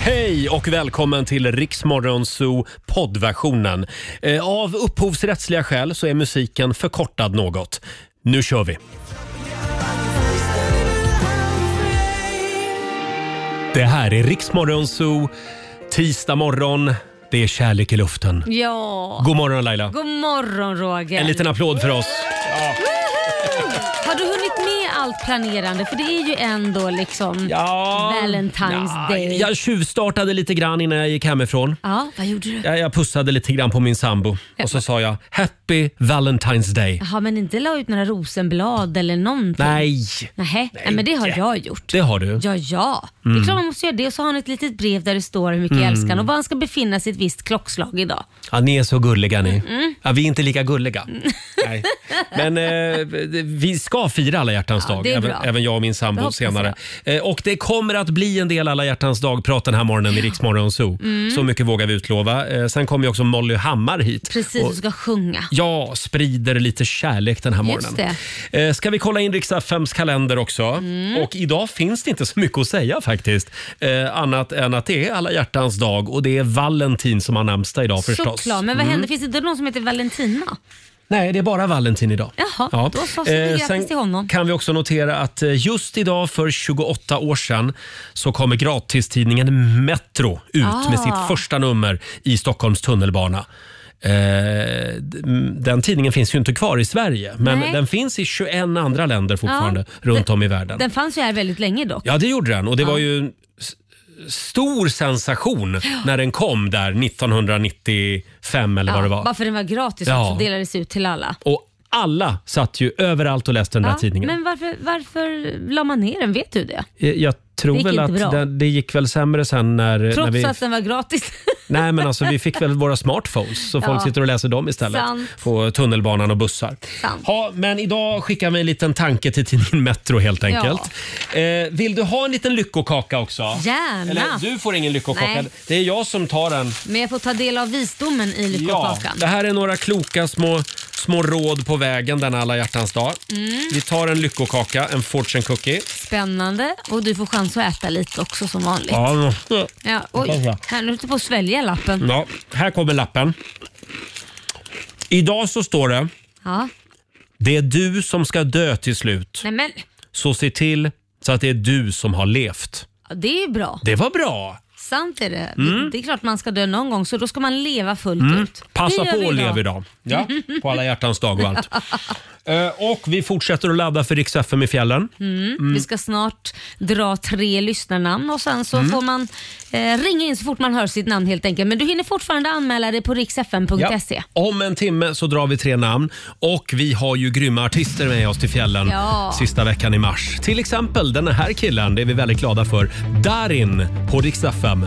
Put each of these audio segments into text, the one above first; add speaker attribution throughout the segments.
Speaker 1: Hej och välkommen till Riksmorgon Zoo poddversionen. Eh, Av upphovsrättsliga skäl så är musiken förkortad något. Nu kör vi! Det här är Riksmorgon Zoo, tisdag morgon. Det är kärlek i luften.
Speaker 2: Ja.
Speaker 1: God morgon Laila!
Speaker 2: God morgon Roger.
Speaker 1: En liten applåd för oss.
Speaker 2: Woho! Har du hunnit med allt planerande? För det är ju ändå liksom
Speaker 1: Ja.
Speaker 2: Valentine's Day.
Speaker 1: Jag tjuvstartade lite grann innan jag gick hemifrån.
Speaker 2: Ja, vad gjorde du?
Speaker 1: Jag, jag pussade lite grann på min sambo och så sa jag “Happy Valentine's Day”.
Speaker 2: Jaha, men inte la ut några rosenblad eller någonting?
Speaker 1: Nej,
Speaker 2: Nähä. Nej, men det har jag gjort.
Speaker 1: det har du.
Speaker 2: Ja, ja. Det
Speaker 1: Mm.
Speaker 2: är klart man måste göra det. Och så har han ett litet brev där det står hur mycket jag
Speaker 1: Mm.
Speaker 2: älskar honom och var han ska befinna sig ett visst klockslag idag.
Speaker 1: Ja, ni är så gulliga ni.
Speaker 2: Mm.
Speaker 1: Ja, vi är inte lika gulliga. Nej. Men eh, vi ska fira alla hjärtans
Speaker 2: Ja,
Speaker 1: dag,
Speaker 2: det är
Speaker 1: även,
Speaker 2: bra.
Speaker 1: även jag och min
Speaker 2: Det
Speaker 1: sambo
Speaker 2: hoppas
Speaker 1: senare. Eh, och det kommer att bli en del alla hjärtans dag-prat den här morgonen i Rix Morgon Zoo.
Speaker 2: Mm.
Speaker 1: Så mycket vågar vi utlova. Eh, sen kommer ju också Molly Hammar hit.
Speaker 2: Precis,
Speaker 1: Och-
Speaker 2: du ska sjunga.
Speaker 1: Ja, sprider lite kärlek den här
Speaker 2: Just
Speaker 1: morgonen. Eh, ska vi kolla in riks FMs kalender också?
Speaker 2: Mm.
Speaker 1: Och idag finns det inte så mycket att säga faktiskt. Eh, annat än att det är alla hjärtans dag och det är Valentin som har namnsdag idag förstås.
Speaker 2: Såklart, men vad
Speaker 1: Mm.
Speaker 2: händer? Finns det inte någon som heter Valentina?
Speaker 1: Nej, det är bara Valentin idag.
Speaker 2: Jaha,
Speaker 1: Ja.
Speaker 2: då så. så eh,
Speaker 1: Eh,
Speaker 2: grattis
Speaker 1: sen
Speaker 2: till honom.
Speaker 1: kan vi också notera att eh, just idag för 28 år sedan så kommer gratistidningen Metro ut
Speaker 2: Ah.
Speaker 1: med sitt första nummer i Stockholms tunnelbana. Eh, d- m- Den tidningen finns ju inte kvar i Sverige, men
Speaker 2: Nej.
Speaker 1: den finns i 21 andra länder fortfarande
Speaker 2: Ja,
Speaker 1: runt
Speaker 2: den-
Speaker 1: om i världen.
Speaker 2: Den fanns ju här väldigt länge dock.
Speaker 1: Ja, det gjorde den och det
Speaker 2: Ja.
Speaker 1: var ju en s- stor sensation när den kom där 1995 eller vad det var.
Speaker 2: Bara för den var gratis
Speaker 1: Ja.
Speaker 2: också och delades ut till alla.
Speaker 1: Och alla satt ju överallt och läste den där
Speaker 2: Ja,
Speaker 1: tidningen. Eh,
Speaker 2: Men varför, varför la man ner den? Vet du det?
Speaker 1: Jag jag
Speaker 2: Det
Speaker 1: tror
Speaker 2: gick
Speaker 1: väl
Speaker 2: inte bra.
Speaker 1: att det, det gick väl sämre sen när, när
Speaker 2: Trots
Speaker 1: vi...
Speaker 2: att den var gratis.
Speaker 1: Nej men alltså vi fick väl våra smartphones så
Speaker 2: Ja.
Speaker 1: folk sitter och läser dem istället.
Speaker 2: Sant.
Speaker 1: På tunnelbanan och bussar. Ja, men idag skickar vi en liten tanke till tidningen Metro helt enkelt. Eh, vill du ha en liten lyckokaka också?
Speaker 2: Gärna.
Speaker 1: Eller du får ingen lyckokaka.
Speaker 2: Nej.
Speaker 1: Det är jag som tar den.
Speaker 2: Men jag får ta del av visdomen i
Speaker 1: Ja,
Speaker 2: lyckokakan.
Speaker 1: det här är några kloka små, små råd på vägen denna alla hjärtans dag.
Speaker 2: Mm.
Speaker 1: Vi tar en lyckokaka, en fortune cookie.
Speaker 2: Spännande. Och du får chans att äta lite också som vanligt.
Speaker 1: Ja, Mm. men-
Speaker 2: Ja, oj. Här, nu höll du på att svälja lappen.
Speaker 1: Ja, här kommer lappen. Idag så står det,
Speaker 2: Ja.
Speaker 1: det är du som ska dö till slut.
Speaker 2: Nej, men
Speaker 1: Så se till så att det är du som har levt.
Speaker 2: ja, det är ju bra.
Speaker 1: Det var bra.
Speaker 2: Sant är det.
Speaker 1: Mm.
Speaker 2: Det är klart man ska dö någon gång så då ska man leva fullt
Speaker 1: Mm.
Speaker 2: ut.
Speaker 1: Passa
Speaker 2: Det gör
Speaker 1: på
Speaker 2: vi
Speaker 1: att leva idag. Ja, på alla hjärtans dag och allt. Eh, Och vi fortsätter att ladda för Rix FM i fjällen.
Speaker 2: Mm. Vi ska snart dra tre lyssnarnamn och sen så
Speaker 1: Mm.
Speaker 2: får man eh, ringa in så fort man hör sitt namn helt enkelt. Men du hinner fortfarande anmäla dig på riksfm.se.
Speaker 1: Ja. Om en timme så drar vi tre namn och vi har ju grymma artister med oss till fjällen
Speaker 2: Ja.
Speaker 1: sista veckan i mars. Till exempel den här killen, det är vi väldigt glada för. Darin på Rix FM.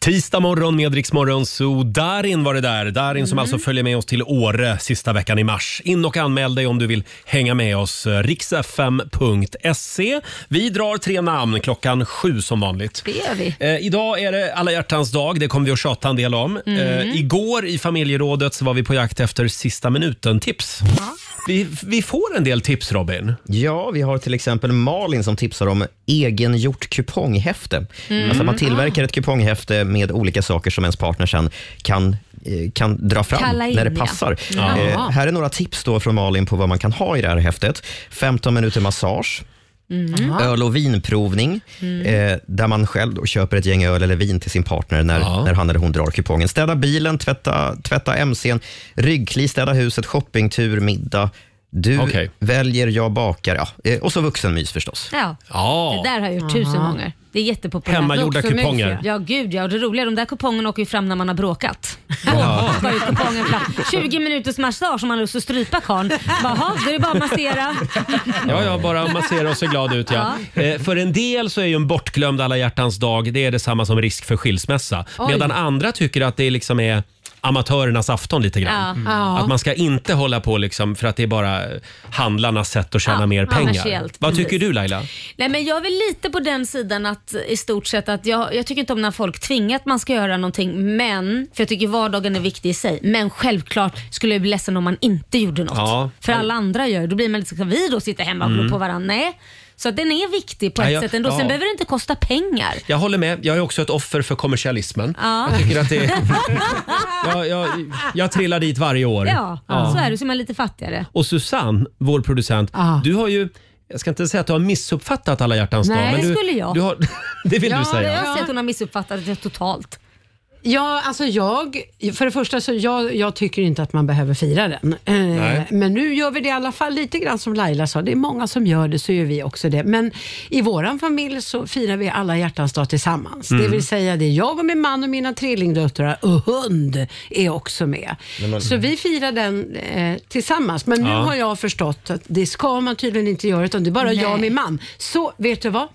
Speaker 1: Tisdag morgon med Rix Morgon Zoo. Darin var det där. Darin som alltså följer med oss till Åre sista veckan i mars. In och anmäl dig om du vill hänga med oss. eh, riksfm.se. Vi drar tre namn klockan sju som vanligt.
Speaker 2: Det gör vi.
Speaker 1: Eh, idag är det alla hjärtans dag. Det kommer vi att tjata en del om.
Speaker 2: Mm.
Speaker 1: Eh, igår i familjerådet så var vi på jakt efter sista minuten-tips. Vi, vi får en del tips, Robin.
Speaker 3: Ja, vi har till exempel Malin som tipsar om egengjort kuponghäfte.
Speaker 4: Mm.
Speaker 3: Alltså
Speaker 1: Ah.
Speaker 3: man tillverkar ett kuponghäfte med olika saker som ens partner sen kan, eh, kan dra fram
Speaker 4: Kalla in,
Speaker 3: när det
Speaker 4: ja.
Speaker 3: passar.
Speaker 4: Ja.
Speaker 3: Eh, här är några tips då från Malin på vad man kan ha i det här häftet. 15 minuter massage.
Speaker 4: Mm.
Speaker 3: Öl och vinprovning,
Speaker 4: Mm.
Speaker 3: eh, där man själv då köper ett gäng öl eller vin till sin partner när, när han eller hon drar kupongen. Städa bilen, tvätta, tvätta mcn, ryggkli, städa huset, shoppingtur, middag. Du väljer, jag bakar. Ja. Eh, och så vuxenmys förstås.
Speaker 2: Ja.
Speaker 1: Ja.
Speaker 2: Det där har jag gjort tusen
Speaker 3: Aha.
Speaker 2: gånger. Det är jättepopulärt.
Speaker 3: Hemmagjorda
Speaker 2: Vuxenmys,
Speaker 3: kuponger.
Speaker 2: ja. Ja, gud ja. Och det roliga, de där kupongerna åker ju fram när man har bråkat.
Speaker 3: Ja.
Speaker 2: Då går ju kupongen fram. 20 minuters massage om man har lust att strypa karln. Jaha, då är det bara att massera.
Speaker 1: Ja, ja, bara massera och se glad ut. Ja. Eh, för en del så är ju en bortglömd alla hjärtans dag det är detsamma som risk för skilsmässa.
Speaker 2: Oj.
Speaker 1: Medan andra tycker att det liksom är amatörernas afton lite
Speaker 2: Ja.
Speaker 1: grann.
Speaker 2: Mm. Ja.
Speaker 1: Att man ska inte hålla på liksom för att det är bara handlarnas sätt att tjäna
Speaker 2: Ja,
Speaker 1: mer pengar.
Speaker 2: kommersiellt,
Speaker 1: Vad
Speaker 2: precis.
Speaker 1: tycker du Laila?
Speaker 2: Nej men jag är väl lite på den sidan att i stort sett att jag, jag tycker inte om när folk tvingar att man ska göra någonting men, för jag tycker vardagen är viktig i sig, men självklart skulle jag bli ledsen om man inte gjorde något.
Speaker 1: Ja.
Speaker 2: För alla andra gör det. Då blir man lite så, ska vi då sitta hemma och glo
Speaker 1: Mm.
Speaker 2: på varandra? Nej. Så att den är viktig på ett
Speaker 1: Ja, jag-
Speaker 2: sätt ändå. Sen
Speaker 1: ja.
Speaker 2: behöver det inte kosta pengar.
Speaker 1: Jag håller med. Jag är också ett offer för kommersialismen.
Speaker 2: Ja.
Speaker 1: Jag tycker att det är... jag, jag, jag trillar dit varje år.
Speaker 2: Ja, så är det. Så är man lite fattigare.
Speaker 1: Och Susanne, vår producent,
Speaker 2: Ah.
Speaker 1: du har ju jag ska inte säga att du har missuppfattat alla hjärtans dag.
Speaker 2: Nej,
Speaker 1: men du,
Speaker 2: skulle jag.
Speaker 1: Du har, det vill
Speaker 2: ja,
Speaker 1: du
Speaker 2: det
Speaker 1: säga.
Speaker 2: har Jag ser att hon har missuppfattat det totalt.
Speaker 4: Ja, alltså jag, för det första så jag, jag tycker inte att man behöver fira den. Eh,
Speaker 5: Nej.
Speaker 4: Men nu gör vi det i alla fall lite grann som Laila sa. Det är många som gör det, så gör vi också det. Men i våran familj så firar vi alla hjärtans dag tillsammans.
Speaker 5: Mm.
Speaker 4: Det vill säga det är jag och min man och mina trillingdöttrar och hund är också med.
Speaker 5: Nej, men-
Speaker 4: Så vi firar den eh, tillsammans. Men nu
Speaker 5: Ja.
Speaker 4: har jag förstått att det ska man tydligen inte göra, utan det är bara jag och
Speaker 5: Nej.
Speaker 4: min man. Så vet du vad?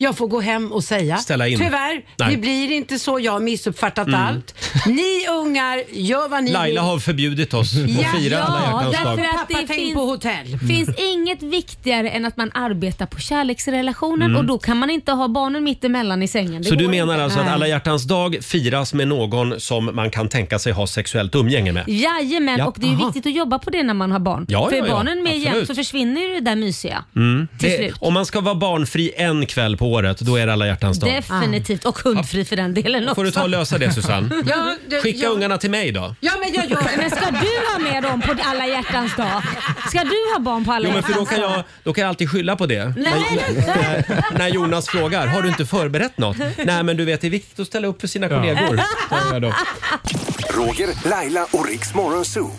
Speaker 4: Jag får gå hem och säga,
Speaker 5: Ställa in.
Speaker 4: tyvärr,
Speaker 1: Nej.
Speaker 4: det blir inte så. Jag har missuppfattat
Speaker 1: Mm.
Speaker 4: allt. Ni ungar, gör vad ni
Speaker 1: Laila
Speaker 4: vill.
Speaker 1: har förbjudit oss att fira alla hjärtans dag.
Speaker 2: därför att det
Speaker 4: Pappa, tänk
Speaker 2: finns, Mm.
Speaker 4: på hotell.
Speaker 2: finns inget viktigare än att man arbetar på kärleksrelationen
Speaker 1: Mm.
Speaker 2: och då kan man inte ha barnen mitt emellan i sängen. Det
Speaker 1: Så du
Speaker 2: går
Speaker 1: menar
Speaker 2: inte.
Speaker 1: alltså att
Speaker 2: Nej.
Speaker 1: alla hjärtans dag firas med någon som man kan tänka sig ha sexuellt umgänge med?
Speaker 2: Jajamän,
Speaker 1: Ja.
Speaker 2: och det är ju
Speaker 1: Aha.
Speaker 2: viktigt att jobba på det när man har barn.
Speaker 1: Ja,
Speaker 2: För
Speaker 1: ja,
Speaker 2: är
Speaker 1: ja.
Speaker 2: barnen med jämt
Speaker 1: Absolut.
Speaker 2: så försvinner ju det där mysiga.
Speaker 1: Mm.
Speaker 2: Till
Speaker 1: Det,
Speaker 2: slut.
Speaker 1: om man ska vara barnfri en kväll på året, då är det alla hjärtans dag.
Speaker 2: Definitivt, och hundfri för den delen också.
Speaker 1: Får du ta och lösa det Susanne?
Speaker 4: Ja, det-
Speaker 1: Skicka
Speaker 4: ja.
Speaker 1: ungarna till mig då.
Speaker 4: Ja, men jag gör det.
Speaker 2: Men ska du ha med dem på alla hjärtans dag? Ska du ha barn på alla
Speaker 1: Jo, men för då
Speaker 2: hjärtans
Speaker 1: kan,
Speaker 2: dag?
Speaker 1: jag, då kan jag alltid skylla på det. När, när Jonas frågar, har du inte förberett något? Nej, men du vet, det är viktigt att ställa upp för sina kollegor. säger jag då.
Speaker 6: Roger, Laila och Riks Morgonzoo.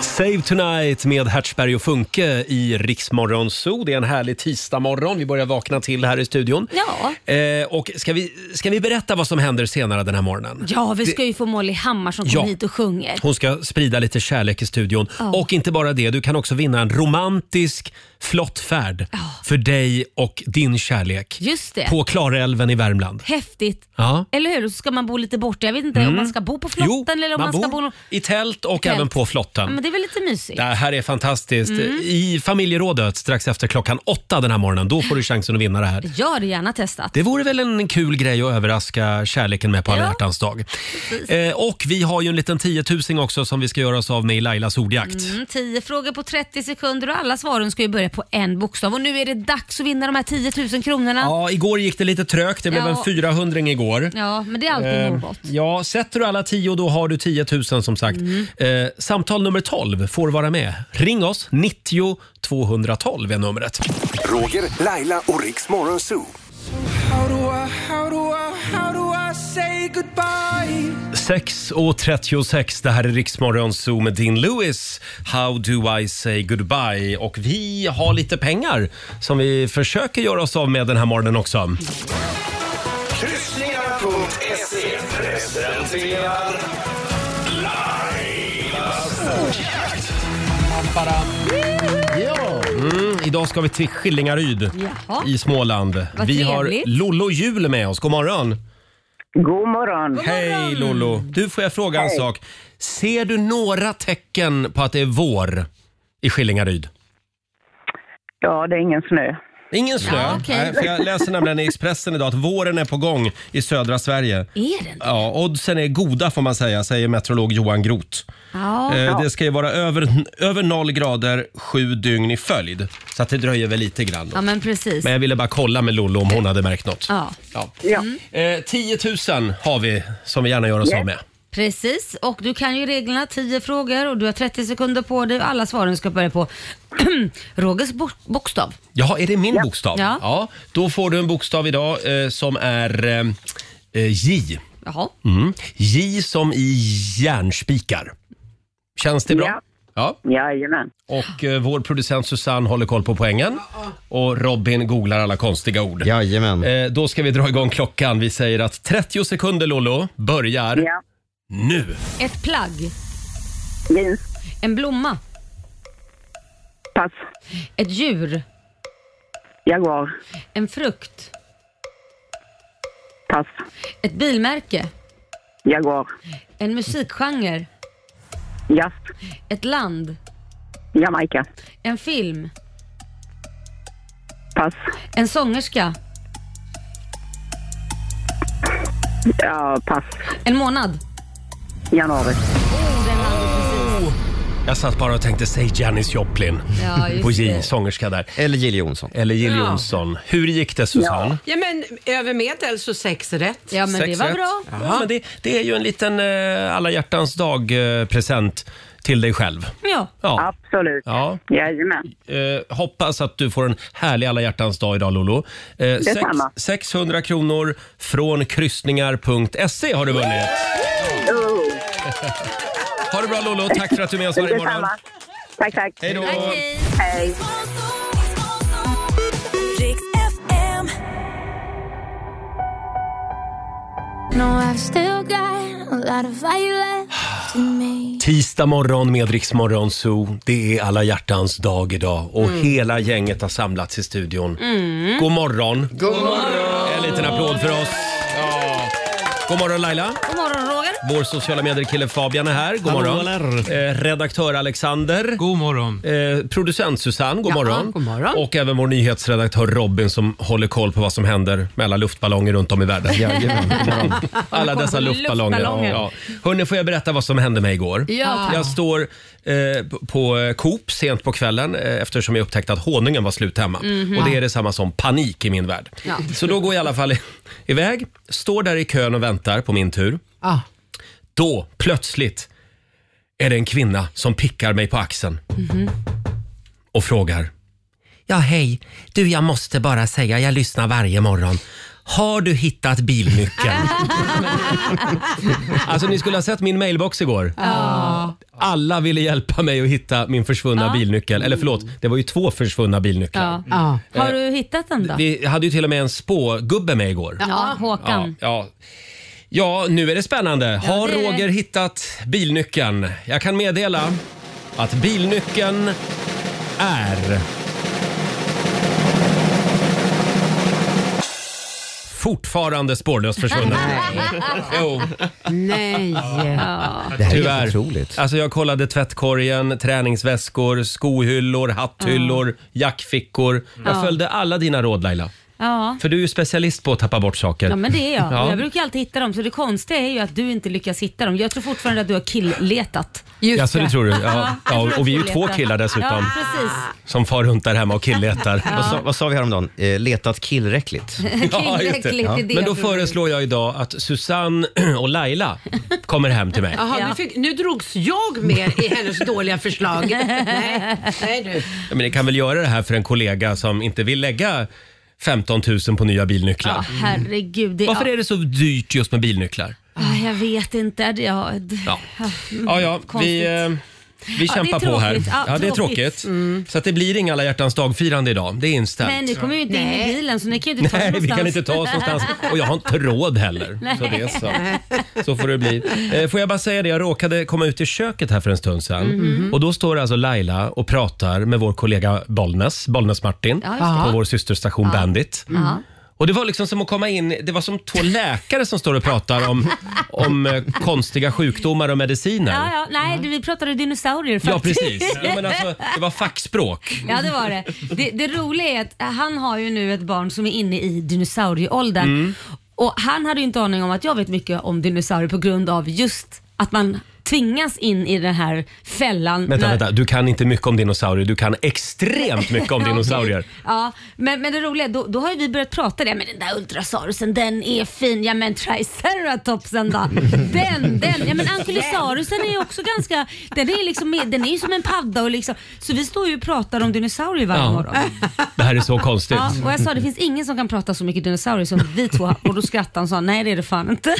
Speaker 1: Save Tonight med Hertzberg och Funke i Riksmorgon Zoo. Det är en härlig tisdagmorgon. Vi börjar vakna till här i studion.
Speaker 2: Ja.
Speaker 1: Eh, och ska vi, ska vi berätta vad som händer senare den här morgonen?
Speaker 2: Ja, vi
Speaker 1: Det-
Speaker 2: ska ju få Molly Hammar som kommer
Speaker 1: Ja.
Speaker 2: hit och sjunger.
Speaker 1: Hon ska sprida lite kärlek i studion.
Speaker 2: Ja.
Speaker 1: Och inte bara det, du kan också vinna en romantisk flottfärd för dig och din kärlek.
Speaker 2: Just det.
Speaker 1: På Klarälven i Värmland.
Speaker 2: Häftigt.
Speaker 1: Ja.
Speaker 2: Eller hur? Och så ska man bo lite borta. Jag vet inte om
Speaker 1: Mm.
Speaker 2: man ska bo på flotten
Speaker 1: Jo,
Speaker 2: eller om man, ska bo... någon-
Speaker 1: i tält och
Speaker 2: Tält.
Speaker 1: även på flotten.
Speaker 2: Ja, men det är väl lite mysigt?
Speaker 1: Det här är fantastiskt.
Speaker 2: Mm.
Speaker 1: I familjerådet strax efter klockan åtta den här morgonen, då får du chansen att vinna det här.
Speaker 2: Gör det gärna testat.
Speaker 1: Det vore väl en kul grej att överraska kärleken med på alla
Speaker 2: Ja.
Speaker 1: hjärtans dag. Eh, och vi har ju en liten tiotusing också som vi ska göra oss av med i Lailas ordjakt.
Speaker 2: Mm, 10 frågor på 30 sekunder och alla svaren ska ju börja på en bokstav. Och nu är det dags att vinna de här 10 000 kronorna.
Speaker 1: Ja, igår gick det lite trögt. Det blev
Speaker 2: Ja.
Speaker 1: en 400 igår.
Speaker 2: Ja, men det är alltid
Speaker 1: Eh,
Speaker 2: något.
Speaker 1: Ja, sätter du alla 10 då har du 10 000 som sagt.
Speaker 2: Mm.
Speaker 1: Eh, samtal nummer 12 får vara med. Ring oss, 90 212 är numret.
Speaker 6: Roger, Laila och Riks Morgonzoo.
Speaker 7: How do I, how do I, how do I say goodbye?
Speaker 1: 6.36, det här är Riksmorgon Zoo med Dean Lewis. How do I say goodbye? Och vi har lite pengar som vi försöker göra oss av med den här morgonen också. E.
Speaker 7: Kryssningar.se presenterar Lailas ordjakt.
Speaker 1: Mm, idag ska vi till Skillingaryd
Speaker 7: Jaha.
Speaker 1: i Småland.
Speaker 7: Vad
Speaker 1: vi har
Speaker 7: trevligt.
Speaker 1: Lollo Jul med oss. God morgon!
Speaker 8: God morgon!
Speaker 1: Hej Lollo! Du, får jag fråga en
Speaker 8: Hej.
Speaker 1: sak? Ser du några tecken på att det är vår i Skillingaryd?
Speaker 8: Ja, det är ingen snö.
Speaker 1: Ingen snö.
Speaker 8: Ja, okej.
Speaker 1: Nej, för jag läser nämligen i Expressen idag att våren är på gång i södra Sverige.
Speaker 2: Är den?
Speaker 1: Ja, oddsen är goda får man säga, säger meteorolog Johan Groth.
Speaker 2: Ja.
Speaker 1: Eh, Det ska ju vara över, över noll grader sju dygn i följd. Så att det dröjer väl lite grann.
Speaker 2: ja, men precis.
Speaker 1: Men jag ville bara kolla med Lollo om hon hade märkt något.
Speaker 2: Ja.
Speaker 1: Ja.
Speaker 2: Mm.
Speaker 1: Eh, 10 000 har vi som vi gärna gör oss
Speaker 2: Ja.
Speaker 1: av med.
Speaker 2: Precis, och du kan ju reglerna, 10 frågor och du har 30 sekunder på dig och alla svaren ska börja på Rogers bo- bokstav.
Speaker 1: Jaha, är det min bokstav?
Speaker 2: Ja.
Speaker 1: Då får du en bokstav idag eh, som är eh, eh, J.
Speaker 2: Jaha.
Speaker 1: Mm. J som i järnspikar. Känns det bra?
Speaker 8: Ja.
Speaker 1: Ja.
Speaker 8: Jajamän.
Speaker 1: Och eh, vår producent Susanne håller koll på poängen. Och Robin googlar alla konstiga ord. Jajamän. Eh, då ska vi dra igång klockan. Vi säger att 30 sekunder Lollo börjar
Speaker 8: Ja.
Speaker 1: nu.
Speaker 2: Ett plagg.
Speaker 8: Jeans.
Speaker 2: En blomma.
Speaker 8: Pass.
Speaker 2: Ett djur.
Speaker 8: Jaguar.
Speaker 2: En frukt.
Speaker 8: Pass.
Speaker 2: Ett bilmärke.
Speaker 8: Jaguar.
Speaker 2: En musikgenre.
Speaker 8: Jazz.
Speaker 2: Ett land.
Speaker 8: Jamaica.
Speaker 2: En film.
Speaker 8: Pass.
Speaker 2: En sångerska.
Speaker 8: Ja, pass.
Speaker 2: En månad.
Speaker 8: Januari.
Speaker 1: Oh! Jag satt bara och tänkte, säg Janis Joplin
Speaker 2: Ja, just
Speaker 1: på J,
Speaker 2: det.
Speaker 1: sångerska där.
Speaker 3: Eller Jill Johnson.
Speaker 1: Eller Jill
Speaker 4: Ja.
Speaker 1: Johnson. Hur gick det Susanne?
Speaker 4: Ja, men över medel så sex rätt.
Speaker 2: Ja, men det
Speaker 1: Sex
Speaker 2: var
Speaker 1: rätt.
Speaker 2: bra.
Speaker 1: Ja, men det, det är ju en liten eh, alla hjärtans dag-present till dig själv.
Speaker 2: Ja.
Speaker 1: Ja.
Speaker 8: Absolut.
Speaker 1: Ja.
Speaker 8: Jajamän.
Speaker 1: Eh, hoppas att du får en härlig alla hjärtans dag idag Lolo. Eh, sex,
Speaker 8: Detsamma.
Speaker 1: 600 kronor från kryssningar.se har du vunnit.
Speaker 8: Oh,
Speaker 1: Ha det bra Lolo, tack för att du är med oss varje morgon.
Speaker 8: detsamma. Tack, tack.
Speaker 1: Hej då!
Speaker 2: Okej.
Speaker 8: Hej.
Speaker 5: Riks FM.
Speaker 1: Tisdag morgon med Rix Morgon Zoo. Det är alla hjärtans dag idag och hela gänget har samlats i studion.
Speaker 2: Mm.
Speaker 1: God morgon! Mm. God morgon! En liten applåd för oss. God morgon Laila!
Speaker 2: God morgon Roger.
Speaker 1: Vår sociala medier-kille Fabian är här. God morgon. Eh, redaktör Alexander.
Speaker 9: God morgon.
Speaker 1: Eh, producent Susanne, god,
Speaker 4: Ja,
Speaker 1: morgon.
Speaker 4: god morgon.
Speaker 1: Och även vår nyhetsredaktör Robin som håller koll på vad som händer med alla luftballonger runt om i världen. alla dessa
Speaker 2: koll på
Speaker 1: luftballonger.
Speaker 2: luftballonger.
Speaker 1: Ja. Hörni, får jag berätta vad som hände mig igår?
Speaker 2: Ja, tack.
Speaker 1: Jag står eh, p- på eh, Coop sent på kvällen eh, eftersom jag upptäckte att honungen var slut hemma. Och det är detsamma som panik i min värld.
Speaker 4: Mhm. Ja.
Speaker 1: Så då går jag i alla fall i- iväg, står där i kön och väntar på min tur.
Speaker 4: Ja.
Speaker 1: Då, plötsligt, är det en kvinna som pickar mig på axeln
Speaker 4: Mhm.
Speaker 1: och frågar. Ja, hej. Du, jag måste bara säga, jag lyssnar varje morgon. Har du hittat bilnyckeln? alltså, ni skulle ha sett min mailbox igår. Alla ville hjälpa mig att hitta min försvunna bilnyckel. Eller förlåt, det var ju två försvunna bilnycklar.
Speaker 2: Ja.
Speaker 4: Ja.
Speaker 2: Har du hittat den då?
Speaker 1: Vi hade ju till och med en spågubbe med igår.
Speaker 2: Ja,
Speaker 1: Ja,
Speaker 2: Håkan.
Speaker 1: ja. ja, nu är det spännande. Har
Speaker 2: det är det.
Speaker 1: Roger hittat bilnyckeln? Jag kan meddela att bilnyckeln är... Fortfarande spårlöst försvunnen. jo,
Speaker 4: Nej.
Speaker 3: Det här är
Speaker 1: tyvärr.
Speaker 3: helt otroligt.
Speaker 1: Alltså jag kollade tvättkorgen, träningsväskor, skohyllor, hatthyllor, jackfickor. Jag följde alla dina råd Laila.
Speaker 2: Ja.
Speaker 1: För du är ju specialist på att tappa bort saker.
Speaker 2: Ja men det är jag.
Speaker 1: Ja.
Speaker 2: Jag brukar alltid hitta dem. Så det konstiga är ju att du inte lyckas hitta dem. Jag tror fortfarande att du har killletat.
Speaker 4: Just
Speaker 1: Ja, så det tror du? Ja.
Speaker 2: jag tror
Speaker 1: Ja,
Speaker 2: att
Speaker 1: och vi är ju
Speaker 2: killletar.
Speaker 1: två killar dessutom
Speaker 2: Ja, precis.
Speaker 1: som far runt där hemma och killletar.
Speaker 3: Vad, sa, vad sa vi häromdagen? Eh, letat killräckligt.
Speaker 1: Ja, just det.
Speaker 2: Tillräckligt ja.
Speaker 1: Men då föreslår jag idag att Susanne och Laila kommer hem till mig.
Speaker 4: Jaha,
Speaker 2: Ja.
Speaker 4: nu, fick, nu drogs jag med i hennes dåliga förslag. Nej, nej du.
Speaker 1: Ja, Men ni kan väl göra det här för en kollega som inte vill lägga 15 000 på nya bilnycklar. Mm.
Speaker 2: Ja, herregud. Det,
Speaker 1: Varför är det så dyrt just med bilnycklar?
Speaker 2: Ah, jag vet inte. Det, ja, d-
Speaker 1: Ja,
Speaker 2: ah, mm,
Speaker 1: ja, ja vi,
Speaker 2: konstigt.
Speaker 1: eh, vi
Speaker 2: Ja,
Speaker 1: kämpar
Speaker 2: det är
Speaker 1: på här.
Speaker 2: tråkigt. Ja,
Speaker 1: Ja, det är
Speaker 2: tråkigt. Mm.
Speaker 1: tråkigt. Så att det blir inga alla hjärtans dag-firande idag. Det är
Speaker 2: Nej,
Speaker 1: inställt.
Speaker 2: ni kommer ju inte in i
Speaker 4: Nej.
Speaker 2: bilen så ni kan ju inte ta er
Speaker 1: Nej, vi
Speaker 2: någonstans.
Speaker 1: kan inte ta oss någonstans. Och jag har inte råd heller. Så, det är så. så får det bli. Eh, Får jag bara säga det, jag råkade komma ut i köket här för en stund sedan.
Speaker 2: Mhm.
Speaker 1: Och då står alltså Laila och pratar med vår kollega Bollnäs, Bollnäs-Martin,
Speaker 2: Ja, just
Speaker 1: på vår systerstation Bandit.
Speaker 2: Mm.
Speaker 1: Och det var liksom som att komma in, det var som två läkare som står och pratar om, om eh, konstiga sjukdomar och mediciner.
Speaker 2: Ja, ja. Nej, det- vi pratade dinosaurier
Speaker 1: Ja,
Speaker 2: faktiskt.
Speaker 1: precis. Ja, men alltså, det var fackspråk.
Speaker 2: Ja det var det. det. Det roliga är att han har ju nu ett barn som är inne i dinosaurieåldern.
Speaker 1: Mm.
Speaker 2: Och han hade ju inte aning om att jag vet mycket om dinosaurier på grund av just att man tvingas in i den här fällan.
Speaker 1: Vänta,
Speaker 2: när-
Speaker 1: vänta. Du kan inte mycket om dinosaurier. Du kan extremt mycket om
Speaker 2: Ja, okej.
Speaker 1: dinosaurier.
Speaker 2: Ja, men, men det roliga är, då, då har ju vi börjat prata det. Men den där ultrasaurusen den är fin. Ja men triceratopsen då. Den, den. Ja men ankylosaurusen är ju också ganska, den är liksom med, den är ju som en padda och liksom. Så vi står ju och pratar om dinosaurier varje
Speaker 1: Ja.
Speaker 2: morgon.
Speaker 1: Det här är så konstigt.
Speaker 2: Ja, och jag sa det finns ingen som kan prata så mycket dinosaurier som vi två har. och då skrattade han och sa nej det är det fan inte.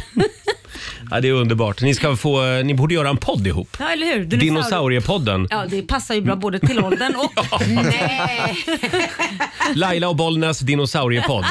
Speaker 1: Ja, det är underbart. Ni, ska få, eh, ni borde göra en podd ihop.
Speaker 2: Ja eller hur? Dinosaurier.
Speaker 1: Dinosauriepodden.
Speaker 2: Ja det passar ju bra både till åldern och... Nej!
Speaker 1: Laila och Bollnäs dinosauriepodd.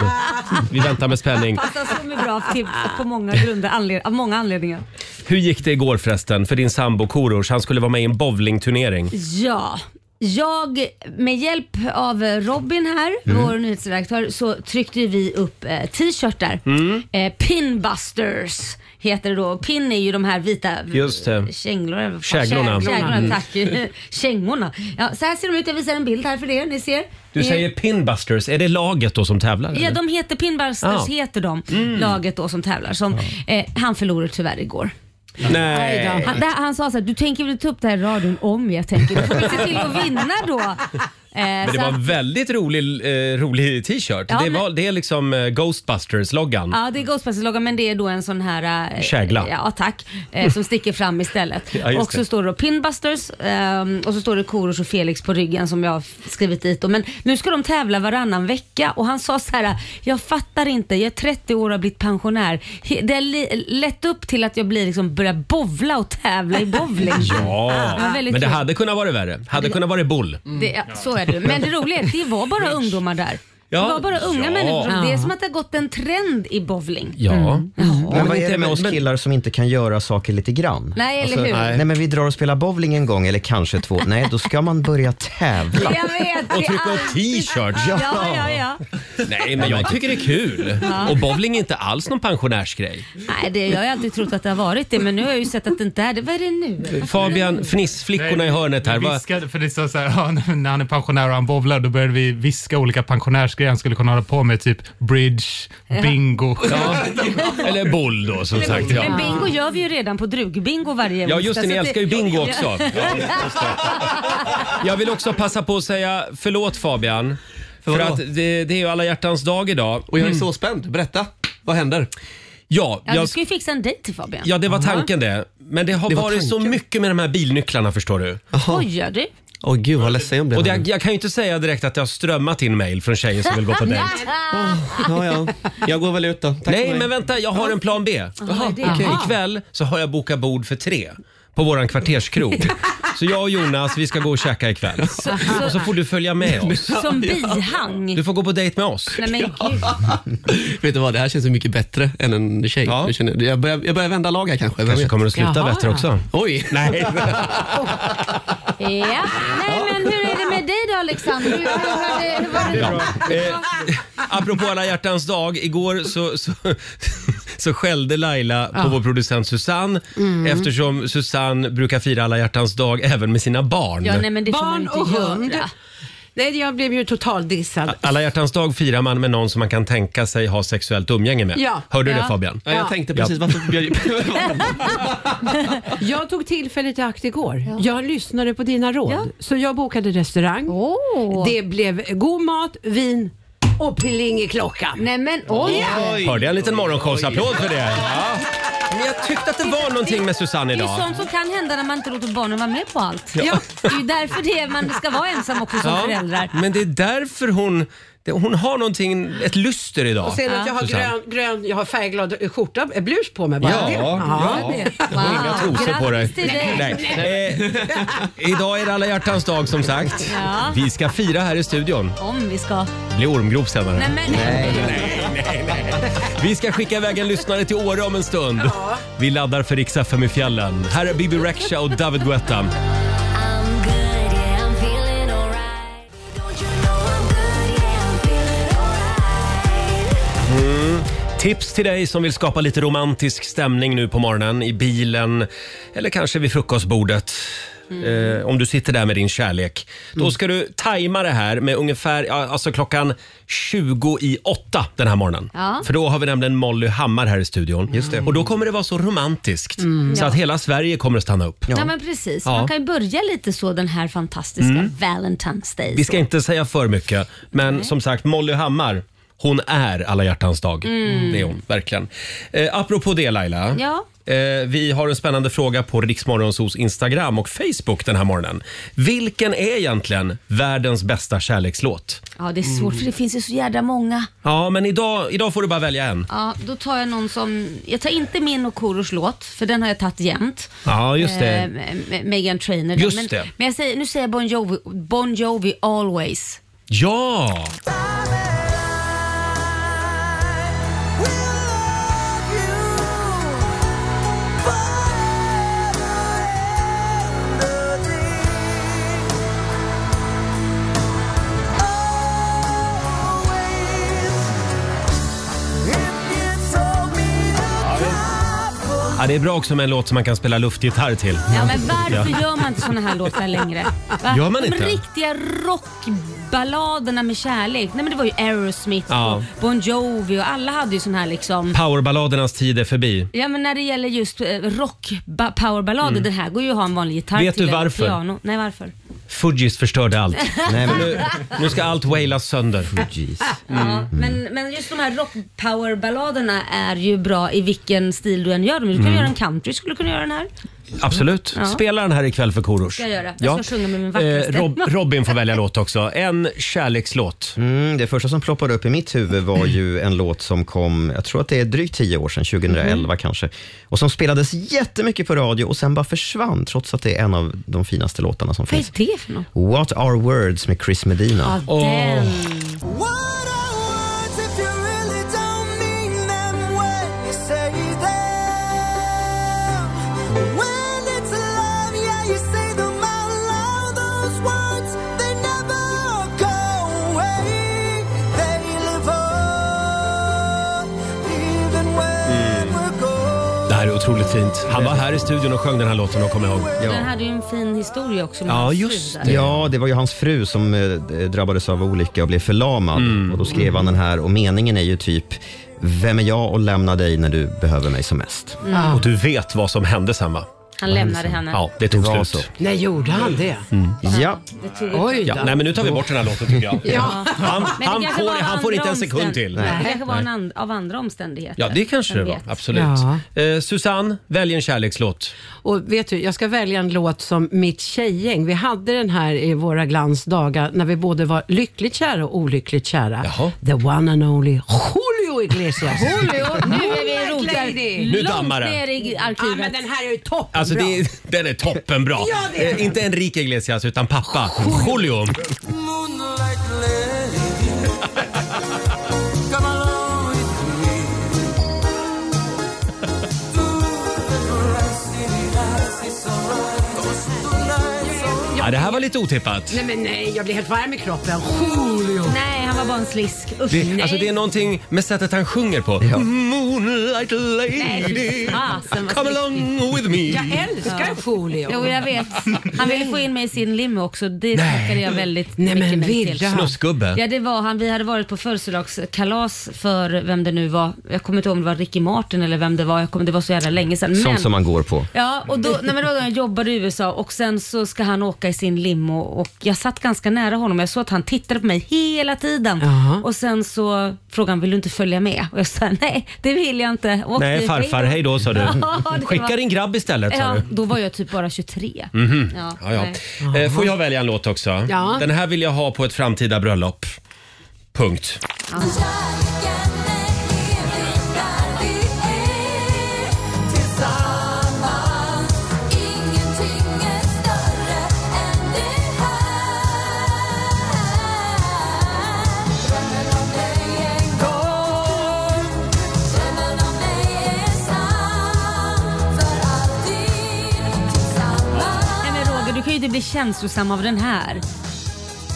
Speaker 1: Vi väntar med spänning.
Speaker 2: Passar så mycket bra till, på många grunder, anled, av många anledningar.
Speaker 1: Hur gick det igår förresten för din sambo Korosh? Han skulle vara med i en bowlingturnering.
Speaker 2: Ja. Jag, med hjälp av Robin här,
Speaker 1: Mm.
Speaker 2: vår nyhetsredaktör, så tryckte ju vi upp eh, t-shirtar.
Speaker 1: Mm.
Speaker 2: Eh, Pinbusters heter det då. Pin är ju de här vita
Speaker 1: Just det.
Speaker 2: kängor, eller vad fan-
Speaker 1: Käglorna. Mm.
Speaker 2: käg- käglorna tack. Kängorna. Ja, så här ser de ut. Jag visar en bild här för er. Ni ser.
Speaker 1: Du
Speaker 2: Det är-
Speaker 1: säger pinbusters, är det laget då som tävlar?
Speaker 2: Ja,
Speaker 1: eller?
Speaker 2: de heter Pinbusters,
Speaker 1: Ah.
Speaker 2: heter de. Laget då som tävlar. Som, eh, han förlorade tyvärr igår.
Speaker 1: Nej.
Speaker 2: Han, där, han sa så här, du tänker väl ta upp det här i radion om jag tänker. Du får väl se till att vinna då. Eh,
Speaker 1: Men det
Speaker 2: så
Speaker 1: var
Speaker 2: att-
Speaker 1: en väldigt rolig, eh, rolig t-shirt.
Speaker 2: alltså- Ja,
Speaker 1: det,
Speaker 2: men-
Speaker 1: var, det är liksom eh, Ghostbusters-loggan.
Speaker 2: Ja, det är Ghostbusters-loggan men det är då en sån här... eh,
Speaker 1: Kägla.
Speaker 2: Ja, tack. Eh, som sticker fram istället.
Speaker 1: Ja, just
Speaker 2: och så
Speaker 1: det.
Speaker 2: står det då Pinbusters ehm, och så står det Korosh och Felix på ryggen som jag har skrivit dit. då. Men nu ska de tävla varannan vecka och han sa så här, jag fattar inte, jag är 30 år och har blivit pensionär. He- Det har li- lett upp till att jag blir liksom börjar bovla och tävla i bowling.
Speaker 1: Ja,
Speaker 2: Det var väldigt
Speaker 1: men det
Speaker 2: kul.
Speaker 1: hade kunnat vara värre. Hade kunnat vara bull.
Speaker 2: Det, ja, så är det. Men det roliga är att det var bara ungdomar där.
Speaker 1: Ja.
Speaker 2: Det var bara unga
Speaker 1: Ja.
Speaker 2: människor. som- Det är
Speaker 4: Ja.
Speaker 2: som att det har gått en trend i bowling. Mm.
Speaker 1: Ja.
Speaker 3: Men vad är det med oss
Speaker 1: men-
Speaker 3: killar som inte kan göra saker lite grann? Alltså,
Speaker 2: Nej, eller hur?
Speaker 3: nej. men vi drar och spelar bowling en gång eller kanske två. Nej, då ska man börja tävla.
Speaker 2: Jag vet,
Speaker 1: Och
Speaker 2: det är
Speaker 1: trycka upp t-shirts.
Speaker 2: Ja, ja, ja.
Speaker 1: Nej, men jag tycker det är kul. Och bowling är inte alls någon pensionärsgrej.
Speaker 2: Nej, det, jag har alltid trott att det har varit det, men nu har jag ju sett att det inte är det. Vad är det nu?
Speaker 1: Fabian, fnissflickorna i hörnet här.
Speaker 9: Vi
Speaker 1: Vad-
Speaker 9: viskade, för det sa så här, ja, när han är pensionär och han bowlar, då började vi viska olika pensionärsgrejer han skulle kunna hålla på med, typ bridge, bingo.
Speaker 1: Ja. Eller boll då som sagt.
Speaker 2: Men
Speaker 1: Ja.
Speaker 2: bingo gör vi ju redan på drugbingo varje
Speaker 1: Ja just
Speaker 2: onsdag,
Speaker 1: det, ni
Speaker 2: så
Speaker 1: älskar ju bingo också. Jag vill också passa på att säga förlåt Fabian. För
Speaker 10: vadå?
Speaker 1: att det, det är ju alla hjärtans dag idag. Mm.
Speaker 10: Och jag är så spänd. Berätta, vad händer?
Speaker 1: Ja,
Speaker 2: Ja, du
Speaker 1: jag,
Speaker 2: ska ju fixa en dejt till Fabian.
Speaker 1: ja det var tanken det. Men det har
Speaker 10: var
Speaker 1: varit så
Speaker 10: tanken.
Speaker 1: mycket med de här bilnycklarna förstår du.
Speaker 2: Oj, gör du?
Speaker 10: Åh gud vad ledsen jag blev.
Speaker 1: Och det,
Speaker 10: här.
Speaker 1: jag, jag kan ju inte säga direkt att det har strömmat in mejl från tjejer som vill gå på dejt.
Speaker 10: ja, ja. Jag går väl ut då. Tack för
Speaker 1: Nej
Speaker 10: mig.
Speaker 1: men vänta, jag har en plan B.
Speaker 2: Jaha, det är det.
Speaker 1: Okej. Ikväll så har jag bokat bord för tre på våran kvarterskrog. Så jag och Jonas, vi ska gå och käka ikväll.
Speaker 2: Så, så,
Speaker 1: Och så får du följa med oss.
Speaker 2: som bihang.
Speaker 1: Du får gå på dejt med oss.
Speaker 2: Nej men gud.
Speaker 10: Vet du vad, det här känns så mycket bättre än en tjej.
Speaker 1: Ja.
Speaker 10: Jag, känner, jag, börjar, jag börjar vända lag här kanske. Vem
Speaker 1: Kanske
Speaker 10: vet?
Speaker 1: kommer det att sluta
Speaker 4: Jaha.
Speaker 1: bättre också.
Speaker 10: Oj! Nej.
Speaker 2: Ja. Nej men hur är det med dig då Alexander? Hur, hur, har det- hur var det?
Speaker 1: Eh, apropå alla hjärtans dag, igår så, så, så skällde Laila på vår producent Susanne
Speaker 2: Mm.
Speaker 1: eftersom Susanne brukar fira alla hjärtans dag även med sina barn.
Speaker 2: Ja, nej, men det får man
Speaker 4: Barn
Speaker 2: inte
Speaker 4: och hund.
Speaker 2: göra.
Speaker 4: Nej, jag blev ju totaldissad.
Speaker 1: Alla hjärtans dag firar man med någon som man kan tänka sig ha sexuellt umgänge med.
Speaker 4: Ja.
Speaker 1: Hörde du
Speaker 2: Ja.
Speaker 1: det Fabian?
Speaker 10: Ja, jag tänkte precis, varför bjöd
Speaker 4: Jag tog tillfället i akt igår. Jag lyssnade på dina råd.
Speaker 2: Ja.
Speaker 4: Så jag bokade restaurang.
Speaker 2: Åh.
Speaker 4: Det blev god mat, vin och pling i klockan.
Speaker 2: Nej men oj.
Speaker 1: Hörde jag en liten morgonshowsapplåd för det? Ja. Men jag tyckte att det var någonting med Susanne
Speaker 2: Det är ju
Speaker 1: idag.
Speaker 2: sånt som kan hända när man inte låter barnen vara med på allt.
Speaker 4: Ja.
Speaker 2: Det är ju därför det är, man ska vara ensam också som föräldrar.
Speaker 1: men det är därför hon, det- hon har någonting, ett lyster idag.
Speaker 4: Och sen att jag har
Speaker 1: Susanne.
Speaker 4: grön, grön, jag har färgglad skjorta, eh, blus på mig bara.
Speaker 1: Ja,
Speaker 4: det.
Speaker 1: ja.
Speaker 2: Wow.
Speaker 1: Inga trosor på dig.
Speaker 2: Grattis till dig.
Speaker 1: Eh, idag är det alla hjärtans dag som sagt.
Speaker 2: Ja.
Speaker 1: Vi ska fira här i studion.
Speaker 2: Om vi ska.
Speaker 1: Det blir ormgrop senare.
Speaker 2: Nej, men,
Speaker 1: Vi ska skicka iväg en lyssnare till Åre om en stund. Vi laddar för Rix FM i fjällen. Här är Bibi Rexha och David Guetta. Mm. Tips till dig som vill skapa lite romantisk stämning nu på morgonen i bilen eller kanske vid frukostbordet. Eh, om du sitter där med din kärlek. Då ska du tajma det här med ungefär ja, alltså klockan 20 i åtta den här morgonen.
Speaker 2: Ja.
Speaker 1: För då har vi nämligen Molly Hammar här i studion. Och då kommer det vara så romantiskt så att hela Sverige kommer att stanna upp.
Speaker 2: Mm. Ja, men precis.
Speaker 1: Ja. Mm.
Speaker 2: Man kan ju börja lite så den här fantastiska Valentine's Day.
Speaker 1: Vi ska inte säga för mycket, men som sagt, Molly Hammar, hon är alla hjärtans dag. Det är hon, verkligen. Eh, apropå det Laila.
Speaker 2: Mm. Ja.
Speaker 1: Eh, vi har en spännande fråga på Riksmorgonsos Instagram och Facebook den här morgonen. Vilken är egentligen världens bästa kärlekslåt?
Speaker 2: Ja, det är svårt
Speaker 1: Mm.
Speaker 2: för det finns ju så jädra många.
Speaker 1: Ja, men idag, idag får du bara välja en.
Speaker 2: Ja, då tar jag någon som... Jag tar inte min och Korosh låt, för den har jag tagit jämt.
Speaker 1: Ja, just det.
Speaker 2: Eh, Me- Me- Megan Trainor.
Speaker 1: Just
Speaker 2: men,
Speaker 1: det.
Speaker 2: Men jag säger, nu säger jag Bon Jovi, bon Jovi Always.
Speaker 1: Ja! Ja, det är bra också med en låt som man kan spela luftgitarr till.
Speaker 2: Ja, men varför
Speaker 1: Ja.
Speaker 2: gör man inte såna här låtar längre?
Speaker 1: Gör man inte?
Speaker 2: De riktiga rockballaderna med kärlek. Nej men det var ju Aerosmith
Speaker 1: Ja.
Speaker 2: och Bon Jovi och alla hade ju sån här liksom...
Speaker 1: Powerballadernas tid är förbi.
Speaker 2: Ja men när det gäller just eh, rock ba- powerballader,
Speaker 1: Mm.
Speaker 2: den här går ju att ha en vanlig gitarr
Speaker 1: Vet
Speaker 2: till
Speaker 1: du
Speaker 2: eller
Speaker 1: varför? Mm.
Speaker 2: piano. Nej varför?
Speaker 1: Fugees förstörde allt.
Speaker 2: Nej, men-
Speaker 1: För Nu, nu ska allt wailas sönder. Mm.
Speaker 2: Ja, men, men just de här rock powerballaderna är ju bra i vilken stil du än gör dem. Du kan
Speaker 1: Mm.
Speaker 2: göra en country, skulle du kunna göra den här.
Speaker 1: Absolut.
Speaker 2: Ja.
Speaker 1: Spela den här ikväll för Korosh.
Speaker 2: Ska jag göra. Jag ska sjunga med min vackraste.
Speaker 1: Eh, Rob, Robin får välja låt också. En kärlekslåt. Mm.
Speaker 3: Mm, det första som ploppade upp i mitt huvud var ju en låt som kom, jag tror att det är drygt tio år sedan, 2011
Speaker 1: Mm.
Speaker 3: kanske, och som spelades jättemycket på radio och sen bara försvann, trots att det är en av de finaste låtarna som
Speaker 2: Vad
Speaker 3: finns.
Speaker 2: är det för något?
Speaker 3: What are words med Chris Medina.
Speaker 2: Ja, den.
Speaker 1: Mm. Det här är otroligt fint. Han var här i studion och sjöng den här låten och kommer jag ihåg.
Speaker 2: Den hade ju en fin historia också. med
Speaker 3: Ja,
Speaker 2: hans
Speaker 3: just
Speaker 2: brudar.
Speaker 3: det. Ja, det var ju hans fru som eh, drabbades av olycka och blev förlamad.
Speaker 1: Mm.
Speaker 3: Och då skrev han den här och meningen är ju typ Vem är jag och lämna dig när du behöver mig som mest?
Speaker 2: Mm.
Speaker 1: Och du vet vad som hände sen va?
Speaker 2: Han lämnade henne.
Speaker 1: Ja, det tog
Speaker 3: var
Speaker 1: slut.
Speaker 4: Nej, gjorde han det?
Speaker 1: Mm.
Speaker 3: Ja.
Speaker 2: Det tog-
Speaker 4: Oj
Speaker 1: ja. Nej men nu tar vi bort den här låten tycker jag.
Speaker 2: Ja.
Speaker 1: Han,
Speaker 2: Men det
Speaker 1: han,
Speaker 2: kanske var
Speaker 1: får,
Speaker 2: av
Speaker 1: han får
Speaker 2: andra
Speaker 1: inte en sekund
Speaker 2: omstän-
Speaker 1: till.
Speaker 2: Nej. Det kanske var en and- av andra omständigheter.
Speaker 1: Ja, det kanske det
Speaker 2: Vem
Speaker 1: var.
Speaker 2: vet?
Speaker 1: Absolut. Eh, Susanne, välj en kärlekslåt.
Speaker 4: Och vet du, jag ska välja en låt som mitt tjejgäng. Vi hade den här i våra glansdagar när vi både var lyckligt kära och olyckligt kära. The one and only Julio Iglesias.
Speaker 2: Julio, nu är vi
Speaker 4: Black
Speaker 2: rotar
Speaker 4: Lady.
Speaker 1: Nu dammar det.
Speaker 2: ner i arkivet.
Speaker 4: Ja, men den här är ju toppen.
Speaker 1: Alltså det, är- den är toppenbra.
Speaker 4: Ja, det är
Speaker 1: eh, inte Enrique Iglesias utan pappa. Julio.
Speaker 7: Moonlight lady, come along with me.
Speaker 1: Ja, det här var lite otippat.
Speaker 4: Nej, men nej, jag blir helt varm i kroppen. Julio.
Speaker 2: Nej, han var bara en slisk. Usch,
Speaker 1: Det,
Speaker 2: nej.
Speaker 1: alltså det är någonting med sättet han sjunger på. Mhm. Moonlight
Speaker 2: Nej,
Speaker 1: lady,
Speaker 2: fy fasen, vad
Speaker 1: come
Speaker 2: sliskigt.
Speaker 1: along with me.
Speaker 4: Jag älskar Julio.
Speaker 2: Jo, jag vet. Han ville få in mig i sin limo också. Det tackade jag väldigt
Speaker 4: Nej, men
Speaker 2: mycket nej
Speaker 4: Virra.
Speaker 2: till.
Speaker 1: Snuskgubbe.
Speaker 2: Ja, det var han. Vi hade varit på födelsedagskalas för vem det nu var. Jag kommer inte ihåg om det var Ricky Martin eller vem det var. Jag kommer, det var så jävla länge sedan. Men,
Speaker 3: Sånt som man går på.
Speaker 2: Ja, och då, nej, men det var då jag jobbade i USA och sen så ska han åka i sin limo och jag satt ganska nära honom. Jag såg att han tittade på mig hela tiden
Speaker 1: Jaha.
Speaker 2: och sen så frågade han, vill du inte följa med? Och jag sa, nej det vill jag inte. Och
Speaker 1: Nej
Speaker 2: åkte
Speaker 1: farfar, hej då sa du. Mm.
Speaker 2: Ja, det
Speaker 1: Skicka
Speaker 2: var-
Speaker 1: din grabb istället sa
Speaker 2: Ja,
Speaker 1: du.
Speaker 2: då var jag typ bara 23.
Speaker 1: Mhm.
Speaker 2: Ja,
Speaker 1: Ja, ja.
Speaker 2: nej.
Speaker 1: Eh, Får jag välja en låt också?
Speaker 2: Ja.
Speaker 1: Den här vill jag ha på ett framtida bröllop. Punkt.
Speaker 2: Nej men Roger, du kan ju inte bli känslosam av den här.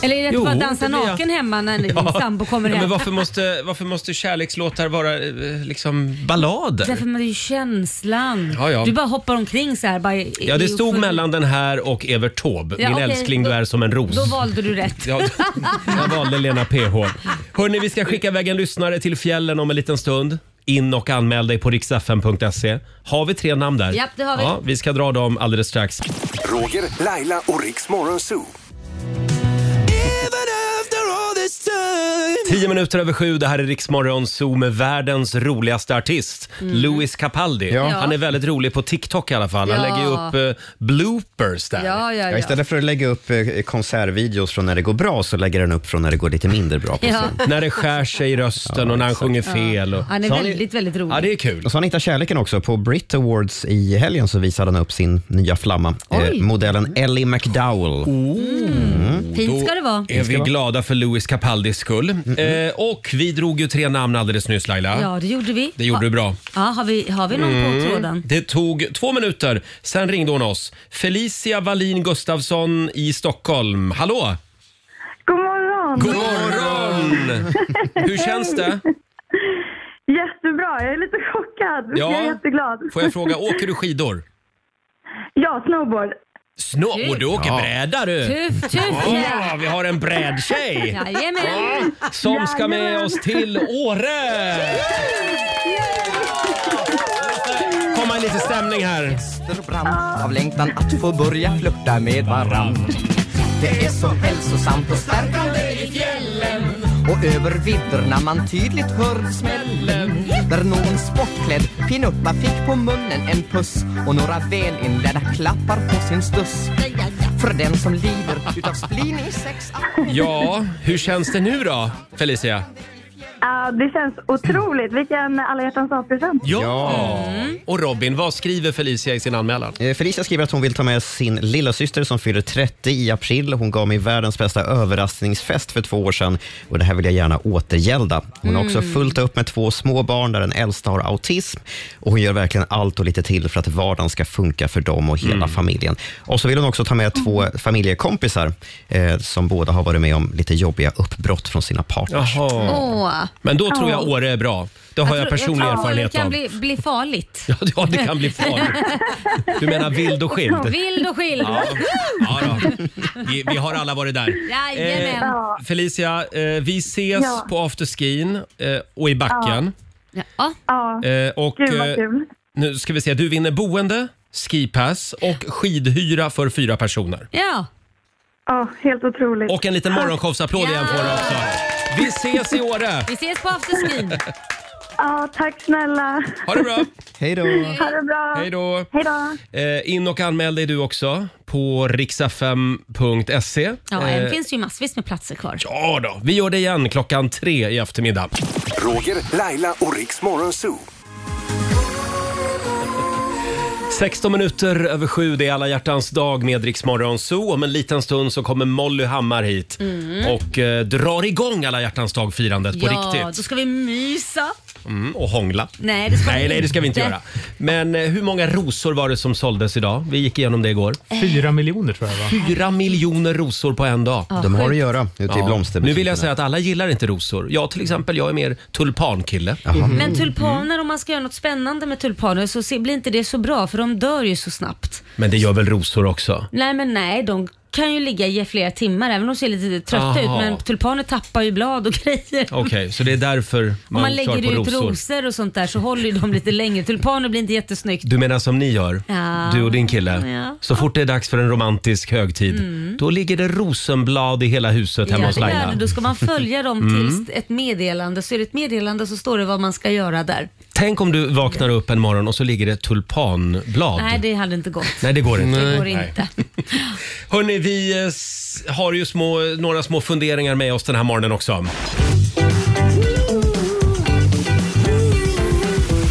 Speaker 2: Eller är det att
Speaker 1: Jo,
Speaker 2: du bara dansar
Speaker 1: det blir jag.
Speaker 2: naken hemma när din sambo kommer
Speaker 1: ja,
Speaker 2: hem?
Speaker 1: men varför, måste, varför måste kärlekslåtar vara eh, liksom ballader?
Speaker 2: Därför man är ju känslan.
Speaker 1: Ja, ja.
Speaker 2: Du bara hoppar omkring så här. Bara, i-
Speaker 1: Ja, det
Speaker 2: i-
Speaker 1: stod
Speaker 2: för-
Speaker 1: mellan den här och Evert Taube.
Speaker 2: Ja,
Speaker 1: Min
Speaker 2: okej,
Speaker 1: älskling, du
Speaker 2: då-
Speaker 1: är som en ros.
Speaker 2: Då valde du rätt.
Speaker 1: Ja, jag valde Lena PH. Hörni, vi ska skicka iväg en lyssnare till fjällen om en liten stund. In och anmäl dig på riksfn.se. Har vi tre namn där?
Speaker 2: Japp, det har vi.
Speaker 1: Ja, vi ska dra dem alldeles strax.
Speaker 6: Roger, Laila och Riks Morgonzoo.
Speaker 1: Tio minuter över sju, det här är Riksmorgon Zoo med världens roligaste artist, Louis Capaldi.
Speaker 2: Mm. Ja.
Speaker 1: Han är väldigt rolig på TikTok i alla fall. Han
Speaker 2: Ja.
Speaker 1: lägger ju upp eh, bloopers där.
Speaker 2: Ja, ja,
Speaker 3: Ja,
Speaker 2: ja.
Speaker 3: istället för att lägga upp eh, konsertvideos från när det går bra så lägger den upp från när det går lite mindre bra på
Speaker 2: Ja.
Speaker 3: scen.
Speaker 1: När det skär sig i rösten och när han sjunger fel. Och...
Speaker 2: Han är
Speaker 3: Så har ni-
Speaker 2: väldigt, väldigt rolig.
Speaker 1: Ja, det är kul.
Speaker 3: Och så han hittar kärleken också. På Brit Awards i helgen så visade han upp sin nya flamma.
Speaker 2: Oj.
Speaker 3: Eh, modellen Ellie McDowell.
Speaker 11: Oh.
Speaker 2: Fint Mm. ska det vara.
Speaker 1: Är vi glada för Louis Capaldis skull. Eh, och vi drog ju tre namn alldeles nyss Laila.
Speaker 2: Ja, det gjorde vi.
Speaker 1: Det gjorde du bra.
Speaker 2: Ja, har vi, har vi någon på
Speaker 1: Mm.
Speaker 2: tråden?
Speaker 1: Det tog två minuter, sen ringde hon oss. Felicia Wallin Gustafsson i Stockholm. Hallå!
Speaker 11: God morgon!
Speaker 1: God morgon! Hur känns det?
Speaker 8: Jättebra, jag är lite chockad.
Speaker 1: Ja.
Speaker 8: Jag är jätteglad.
Speaker 1: Får jag fråga, åker du skidor?
Speaker 8: Ja, snowboard.
Speaker 1: Snå, och du åker bräda du!
Speaker 8: Tuff, tuff,
Speaker 1: ja!
Speaker 8: ja.
Speaker 1: Vi har en brädtjej!
Speaker 2: Jajamän.
Speaker 1: Som ska med oss till Åre! Komma i lite stämning här.
Speaker 11: Av längtan att få börja flirta med varann. Det är så hälsosamt och stärkande i fjällen. Och över vidderna man tydligt hör smällen. Där någon sportklädd pinuppa fick på munnen en puss och några välinledda klappar på sin stuss. För den som lider utav spleen i sex...
Speaker 1: Ja, hur känns det nu då, Felicia?
Speaker 8: Ja, det känns otroligt. Vilken alla hjärtans dag-present.
Speaker 11: Mm.
Speaker 1: Och Robin, vad skriver Felicia i sin anmälan?
Speaker 3: Eh, Felicia skriver att hon vill ta med sin lilla syster som fyller 30 i april. Hon gav mig världens bästa överraskningsfest för två år sedan och det här vill jag gärna återgälda. Hon har också
Speaker 12: Mm.
Speaker 3: fullt upp med två små barn där den äldsta har autism och hon gör verkligen allt och lite till för att vardagen ska funka för dem och hela
Speaker 2: Mm.
Speaker 3: familjen. Och så vill hon också ta med två familjekompisar eh, som båda har varit med om lite jobbiga uppbrott från sina partners.
Speaker 2: Åh.
Speaker 1: Men då tror jag
Speaker 2: Ja.
Speaker 1: Åre är bra. Det har jag,
Speaker 2: tror-
Speaker 1: personlig
Speaker 2: jag tror
Speaker 1: erfarenhet
Speaker 2: det kan
Speaker 1: av.
Speaker 2: bli, bli farligt.
Speaker 1: Ja, ja, det kan bli farligt. Du menar vild och skild?
Speaker 2: Vild och skild.
Speaker 1: Ja. Ja, då. Vi, vi har alla varit där.
Speaker 2: Jajamän. Ja.
Speaker 1: Felicia, eh, vi ses
Speaker 2: Ja.
Speaker 1: på afterskin eh, och i backen.
Speaker 2: Ja.
Speaker 1: Eh, och,
Speaker 2: Gud, vad
Speaker 1: eh,
Speaker 2: kul.
Speaker 1: Nu ska vi se, du vinner boende, skipass och skidhyra för fyra personer.
Speaker 2: Ja.
Speaker 8: Ja, helt otroligt.
Speaker 1: Och en liten morgonshowsapplåd igen får du också. Vi ses i Åre!
Speaker 2: Vi ses på afterskin.
Speaker 8: Ja, tack snälla.
Speaker 1: Ha det bra! Hej
Speaker 8: Ha det bra.
Speaker 1: Hej då!
Speaker 8: Hej då.
Speaker 1: Eh, in och anmäl dig du också på riksfm.se.
Speaker 2: Ja, det finns ju massvis med platser kvar.
Speaker 1: Eh, Ja då, vi gör det igen klockan tre i eftermiddag.
Speaker 6: Roger, Laila och Riks Morgonzoo.
Speaker 1: 16 minuter över sju, det är alla hjärtans dag med Rix Morgon Zoo. Om en liten stund så kommer Molly Hammar hit
Speaker 2: Mm.
Speaker 1: och eh, drar igång alla hjärtans dag-firandet på
Speaker 2: Ja,
Speaker 1: riktigt.
Speaker 2: då ska vi mysa.
Speaker 1: Mm, och hångla.
Speaker 2: Nej, det ska
Speaker 1: nej,
Speaker 2: vi
Speaker 1: nej, det ska vi inte
Speaker 2: inte.
Speaker 1: göra. Men eh, hur många rosor var det som såldes idag? Vi gick igenom det igår.
Speaker 2: Eh.
Speaker 9: Fyra miljoner tror jag va?
Speaker 1: Fyra miljoner rosor på en dag.
Speaker 9: Ja, De har sjukt. att göra ute i
Speaker 1: Nu
Speaker 9: blomsterbutikerna.
Speaker 1: vill jag säga att alla gillar inte rosor. Jag till exempel, jag är mer tulpankille.
Speaker 2: Mm. Men tulpaner, om man ska göra något spännande med tulpaner så se- blir inte det så bra för de dör ju så snabbt.
Speaker 1: Men det gör väl rosor också?
Speaker 2: Nej men nej, de kan ju ligga i flera timmar även om de ser lite trötta
Speaker 1: Aha.
Speaker 2: ut. Men tulpaner tappar ju blad och grejer.
Speaker 1: Okej, så det är därför
Speaker 2: Om
Speaker 1: man,
Speaker 2: man
Speaker 1: kör
Speaker 2: lägger
Speaker 1: på
Speaker 2: ut
Speaker 1: rosor.
Speaker 2: rosor. och sånt där så håller ju de lite längre. Tulpaner blir inte jättesnyggt.
Speaker 1: Du menar som ni gör,
Speaker 2: Ja.
Speaker 1: du och din kille.
Speaker 2: Ja.
Speaker 1: Så fort det är dags för en romantisk högtid,
Speaker 2: Mm.
Speaker 1: då ligger det rosenblad i hela huset hemma
Speaker 2: Ja,
Speaker 1: hos
Speaker 2: det gör
Speaker 1: Laila.
Speaker 2: det. Då ska man följa dem
Speaker 1: Mm.
Speaker 2: tills ett meddelande. Så är det ett meddelande så står det vad man ska göra där.
Speaker 1: Tänk om du vaknar upp en morgon och så ligger det tulpanblad.
Speaker 2: Nej, det hade inte gått.
Speaker 1: Nej, det går inte.
Speaker 2: Det går
Speaker 1: Nej.
Speaker 2: inte.
Speaker 1: Hörni, vi eh, s- har ju små, några små funderingar med oss den här morgonen också.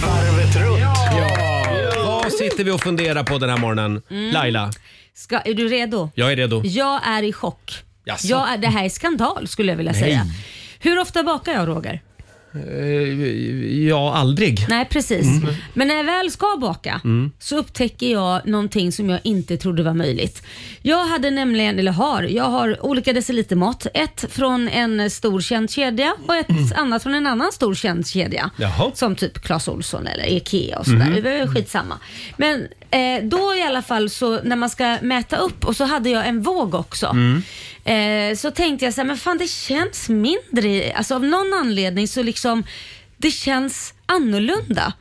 Speaker 6: Varvet runt.
Speaker 1: Vad sitter vi och funderar på den här morgonen?
Speaker 2: Mm.
Speaker 1: Laila,
Speaker 2: Ska, är du redo?
Speaker 1: jag är redo.
Speaker 2: Jag är i chock.
Speaker 1: Jaså?
Speaker 2: Jag är, det här är skandal skulle jag vilja
Speaker 1: Nej.
Speaker 2: säga. Hur ofta bakar jag Roger?
Speaker 1: Eh, Ja, aldrig.
Speaker 2: Nej precis.
Speaker 1: Mm.
Speaker 2: Men när jag väl ska baka
Speaker 1: Mm.
Speaker 2: så upptäcker jag någonting som jag inte trodde var möjligt. Jag hade nämligen, eller har, jag har olika decilitermått. Ett från en stor känd kedja och ett annat från en annan stor känd kedja.
Speaker 1: Mm. Jaha. Mm.
Speaker 2: Som typ Clas Ohlson eller IKEA och sådär.
Speaker 13: Mhm.
Speaker 2: Det är skitsamma. Men eh, då i alla fall så när man ska mäta upp och så hade jag en våg också.
Speaker 1: Mm.
Speaker 2: Eh, så tänkte jag så här, men fan det känns mindre. i- Alltså av någon anledning så liksom, det känns annorlunda.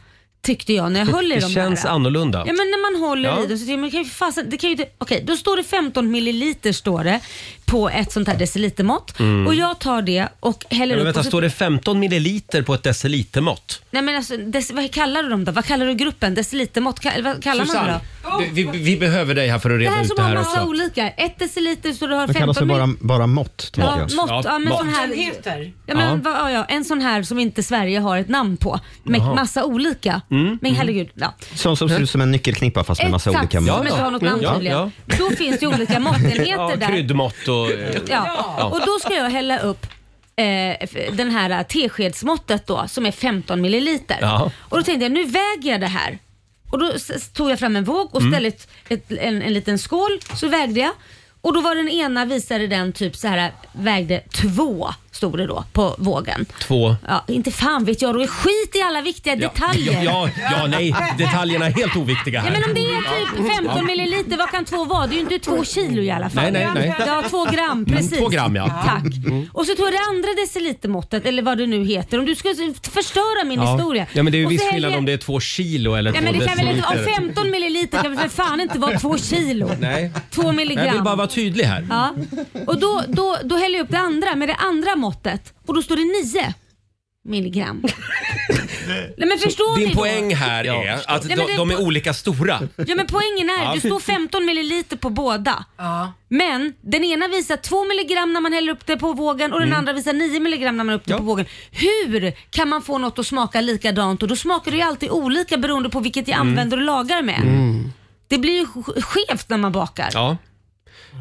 Speaker 2: Tyckte jag när jag höll i
Speaker 1: det
Speaker 2: de
Speaker 1: känns
Speaker 2: här.
Speaker 1: annorlunda.
Speaker 2: Ja men när man håller
Speaker 1: Ja.
Speaker 2: i dem så tycker man, kan ju fasen, det kan ju inte, okej då står det 15 milliliter står det på ett sånt här decilitermått
Speaker 1: Mm.
Speaker 2: och jag tar det och häller
Speaker 1: Men
Speaker 2: upp.
Speaker 1: vänta,
Speaker 2: och så,
Speaker 1: står det 15 milliliter på ett decilitermått?
Speaker 2: Nej men alltså, dec, vad kallar du dem då? Vad kallar du gruppen? Decilitermått, ka- eller vad kallar man det
Speaker 1: Susanne,
Speaker 2: då?
Speaker 1: du, vi, vi behöver dig här för att
Speaker 2: Det
Speaker 1: reda
Speaker 2: här
Speaker 1: ut
Speaker 2: som
Speaker 1: det
Speaker 2: har
Speaker 1: här
Speaker 2: massa
Speaker 1: också.
Speaker 2: olika. Ett deciliter så du har
Speaker 3: Det kallas för
Speaker 2: 15
Speaker 3: bara, bara mått, tänker
Speaker 2: Ja,
Speaker 3: jag.
Speaker 2: mått, ja, men sån här, ja, men,
Speaker 3: Ja.
Speaker 2: vad- Ja, ja, en sån här som inte Sverige har ett namn på. Med
Speaker 3: Jaha.
Speaker 2: massa olika.
Speaker 3: Mm.
Speaker 2: Men herregud. Ja.
Speaker 3: Sån som ser ut som en nyckelknippa fast med massa
Speaker 2: Exakt,
Speaker 3: olika
Speaker 2: som
Speaker 3: mått.
Speaker 2: inte har något namn tydligen. Då finns det olika måttenheter
Speaker 1: Ja,
Speaker 2: där.
Speaker 1: kryddmått och... eh,
Speaker 2: Ja. Och då ska jag hälla upp eh, f- den här eh, teskedsmåttet då som är 15 milliliter.
Speaker 1: Ja.
Speaker 2: Och då tänkte jag, nu väger jag det här. Och då s- s- tog jag fram en våg och
Speaker 1: Mm.
Speaker 2: ställde ett, ett, en, en liten skål, så vägde jag. Och då var den ena visade den typ så här vägde två stod det då på vågen.
Speaker 1: Två.
Speaker 2: Ja, inte fan vet jag, då är skit i alla viktiga detaljer.
Speaker 1: Ja, ja, ja, nej. Detaljerna är helt oviktiga
Speaker 2: Ja,
Speaker 1: här.
Speaker 2: men om det är typ 15 milliliter, vad kan två vara? Det är ju inte två kilo i alla fall.
Speaker 1: Nej, nej, nej.
Speaker 2: Ja, två gram,
Speaker 1: Mm,
Speaker 2: precis.
Speaker 1: två gram, ja.
Speaker 2: Tack.
Speaker 1: Mm.
Speaker 2: Och så tog jag det andra decilitermåttet, eller vad det nu heter. Om du ska förstöra min historia.
Speaker 1: Mm. Ja, men det är ju
Speaker 2: Och så
Speaker 1: viss
Speaker 2: häller-
Speaker 1: skillnad om det är två kilo eller
Speaker 2: Ja,
Speaker 1: två
Speaker 2: men det kan väl inte, om
Speaker 1: deciliter.
Speaker 2: 15 milliliter kan väl för fan inte vara två kilo?
Speaker 1: Nej.
Speaker 2: Två
Speaker 1: Nej,
Speaker 2: milligram.
Speaker 1: Jag vill bara vara tydlig här.
Speaker 2: Ja. Och då, då, då häller jag upp det andra med det andra måttet och då står det 9 milligram. Nej, men förstår
Speaker 1: Din
Speaker 2: ni då?
Speaker 1: poäng här är att
Speaker 2: Nej, men
Speaker 1: de,
Speaker 2: det-
Speaker 1: de är olika stora.
Speaker 2: Ja men poängen är,
Speaker 1: Ja.
Speaker 2: det står 15 milliliter på båda. Men den ena visar 2 milligram när man häller upp det på vågen och den
Speaker 1: Mm.
Speaker 2: andra visar 9 milligram när man häller upp det på vågen. Hur kan man få något att smaka likadant? Och då smakar det ju alltid olika beroende på vilket jag
Speaker 1: Mm.
Speaker 2: använder och lagar med.
Speaker 1: Mm.
Speaker 2: Det blir ju sk- skevt när man bakar.
Speaker 1: Ja.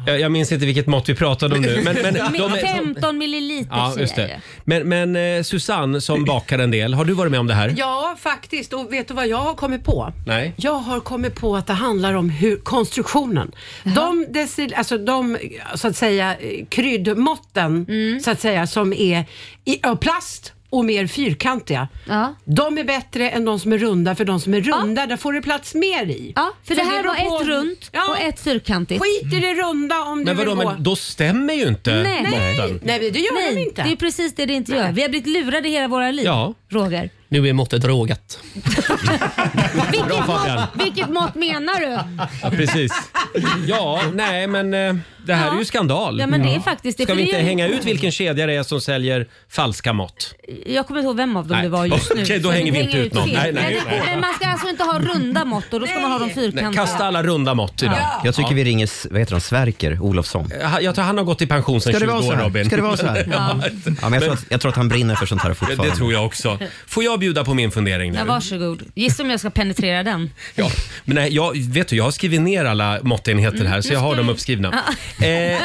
Speaker 1: Jag, jag minns inte vilket mått vi pratade om nu. Men, men,
Speaker 2: Med
Speaker 1: de är,
Speaker 2: 15 milliliter
Speaker 1: ja, just
Speaker 2: säger jag.
Speaker 1: det. men, men eh, Susanne som bakar en del, har du varit med om det här?
Speaker 4: Ja, faktiskt. Och vet du vad jag har kommit på?
Speaker 1: Nej.
Speaker 4: Jag har kommit på att det handlar om hur, konstruktionen. De, decil, alltså de så att säga, eh, kryddmåtten
Speaker 2: Mm.
Speaker 4: så att säga, som är i, av plast och mer fyrkantiga. De är bättre än de som är runda, för de som är runda där får det plats mer i.
Speaker 2: Ja, för
Speaker 4: Så
Speaker 2: det här
Speaker 4: beror
Speaker 2: var
Speaker 4: på-
Speaker 2: ett runt och ett fyrkantigt.
Speaker 4: Skit i det runda om
Speaker 1: Men
Speaker 4: du
Speaker 1: vadå,
Speaker 4: vill gå.
Speaker 1: men då stämmer ju inte
Speaker 2: Nej.
Speaker 1: måtten.
Speaker 4: Nej, det gör de inte.
Speaker 2: Det är precis det det inte gör. Vi har blivit lurade hela våra liv,
Speaker 10: Ja.
Speaker 2: Roger.
Speaker 10: Nu är måttet rågat.
Speaker 2: Vilket,
Speaker 1: Fabian.
Speaker 2: mått, vilket mått menar du?
Speaker 1: Ja, precis. Ja, nej men eh, det här är ju skandal.
Speaker 2: Ja, men det är faktiskt det,
Speaker 1: Ska
Speaker 2: för
Speaker 1: vi
Speaker 2: det
Speaker 1: inte
Speaker 2: är ju-
Speaker 1: hänga ut vilken kedja det är som säljer falska mått?
Speaker 2: Jag kommer inte ihåg vem av dem
Speaker 1: Nej.
Speaker 2: det var just nu.
Speaker 1: Okej, då
Speaker 2: Så
Speaker 1: hänger vi
Speaker 2: hänger
Speaker 1: inte ut någon.
Speaker 2: fel.
Speaker 1: Nej, nej,
Speaker 2: men,
Speaker 1: nej.
Speaker 2: men man ska alltså inte ha runda mått och då ska man ha de fyrkantiga.
Speaker 1: Nej, kasta alla runda mått idag.
Speaker 3: Jag tycker
Speaker 1: Ja.
Speaker 3: vi ringer S- vad heter han, Sverker Olofsson.
Speaker 1: Ha- Jag tror han har gått i pension sedan
Speaker 3: Ska det
Speaker 1: 20
Speaker 3: vara så
Speaker 1: år
Speaker 3: här?
Speaker 1: Robin.
Speaker 3: Ska det vara så här?
Speaker 1: ja.
Speaker 3: Ja, men jag, tror att, jag tror att han brinner för sånt här fortfarande.
Speaker 1: Det tror jag också. Får jag bjuda på min fundering nu?
Speaker 2: Ja, varsågod. Gissa om jag ska penetrera den.
Speaker 1: Ja, men nej, jag, vet du, jag har skrivit ner alla måttenheter här
Speaker 2: Mm,
Speaker 1: så
Speaker 2: nu
Speaker 1: jag har
Speaker 2: ska
Speaker 1: dem
Speaker 2: du-
Speaker 1: uppskrivna. Eh,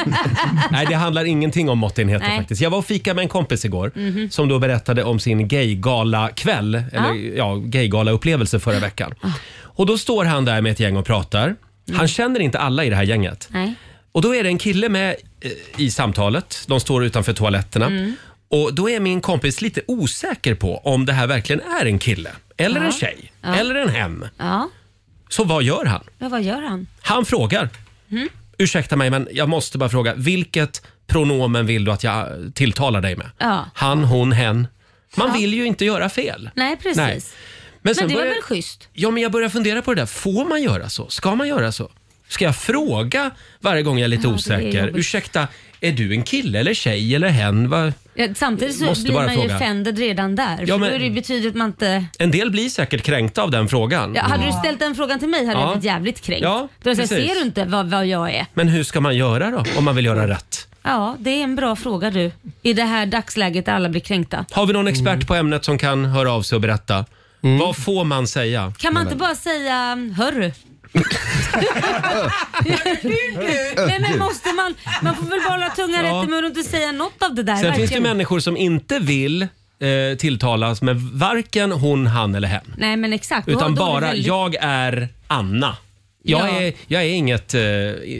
Speaker 1: nej, det handlar ingenting om måttenheter
Speaker 2: Nej.
Speaker 1: faktiskt. Jag var och fika med en kompis igår
Speaker 2: Mhm.
Speaker 1: som då berättade om sin gaygala-kväll,
Speaker 2: Ja. Ah.
Speaker 1: eller ja, gaygala-upplevelse förra veckan. Och då står han där med ett gäng och pratar. Han känner inte alla i det här gänget.
Speaker 2: Mm. Nej.
Speaker 1: Och då är det en kille med eh, i samtalet. De står utanför toaletterna.
Speaker 2: Mm.
Speaker 1: Och då är min kompis lite osäker på om det här verkligen är en kille, eller en tjej,
Speaker 2: Ja.
Speaker 1: eller en hem.
Speaker 2: Ja,
Speaker 1: Så vad gör han?
Speaker 2: men vad gör han?
Speaker 1: Han frågar.
Speaker 2: Mm.
Speaker 1: Ursäkta mig, men jag måste bara fråga. Vilket pronomen vill du att jag tilltalar dig med?
Speaker 2: Ja.
Speaker 1: Han, hon, hen. Man
Speaker 2: Ja.
Speaker 1: vill ju inte göra fel.
Speaker 2: Nej, precis.
Speaker 1: Nej.
Speaker 2: Men,
Speaker 1: sen
Speaker 2: det var
Speaker 1: börjar-
Speaker 2: väl schysst?
Speaker 1: Ja, men jag börjar fundera på det där. Får man göra så? Ska man göra så? Ska jag fråga varje gång jag är lite
Speaker 2: Ja, det är
Speaker 1: osäker?
Speaker 2: jobbigt.
Speaker 1: Ursäkta, är du en kille eller tjej eller hen? Va?
Speaker 2: Ja, Samtidigt så
Speaker 1: Måste
Speaker 2: blir
Speaker 1: bara
Speaker 2: man ju
Speaker 1: fråga.
Speaker 2: offended redan där.
Speaker 1: Ja,
Speaker 2: Ja,
Speaker 1: men-
Speaker 2: Då är det ju betydligt att man inte...
Speaker 1: En del blir säkert kränkta av den frågan.
Speaker 2: Ja, hade du ställt den frågan till mig hade
Speaker 1: Mm. Ja.
Speaker 2: jag blivit jävligt kränkt.
Speaker 1: Ja,
Speaker 2: Då hade jag sagt,
Speaker 1: precis.
Speaker 2: ser du inte vad, vad jag är?
Speaker 1: Men hur ska man göra då, om man vill göra rätt?
Speaker 2: Ja, det är en bra fråga du. I det här dagsläget där alla blir kränkta.
Speaker 1: Har vi någon expert på ämnet som kan höra av sig och berätta? Vad får man säga?
Speaker 2: Kan man inte bara säga hörru? Nej men måste man, man får väl bara hålla tungan
Speaker 1: Ja.
Speaker 2: rätt i mun och inte säga något av det där.
Speaker 1: Sen finns det ju
Speaker 2: varken-
Speaker 1: människor som inte vill eh, tilltalas med varken hon, han eller hen.
Speaker 2: Nej men exakt. Då-
Speaker 1: Utan
Speaker 2: då är det
Speaker 1: bara,
Speaker 2: väldigt-
Speaker 1: jag är Anna. Jag,
Speaker 2: Ja.
Speaker 1: är, jag är inget eh,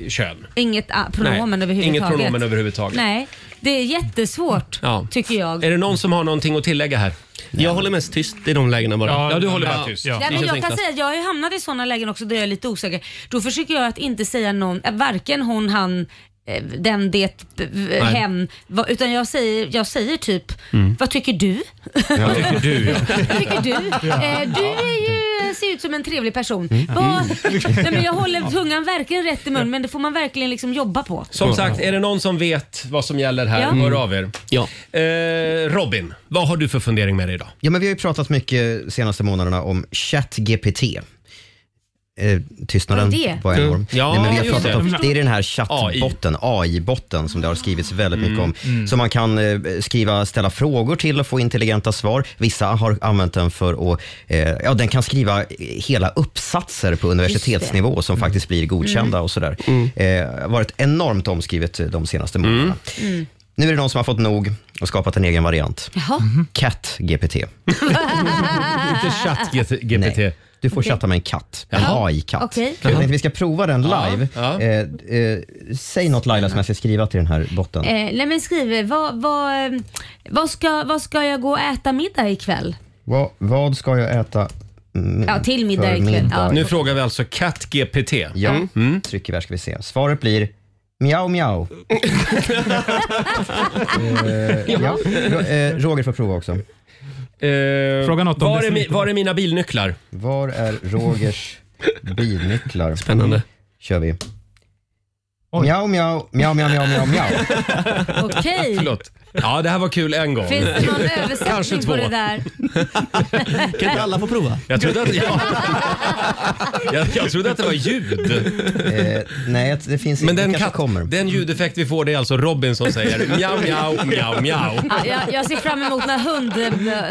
Speaker 1: kön.
Speaker 2: Inget ah, pronomen
Speaker 1: Nej,
Speaker 2: överhuvudtaget.
Speaker 1: inget pronomen överhuvudtaget.
Speaker 2: Nej, det är jättesvårt
Speaker 1: Ja.
Speaker 2: tycker jag.
Speaker 1: Är det någon som har någonting att tillägga här? Jag håller mest tyst i de lägena bara. Ja, du håller bara
Speaker 10: Ja.
Speaker 1: tyst.
Speaker 2: Ja, men jag kan säga att jag har ju hamnat i sådana lägen också där jag är lite osäker. Då försöker jag att inte säga någon, eh, varken hon, han, eh, den, det, b- b-
Speaker 1: Nej.
Speaker 2: hen. va- Utan jag säger, jag säger typ,
Speaker 1: Mm.
Speaker 2: vad tycker du?
Speaker 1: Vad tycker du? Ja.
Speaker 2: Vad tycker du? Eh, du är ju, ser ut som en trevlig person.
Speaker 1: Mm.
Speaker 2: Vad- Nej, men jag håller tungan verkligen rätt i mun men det får man verkligen liksom jobba på.
Speaker 1: Som sagt, är det någon som vet vad som gäller här,
Speaker 2: Ja.
Speaker 1: hör av er. Eh, Robin, vad har du för fundering med dig idag?
Speaker 3: Ja, men vi har ju pratat mycket senaste månaderna om ChatGPT. Eh, tystnaden
Speaker 2: Vad är det?
Speaker 3: var enorm.
Speaker 1: Mm. Ja,
Speaker 3: Nej, men vi har
Speaker 1: just
Speaker 3: pratat
Speaker 1: det.
Speaker 3: om, det är den här chattbotten, AI-botten, som det har skrivits väldigt mycket om.
Speaker 1: Mm,
Speaker 3: Som man kan eh, skriva, ställa frågor till och få intelligenta svar. Vissa har använt den för att, eh, ja, den kan skriva hela uppsatser på universitetsnivå som faktiskt
Speaker 2: Mm. Mm.
Speaker 3: blir godkända och sådär. Eh, varit enormt omskrivet eh, de senaste månaderna. Nu är det någon som har fått nog och skapat en egen variant. Mm-hmm.
Speaker 2: Jaha.
Speaker 3: Katt-GPT.
Speaker 1: Inte chatt-GPT.
Speaker 3: Du får chatta med en katt. En
Speaker 2: Jaha.
Speaker 3: AI-katt.
Speaker 2: Okej.
Speaker 3: Jag tänkte vi ska prova den
Speaker 2: Ja,
Speaker 3: live. Eh, eh, säg något Laila som jag ska skriva till den här botten.
Speaker 2: Eh, nej men skriv, vad, vad, eh, vad, ska, vad ska jag gå och äta middag ikväll?
Speaker 3: Va, vad ska jag äta? mm,
Speaker 2: Ja, till middag
Speaker 3: för
Speaker 2: ikväll. Ja.
Speaker 1: Nu frågar vi alltså ChatGPT.
Speaker 3: Ja,
Speaker 1: Mm.
Speaker 3: trycker vi här ska vi se. Svaret blir Miau, miau. eh, ja. Ro- eh, Roger får prova också.
Speaker 1: Eh, Fråga något om var,
Speaker 3: det
Speaker 1: är
Speaker 3: som
Speaker 1: mi,
Speaker 3: inte-
Speaker 1: var är mina bilnycklar?
Speaker 3: Var är Rogers bilnycklar?
Speaker 10: Spännande.
Speaker 3: kör vi. Miau, miau, miau, miau, miau, miau, miau.
Speaker 2: Okej.
Speaker 1: Förlåt. Ja, det här var kul en gång.
Speaker 2: Finns det någon
Speaker 1: Kanske
Speaker 2: översättning
Speaker 1: två.
Speaker 2: på det där?
Speaker 10: Kan inte alla få prova?
Speaker 1: Jag trodde att, ja. jag, jag trodde att det var ljud.
Speaker 3: Eh. nej, det finns
Speaker 1: Men den, katt, den ljudeffekt vi får det är alltså Robin som säger miau, miau, miau, miau.
Speaker 2: Ja, jag, jag ser fram emot när hund,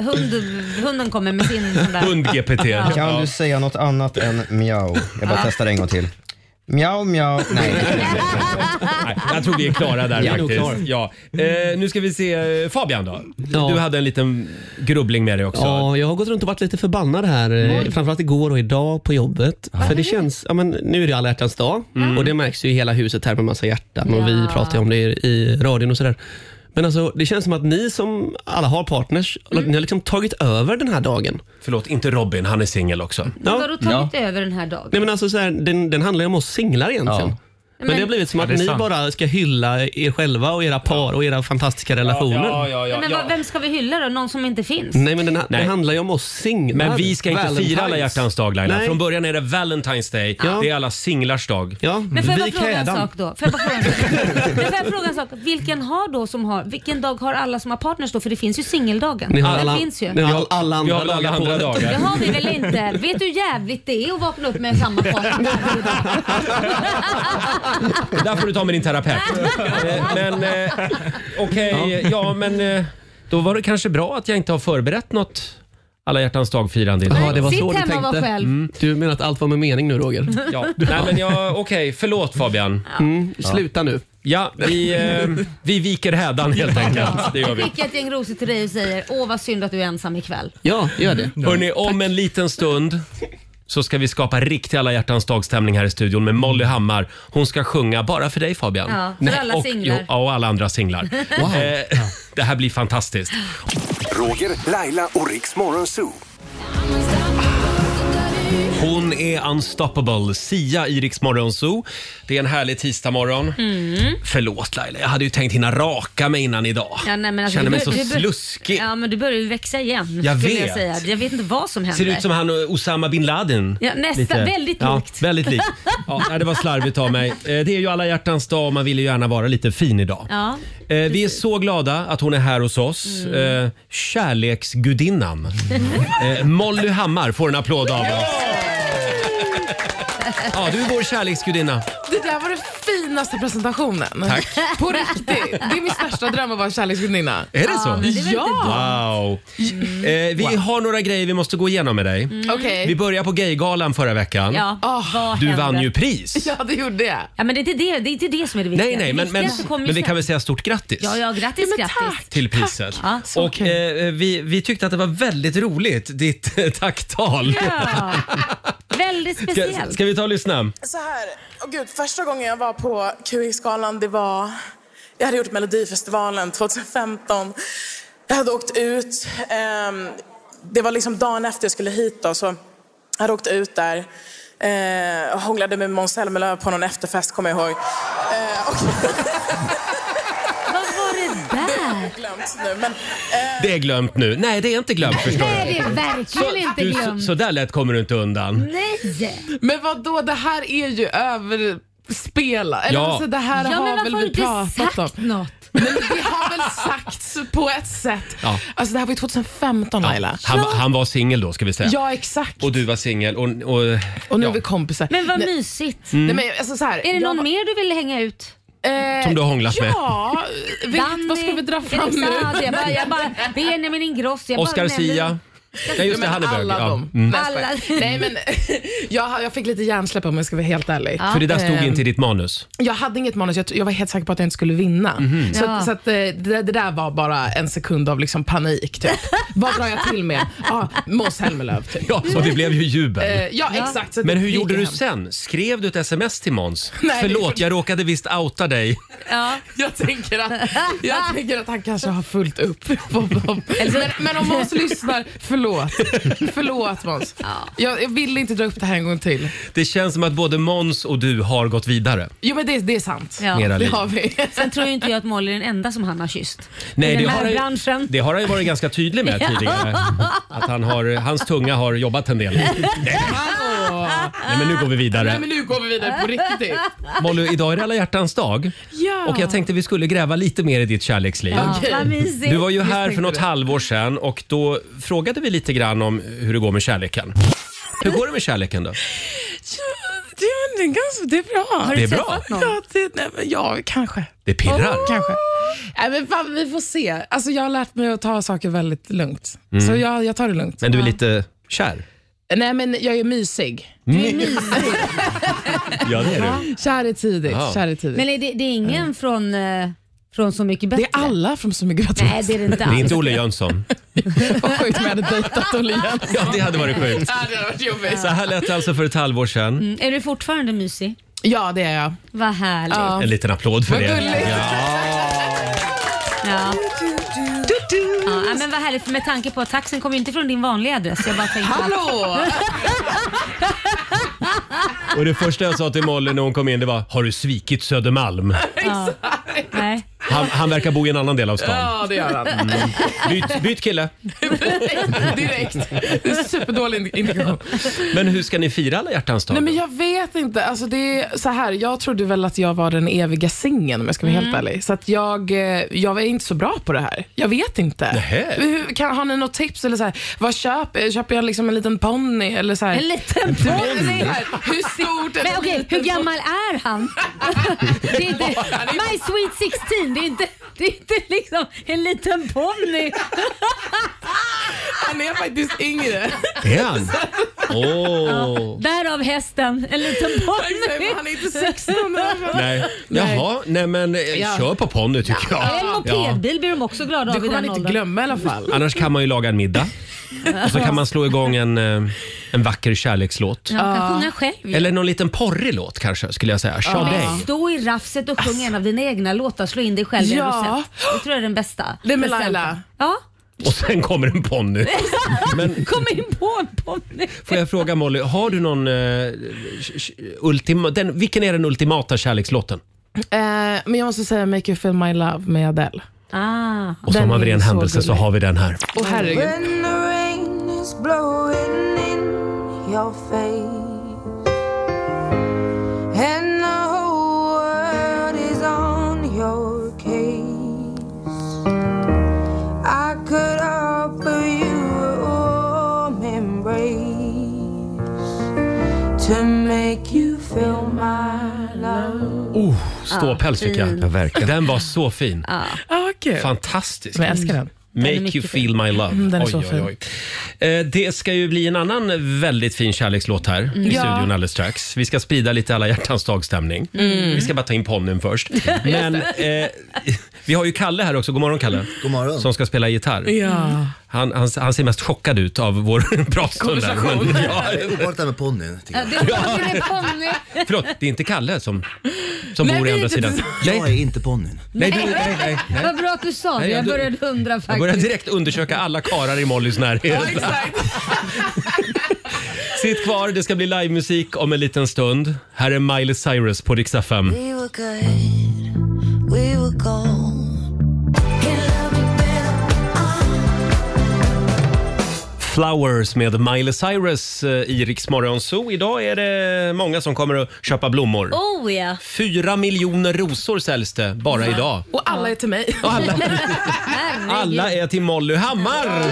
Speaker 2: hund, hunden kommer med sin sån där.
Speaker 3: Kan
Speaker 2: Ja.
Speaker 3: du säga något annat än miau? Jag bara
Speaker 2: Ja.
Speaker 3: testar en gång till. Miau, miau. Nej.
Speaker 1: Nej, jag tror vi är klara där
Speaker 3: Vi är nog
Speaker 1: faktiskt. Ja. Eh, nu ska vi se eh, Fabian då. Du hade en liten grubbling med dig också.
Speaker 10: Ja, jag har gått runt och varit lite förbannad här, eh, framförallt igår och idag på jobbet. För det känns, ja, men nu är det alla hjärtans dag
Speaker 2: Mm.
Speaker 10: och det märks ju i hela huset här med massa hjärtan och vi pratar ju om det i- i radion och sådär. Men alltså, det känns som att ni som alla har partners,
Speaker 2: Mm.
Speaker 10: ni har liksom tagit över den här dagen.
Speaker 1: Förlåt, inte Robin, han är singel också.
Speaker 2: Vadå, har du tagit över den här dagen?
Speaker 10: Nej men alltså så här, den, den handlar ju om oss singlar egentligen. Men,
Speaker 2: Men-
Speaker 10: det har blivit som
Speaker 2: Ja,
Speaker 10: att
Speaker 2: det är
Speaker 10: ni
Speaker 2: sant.
Speaker 10: bara ska hylla er själva och era par och era fantastiska relationer.
Speaker 2: Nej, men vad- Vem ska vi hylla då? Någon som inte finns?
Speaker 10: Nej men den, ha- det handlar ju om oss singlar.
Speaker 1: Men vi ska inte fira alla hjärtans dag Laila.
Speaker 10: Nej.
Speaker 1: Från början är det Valentine's Day.
Speaker 10: Ja.
Speaker 1: Det är alla singlars dag.
Speaker 10: Ja.
Speaker 2: Men får jag bara fråga en sak då? Får jag bara fråga en sak? Men får jag fråga en sak? Vilken har då som har, vilken dag har alla som har partners då? För det finns ju singeldagen.
Speaker 10: Ni har
Speaker 2: Den
Speaker 10: alla-
Speaker 2: finns ju.
Speaker 10: ni har alla andra
Speaker 1: vi har alla
Speaker 10: dagar på
Speaker 1: andra
Speaker 10: året.
Speaker 1: dagar.
Speaker 2: Det har vi väl inte? Vet du hur jävligt det är att vakna upp med samma partner?
Speaker 1: Det där får du ta med din terapeut. Eh, men eh, okej, ja. men eh, då var det kanske bra att jag inte har förberett något alla hjärtans dag-firande idag.
Speaker 10: Ja, det var så du tänkte.
Speaker 1: Mm.
Speaker 10: Mm. Du menar att allt var med mening nu Roger?
Speaker 1: Ja. Nej, men jag, okej, förlåt Fabian.
Speaker 10: Mm, sluta nu.
Speaker 1: Ja, vi, eh, vi viker hädan helt enkelt. Det gör vi.
Speaker 2: Skicka ett gäng rosor till dig och säger åh vad synd att du är ensam ikväll.
Speaker 10: Ja, gör det.
Speaker 1: Hörni, om en liten stund så ska vi skapa riktig alla hjärtans dagstämning här i studion med Molly Hammar. Hon ska sjunga bara för dig Fabian.
Speaker 2: Ja, för alla
Speaker 1: och,
Speaker 2: singlar.
Speaker 1: jo, Ja, och alla andra singlar.
Speaker 6: Wow.
Speaker 1: Eh, det här blir fantastiskt.
Speaker 6: Roger, Laila och Riks Morgonzoo.
Speaker 1: Hon är unstoppable, Sia i Rix Morgon Zoo. Det är en härlig tisdagmorgon.
Speaker 2: Mm.
Speaker 1: Förlåt Laila, jag hade ju tänkt hinna raka mig innan idag.
Speaker 2: Ja, nej, men alltså,
Speaker 1: Känner
Speaker 2: du
Speaker 1: mig
Speaker 2: bör-
Speaker 1: så
Speaker 2: du bör-
Speaker 1: sluskig.
Speaker 2: Ja men du börjar ju växa igen.
Speaker 1: Jag
Speaker 2: skulle
Speaker 1: vet.
Speaker 2: Jag, säga. jag vet inte vad som händer.
Speaker 1: Ser ut som han och Osama bin Laden.
Speaker 2: Ja, nästan. Väldigt likt.
Speaker 1: Ja, väldigt likt. Ja, nej, det var slarvigt av mig. Eh, Det är ju alla hjärtans dag och man vill ju gärna vara lite fin idag.
Speaker 2: Ja.
Speaker 1: Eh, Vi är så glada att hon är här hos oss.
Speaker 2: Mm.
Speaker 1: Eh, Kärleksgudinnan. Eh, Molly Hammar får en applåd av oss. Ja, du är vår kärleksgudinna.
Speaker 12: Det där var den finaste presentationen.
Speaker 1: Tack.
Speaker 12: På riktigt. Det är min största dröm att vara en kärleksgudinna.
Speaker 1: Är det så?
Speaker 12: Ja.
Speaker 1: Wow. Eh, vi har några grejer vi måste gå igenom med dig.
Speaker 12: Mm. Okej.
Speaker 1: Vi börjar på Gaygalan förra veckan.
Speaker 2: Ja, vad
Speaker 1: Du
Speaker 2: händer?
Speaker 1: vann ju pris.
Speaker 12: Ja, det gjorde jag.
Speaker 2: Ja, men det är inte det, det, är inte det som är det viktiga.
Speaker 1: Nej, nej, men,
Speaker 2: det
Speaker 1: men,
Speaker 2: viktiga som kommer ju
Speaker 1: men vi
Speaker 2: sen.
Speaker 1: kan väl säga stort grattis
Speaker 2: Ja, ja, grattis, grattis.
Speaker 1: till priset.
Speaker 2: Ja, så
Speaker 1: och eh, vi, vi tyckte att det var väldigt roligt, ditt eh, tacktal.
Speaker 2: Ja. Väldigt
Speaker 1: Ska,
Speaker 12: speciellt.
Speaker 1: ska vi ta och lyssna?
Speaker 12: Så här, oh gud, första gången jag var på QX-galan, det var... Jag hade gjort Melodifestivalen 2015. Jag hade åkt ut. ehm, det var liksom dagen efter jag skulle hit då, så jag hade åkt ut där. Eh, och hånglade med Måns Zelmerlöw på någon efterfest, kommer jag ihåg. Eh, och...
Speaker 2: Vad var det där?
Speaker 12: Det har jag glömt nu, men... eh.
Speaker 1: Det är glömt nu. Nej, det är inte glömt förstår
Speaker 12: Nej,
Speaker 1: du.
Speaker 12: det är verkligen inte
Speaker 1: du,
Speaker 12: glömt.
Speaker 1: Så, så där lätt kommer du inte
Speaker 2: Mm.
Speaker 1: undan.
Speaker 2: Nej!
Speaker 12: Men vad då? det här är ju överspelat. Eller
Speaker 1: Ja.
Speaker 12: alltså, det här
Speaker 2: Ja, men
Speaker 12: har
Speaker 2: varför
Speaker 12: väl
Speaker 2: har du
Speaker 12: vi
Speaker 2: inte
Speaker 1: Ah,
Speaker 12: pratat om.
Speaker 2: sagt något?
Speaker 12: Nej, men det har väl sagts på ett sätt.
Speaker 1: Ja.
Speaker 12: Alltså det här var ju 2015 Laila.
Speaker 1: Han, han var singel då ska vi säga.
Speaker 12: Ja, exakt.
Speaker 1: Och du var singel och, och
Speaker 12: Och nu är vi kompisar.
Speaker 2: Men vad
Speaker 12: Nej.
Speaker 2: mysigt.
Speaker 1: Mm.
Speaker 12: Nej, men, alltså, så här, Eh,
Speaker 2: är det någon mer du vill hänga ut?
Speaker 1: Som du har hånglat med.
Speaker 12: Ja, vet- vad ska vi dra fram nu?
Speaker 2: Alexander, jag bara, jag bara, Benjamin Ingrosso. Jag
Speaker 1: Oscar
Speaker 2: bara nämner-
Speaker 1: Sia. Ja, just det,
Speaker 12: men
Speaker 1: han är bög,
Speaker 12: alla
Speaker 1: ja.
Speaker 12: dem.
Speaker 1: Mm.
Speaker 12: Nej, jag skojar. Nej, men jag, jag fick lite hjärnsläpp om jag ska vara helt ärlig.
Speaker 1: För det där stod
Speaker 12: Ehm,
Speaker 1: inte i ditt manus.
Speaker 12: Jag hade inget manus. Jag, jag var helt säker på att jag inte skulle vinna.
Speaker 1: Mhm.
Speaker 12: Så,
Speaker 1: Ja.
Speaker 12: att- så att, eh, det, det där var bara en sekund av liksom panik. Typ. Vad drar jag till med? Ja, Måns Zelmerlöw. Typ.
Speaker 1: Ja, och det blev ju jubel.
Speaker 12: Eh, ja, exakt. Så det
Speaker 1: Men hur
Speaker 12: gick
Speaker 1: gjorde
Speaker 12: ju
Speaker 1: du
Speaker 12: hem.
Speaker 1: sen? Skrev du ett sms till Måns?
Speaker 12: Nej, det
Speaker 1: Förlåt,
Speaker 12: gjorde-
Speaker 1: jag råkade visst outa dig.
Speaker 2: Ja.
Speaker 12: Jag, tänker att, jag tänker att han kanske har fullt upp. men, men om Måns lyssnar, förlåt. Förlåt Måns. Jag, jag vill inte dra upp det här en gång till.
Speaker 1: Det känns som att både Måns och du har gått vidare.
Speaker 12: Jo men det, det är sant.
Speaker 1: Ja. Mera
Speaker 12: Det
Speaker 1: liv.
Speaker 12: har vi.
Speaker 2: Sen tror ju inte jag att Molly är den enda som han har kysst.
Speaker 1: Nej,
Speaker 2: I
Speaker 1: det
Speaker 2: den
Speaker 1: har
Speaker 2: här
Speaker 1: han-
Speaker 2: branschen.
Speaker 1: Det har han ju varit ganska tydlig med
Speaker 2: Ja.
Speaker 1: tidigare. Att han har, hans tunga har jobbat en del. Nej, men nu går vi
Speaker 12: Nej,
Speaker 1: vidare.
Speaker 12: men nu går vi vidare på riktigt.
Speaker 1: Molly, idag är det alla hjärtans dag.
Speaker 12: Ja.
Speaker 1: Och jag tänkte vi skulle gräva lite mer i ditt kärleksliv.
Speaker 12: Ja, Okej. vad mysigt.
Speaker 1: Du var ju
Speaker 12: Visst
Speaker 1: här för
Speaker 12: tänkte
Speaker 1: något
Speaker 12: du.
Speaker 1: halvår sedan och då frågade vi lite grann om hur det går med kärleken. Hur går det med kärleken då?
Speaker 12: Det är, ganska, det är bra.
Speaker 1: Har du Det är träffat bra. någon?
Speaker 12: Ja, det, nej, men, ja kanske.
Speaker 1: Det pirrar.
Speaker 12: Kanske. Nej, men fan, vi får se. Alltså, jag har lärt mig att ta saker väldigt lugnt.
Speaker 1: Mm.
Speaker 12: Så jag, jag tar det lugnt.
Speaker 1: Men du är lite kär?
Speaker 12: Nej, men jag är mysig.
Speaker 1: Ja, det är du.
Speaker 12: Kär är tidigt.
Speaker 1: Ja.
Speaker 12: Kär är tidigt.
Speaker 2: Men är det, det är ingen från, eh, från Så mycket bättre? Det är
Speaker 12: Mm. alla från Så mycket bättre.
Speaker 2: Nej, det är det
Speaker 1: Det
Speaker 2: inte
Speaker 1: är
Speaker 2: alls.
Speaker 1: inte Olle Jönsson.
Speaker 12: Vad sjukt om jag hade dejtat Olle Jönsson.
Speaker 1: Ja, det hade varit sjukt.
Speaker 12: Ja, det hade varit jobbigt.
Speaker 1: Så här lät det alltså för ett halvår sedan.
Speaker 2: Mm, är du fortfarande mysig?
Speaker 12: Ja, det är jag.
Speaker 2: Vad härligt.
Speaker 12: Ja.
Speaker 1: En liten applåd för
Speaker 12: Vad
Speaker 1: det.
Speaker 12: gulligt.
Speaker 2: Ja. Ja, men vad härligt, med tanke på att taxen kommer ju inte från din vanliga adress. Jag bara tänkte att-
Speaker 12: Hallå!
Speaker 1: Och det första jag sa till Molly när hon kom in det var “Har du svikit Södermalm?”
Speaker 2: Ja. Nej.
Speaker 1: Han, han verkar bo i en annan del av stan.
Speaker 12: Ja, det gör han.
Speaker 1: Mm. Byt, byt kille.
Speaker 12: Direkt. Det är superdålig indikation.
Speaker 1: Men hur ska ni fira alla hjärtans dag?
Speaker 12: Nej, men jag vet inte. Alltså, det är så här, jag trodde väl att jag var den eviga singeln om jag ska vara
Speaker 1: Mm.
Speaker 12: helt ärlig. Så att jag, eh, jag är inte så bra på det här. Jag vet inte.
Speaker 1: Nähä.
Speaker 12: Hur, kan, har ni något tips? Eller så här, vad köper, köper jag liksom en liten ponny? Eller så här,
Speaker 2: En liten ponny?
Speaker 12: Hur stort? är
Speaker 2: Men
Speaker 12: en
Speaker 2: okej,
Speaker 12: liten
Speaker 2: hur gammal är han? Det är inte, my sweet 16, det är inte, det är inte liksom en liten ponny.
Speaker 12: Han är faktiskt yngre.
Speaker 1: Är han? Åh.
Speaker 2: Därav hästen, en liten ponny.
Speaker 12: Han är inte 16
Speaker 1: Nej. Jaha, nej men eh,
Speaker 2: Ja.
Speaker 1: kör på ponny tycker
Speaker 2: Eller
Speaker 1: jag.
Speaker 2: en mopedbil blir de också glada av i den åldern.
Speaker 12: glömma i alla fall.
Speaker 1: Annars kan man ju laga en middag. Och så kan man slå igång en, eh, en vacker kärlekslåt.
Speaker 2: Ja, kan sjunga själv.
Speaker 1: Eller någon liten porrig låt kanske skulle jag säga.
Speaker 2: Ja,
Speaker 1: Sade.
Speaker 2: men stå i rafset och sjung en av dina egna låtar. Slå in dig själv i en
Speaker 12: Ja.
Speaker 2: rosett. Det tror jag är den bästa.
Speaker 12: Nej, men
Speaker 2: presenten.
Speaker 12: Laila.
Speaker 2: Ja.
Speaker 1: Och sen kommer en ponny. Men-
Speaker 2: Kom in på en ponny.
Speaker 1: Får jag fråga Molly, har du någon... eh, ultima, den, vilken är den ultimata kärlekslåten?
Speaker 12: Eh, men jag måste säga Make you feel my love med Adele.
Speaker 2: Ah.
Speaker 1: Och som av ren händelse så har vi den här.
Speaker 12: Åh herregud.
Speaker 5: When the rain is blowing in your face And the whole world is on your case I could offer you a warm embrace To make you feel my love
Speaker 1: Oh, ståpäls fick jag.
Speaker 5: fin.
Speaker 1: Den var så fin.
Speaker 12: Ah, kul.
Speaker 1: Fantastisk.
Speaker 12: Men jag älskar den.
Speaker 1: Make
Speaker 12: Den är mycket
Speaker 1: you feel my love.
Speaker 12: Mm, den är så fin.
Speaker 1: Eh, Det ska ju bli en annan väldigt fin kärlekslåt här
Speaker 12: Mm.
Speaker 1: i
Speaker 12: Ja.
Speaker 1: studion alldeles strax. Vi ska sprida lite alla hjärtans dagstämning.
Speaker 12: Mm.
Speaker 1: Vi ska bara ta in ponnen först. Men eh, vi har ju Kalle här också. God morgon Kalle. God morgon. Som ska spela gitarr.
Speaker 12: Ja.
Speaker 1: Han, han, han ser mest chockad ut av vår pratstund. där, men-
Speaker 14: Konversation.
Speaker 1: Ja.
Speaker 14: Det är ovanligt det här med ponnyn. tycker
Speaker 2: Ja, det är ponny.
Speaker 1: Förlåt, det är inte Kalle som, som
Speaker 2: Nej,
Speaker 1: bor i
Speaker 2: vi är
Speaker 1: andra
Speaker 2: inte
Speaker 1: sidan.
Speaker 2: tillsammans.
Speaker 1: Nej,
Speaker 14: Jag är inte ponnyn.
Speaker 1: nej, du, nej, nej, nej.
Speaker 2: Vad bra att du sa det.
Speaker 1: Nej, jag
Speaker 2: Jag
Speaker 1: dör-
Speaker 2: började undra faktiskt.
Speaker 1: Jag börjar direkt undersöka alla karar i Mollys närhet. Sitt kvar, det ska bli livemusik om en liten stund. Här är Miley Cyrus på Rix FM.
Speaker 5: We were good, we were gold
Speaker 1: Flowers med Miley Cyrus eh, i Rix Morgon Zoo. Idag är det många som kommer att köpa blommor.
Speaker 2: Oh ja.
Speaker 1: Fyra miljoner rosor säljs det bara idag.
Speaker 12: Och alla är till mig.
Speaker 1: Alla är till Molly Hammar!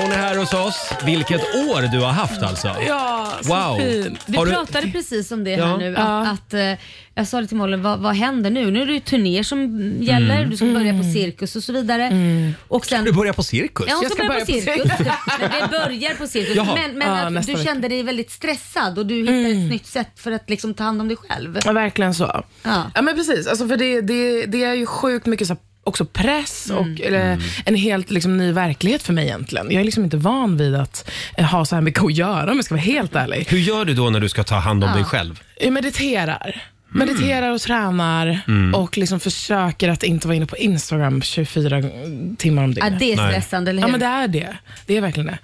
Speaker 1: Hon är här hos oss. Vilket år du har haft alltså.
Speaker 2: Ja,
Speaker 1: så Wow. fin.
Speaker 2: Du
Speaker 1: Har du-
Speaker 2: pratade precis om det
Speaker 1: Ja.
Speaker 2: här nu. Att, att, eh, jag sa det till Molly, vad, vad händer nu? Nu är det ju turnéer som gäller,
Speaker 1: Mm.
Speaker 2: du ska börja på cirkus och så vidare. Mm. Och sen,
Speaker 1: Du börjar på cirkus.
Speaker 2: Ja, hon ska, börja, på cirkus. men det börjar på cirkus.
Speaker 1: Jaha.
Speaker 2: Men, men
Speaker 13: Ja,
Speaker 2: att
Speaker 13: nästa
Speaker 2: du
Speaker 13: vecka.
Speaker 2: kände dig väldigt stressad och du hittade ett nytt sätt för att liksom ta hand om dig själv.
Speaker 13: Ja, verkligen så.
Speaker 2: Ja.
Speaker 13: Ja, men precis. Alltså, för det, det, det är ju sjukt mycket så här, också press och
Speaker 2: Mm.
Speaker 13: eller, en helt liksom, ny verklighet för mig egentligen. Jag är liksom inte van vid att eh, ha så här mycket att göra om jag ska vara helt ärlig.
Speaker 1: Hur gör du då när du ska ta hand om
Speaker 13: Ja.
Speaker 1: dig själv?
Speaker 13: Jag mediterar. Mediterar och tränar
Speaker 1: Mm.
Speaker 13: och liksom försöker att inte vara inne på Instagram 24 timmar om dygnet.
Speaker 2: Ja, det är Nej. stressande, eller hur?
Speaker 13: Ja, men det är det. Det är verkligen det.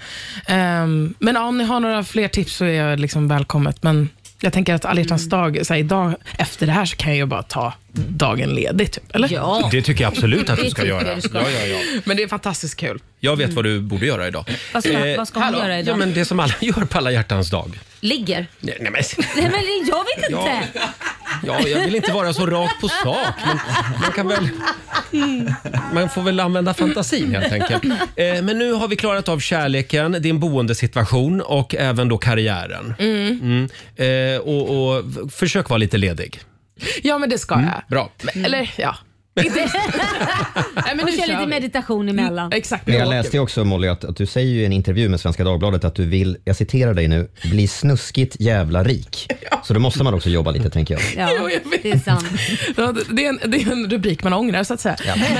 Speaker 13: Ehm, men om ni har några fler tips så är jag liksom välkommet. Men jag tänker att alla hjärtans dag, så här, idag efter det här så kan jag ju bara ta dagen ledig. Typ, eller?
Speaker 2: Ja.
Speaker 1: Det tycker jag absolut att du
Speaker 13: Det
Speaker 1: ska
Speaker 13: tycker
Speaker 1: göra.
Speaker 13: jag du ska.
Speaker 1: Ja, ja, ja.
Speaker 13: Men det är fantastiskt kul.
Speaker 1: Jag vet vad du borde göra idag.
Speaker 2: Mm.
Speaker 1: Eh,
Speaker 2: Vad ska- vad ska hon
Speaker 1: hallå?
Speaker 2: göra idag?
Speaker 1: Ja, men det som alla gör på alla hjärtans dag.
Speaker 2: Ligger.
Speaker 1: Nej, nej, men,
Speaker 2: Nej, men jag vet inte.
Speaker 1: ja, jag vill inte vara så rakt på sak, men man, kan väl, man får väl använda fantasin helt enkelt. Eh, men nu har vi klarat av kärleken, din boendesituation och även då karriären.
Speaker 13: Mm.
Speaker 1: Mm. Eh, och, och försök vara lite ledig.
Speaker 13: Ja, men det ska jag.
Speaker 1: Bra.
Speaker 13: Men, eller ja. Inte. Nej, men
Speaker 2: Och
Speaker 13: nu
Speaker 2: kör
Speaker 13: kör
Speaker 2: lite
Speaker 13: vi.
Speaker 2: meditation emellan.
Speaker 13: Exakt.
Speaker 3: Men jag läste ju också Molly att, att du säger ju i en intervju med Svenska Dagbladet att du vill, jag citerar dig nu, bli snuskigt jävla rik. Så då måste man också jobba lite tänker jag.
Speaker 2: Ja, det är sant.
Speaker 13: Ja, det- Det är, en, det är en rubrik man ångrar, så att säga. eh, Men,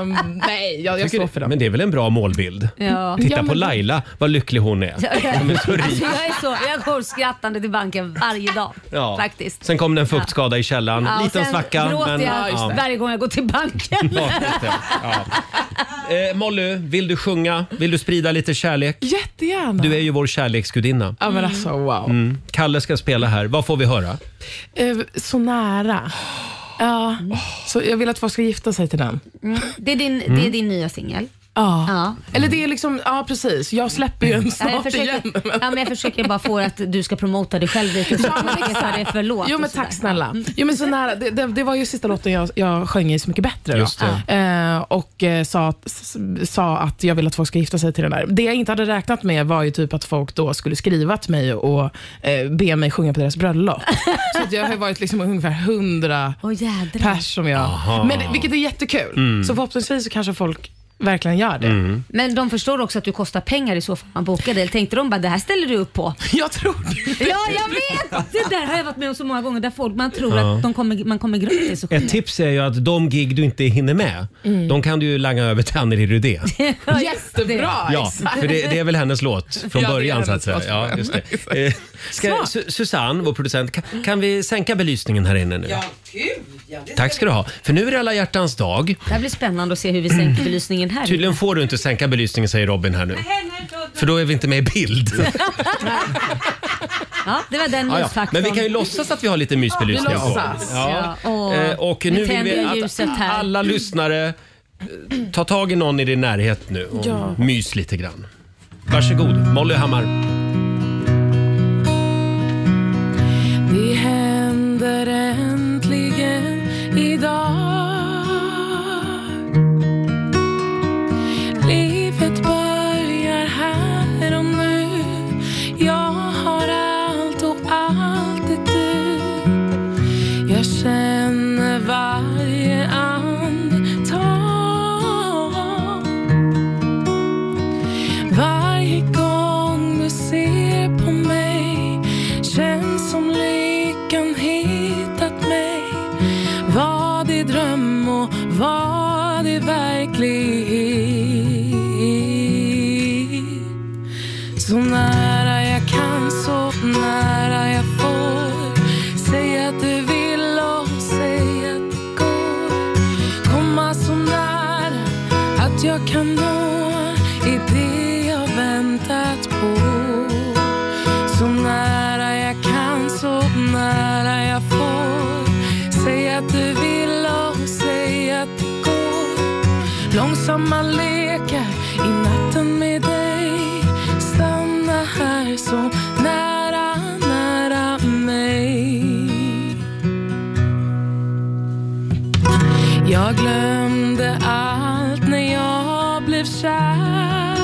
Speaker 13: ehm, nej, jag, jag
Speaker 1: Tycker
Speaker 13: står
Speaker 1: du-
Speaker 13: för dem.
Speaker 1: Men det är väl en bra målbild?
Speaker 2: Ja.
Speaker 1: Titta
Speaker 2: Ja, men-
Speaker 1: på Laila, vad lycklig hon är. Hon är så rik.
Speaker 2: Alltså, jag, är så, jag går skrattande till banken varje dag. Faktiskt.
Speaker 1: Sen kom det en fuktskada i källaren.
Speaker 2: Ja, och
Speaker 1: Liten
Speaker 2: sen
Speaker 1: svacka.
Speaker 2: gråter
Speaker 1: men-
Speaker 2: jag
Speaker 1: ja.
Speaker 2: varje gång jag går till banken.
Speaker 1: Ja, just det. Ja. Eh, Molly, vill du sjunga? Vill du sprida lite kärlek?
Speaker 13: Jättegärna.
Speaker 1: Du är ju vår kärleksgudinna.
Speaker 13: Ja, men alltså wow.
Speaker 1: Mm. Kalle ska spela här. Vad får vi höra?
Speaker 13: Eh, Så nära. Ja. Så jag vill att folk ska gifta sig till den.
Speaker 2: Mm. Det, är din, det är
Speaker 13: Mm.
Speaker 2: din nya singel.
Speaker 13: Ja. Eller det är liksom, ja precis. Jag släpper ju en
Speaker 2: Ja, Jag
Speaker 13: snart igen.
Speaker 2: försöker, ja, men jag försöker bara få att du ska promota dig själv lite så
Speaker 13: Ja,
Speaker 2: att
Speaker 13: men
Speaker 2: folk tar det för låt.
Speaker 13: Jo
Speaker 2: och
Speaker 13: men
Speaker 2: sådär.
Speaker 13: tack snälla. Jo, men så nära. Det, det, det var ju sista låten jag, jag sjöng i Så mycket bättre. då.
Speaker 1: Just
Speaker 13: Eh, och eh, sa, att- s- sa att jag ville att folk ska gifta sig till den där. Det jag inte hade räknat med var ju typ att folk då skulle skriva till mig och eh, be mig sjunga på deras bröllop. så att jag har ju varit liksom ungefär hundra pers som jag...
Speaker 2: Aha.
Speaker 13: Men, det- vilket är jättekul.
Speaker 2: Mm.
Speaker 13: Så förhoppningsvis så kanske folk verkligen gör det.
Speaker 1: Mm.
Speaker 2: Men de förstår också att du kostar pengar i så fall man bokar dig. Eller tänkte de bara det här ställer du upp på?
Speaker 13: Jag tror
Speaker 2: det. Ja, jag vet! Det där har jag varit med om så många gånger där folk, man tror
Speaker 1: Ja.
Speaker 2: att de kommer, man kommer gratis. Och
Speaker 1: Ett tips är ju att de gig du inte hinner med,
Speaker 2: Mm.
Speaker 1: de kan du ju langa över till Anneli Rudé.
Speaker 2: Ja, just det.
Speaker 1: Ja, för det, det är väl hennes låt från
Speaker 13: Ja, det är
Speaker 1: början så att
Speaker 13: hennes
Speaker 1: säga.
Speaker 13: låt från
Speaker 1: Ja,
Speaker 13: början.
Speaker 1: just det. Eh, Ska,
Speaker 13: Smart.
Speaker 1: Su- Susanne, vår producent, kan, kan vi sänka belysningen här inne nu?
Speaker 2: gud ja.
Speaker 1: Tack ska du ha. För nu är det alla hjärtans dag.
Speaker 2: Det här blir spännande att se hur vi sänker belysningen här.
Speaker 1: Tydligen får du inte sänka belysningen säger Robin här nu. För då är vi inte med i bild.
Speaker 2: Ja, det var den
Speaker 1: Ja, ja.
Speaker 2: mysfaktorn.
Speaker 1: Men vi kan ju låtsas att vi har lite mysbelysning
Speaker 2: Vi
Speaker 1: på.
Speaker 2: låtsas, ja. Åh.
Speaker 1: Eh, Och nu
Speaker 2: Vi
Speaker 1: vill
Speaker 2: tänder
Speaker 1: vi
Speaker 2: ljuset
Speaker 1: att
Speaker 2: här.
Speaker 1: alla lyssnare eh, tar tag i någon i din närhet nu och
Speaker 2: Ja.
Speaker 1: mys lite grann. Varsågod, Molly Hammar.
Speaker 13: Det händer äntligen idag Livet börjar här och nu Jag har allt och allt är du Jag känner varje andetag Varje gång du ser på mig Känns som lyckan hittat mig Vad är dröm och vad är verklighet? Så nära jag kan, så nära jag får Säg att du vill och säg att det går Komma så nära att jag kan nå i det jag väntat på Så nära jag kan, så nära jag får Säg att du vill och säg att det går Långsamma lekar i natten med dig Stanna här så nära, nära mig jag glömde allt när jag blev kär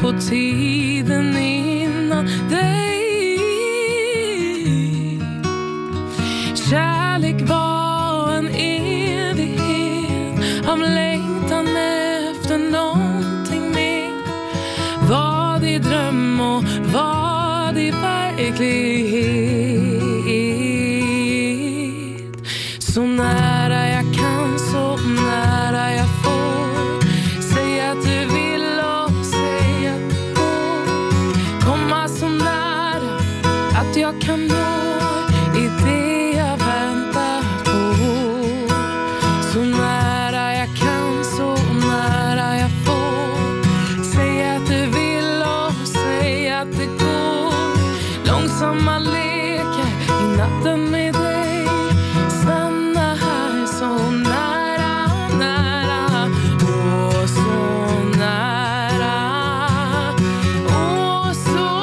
Speaker 13: på tiden innan dig Kärlek var en evighet av längtan efter någonting mer Vad i dröm och vad i verklighet Så nära jag kan, så nära jag får Säg att du vill och säg att du går Komma så nära att jag kan nå i det jag väntar på Så nära jag kan, så nära jag får Säg att du vill och säg att det går Långsamma leker i natten med dig Stanna här så nära, nära Åh, så nära Åh, så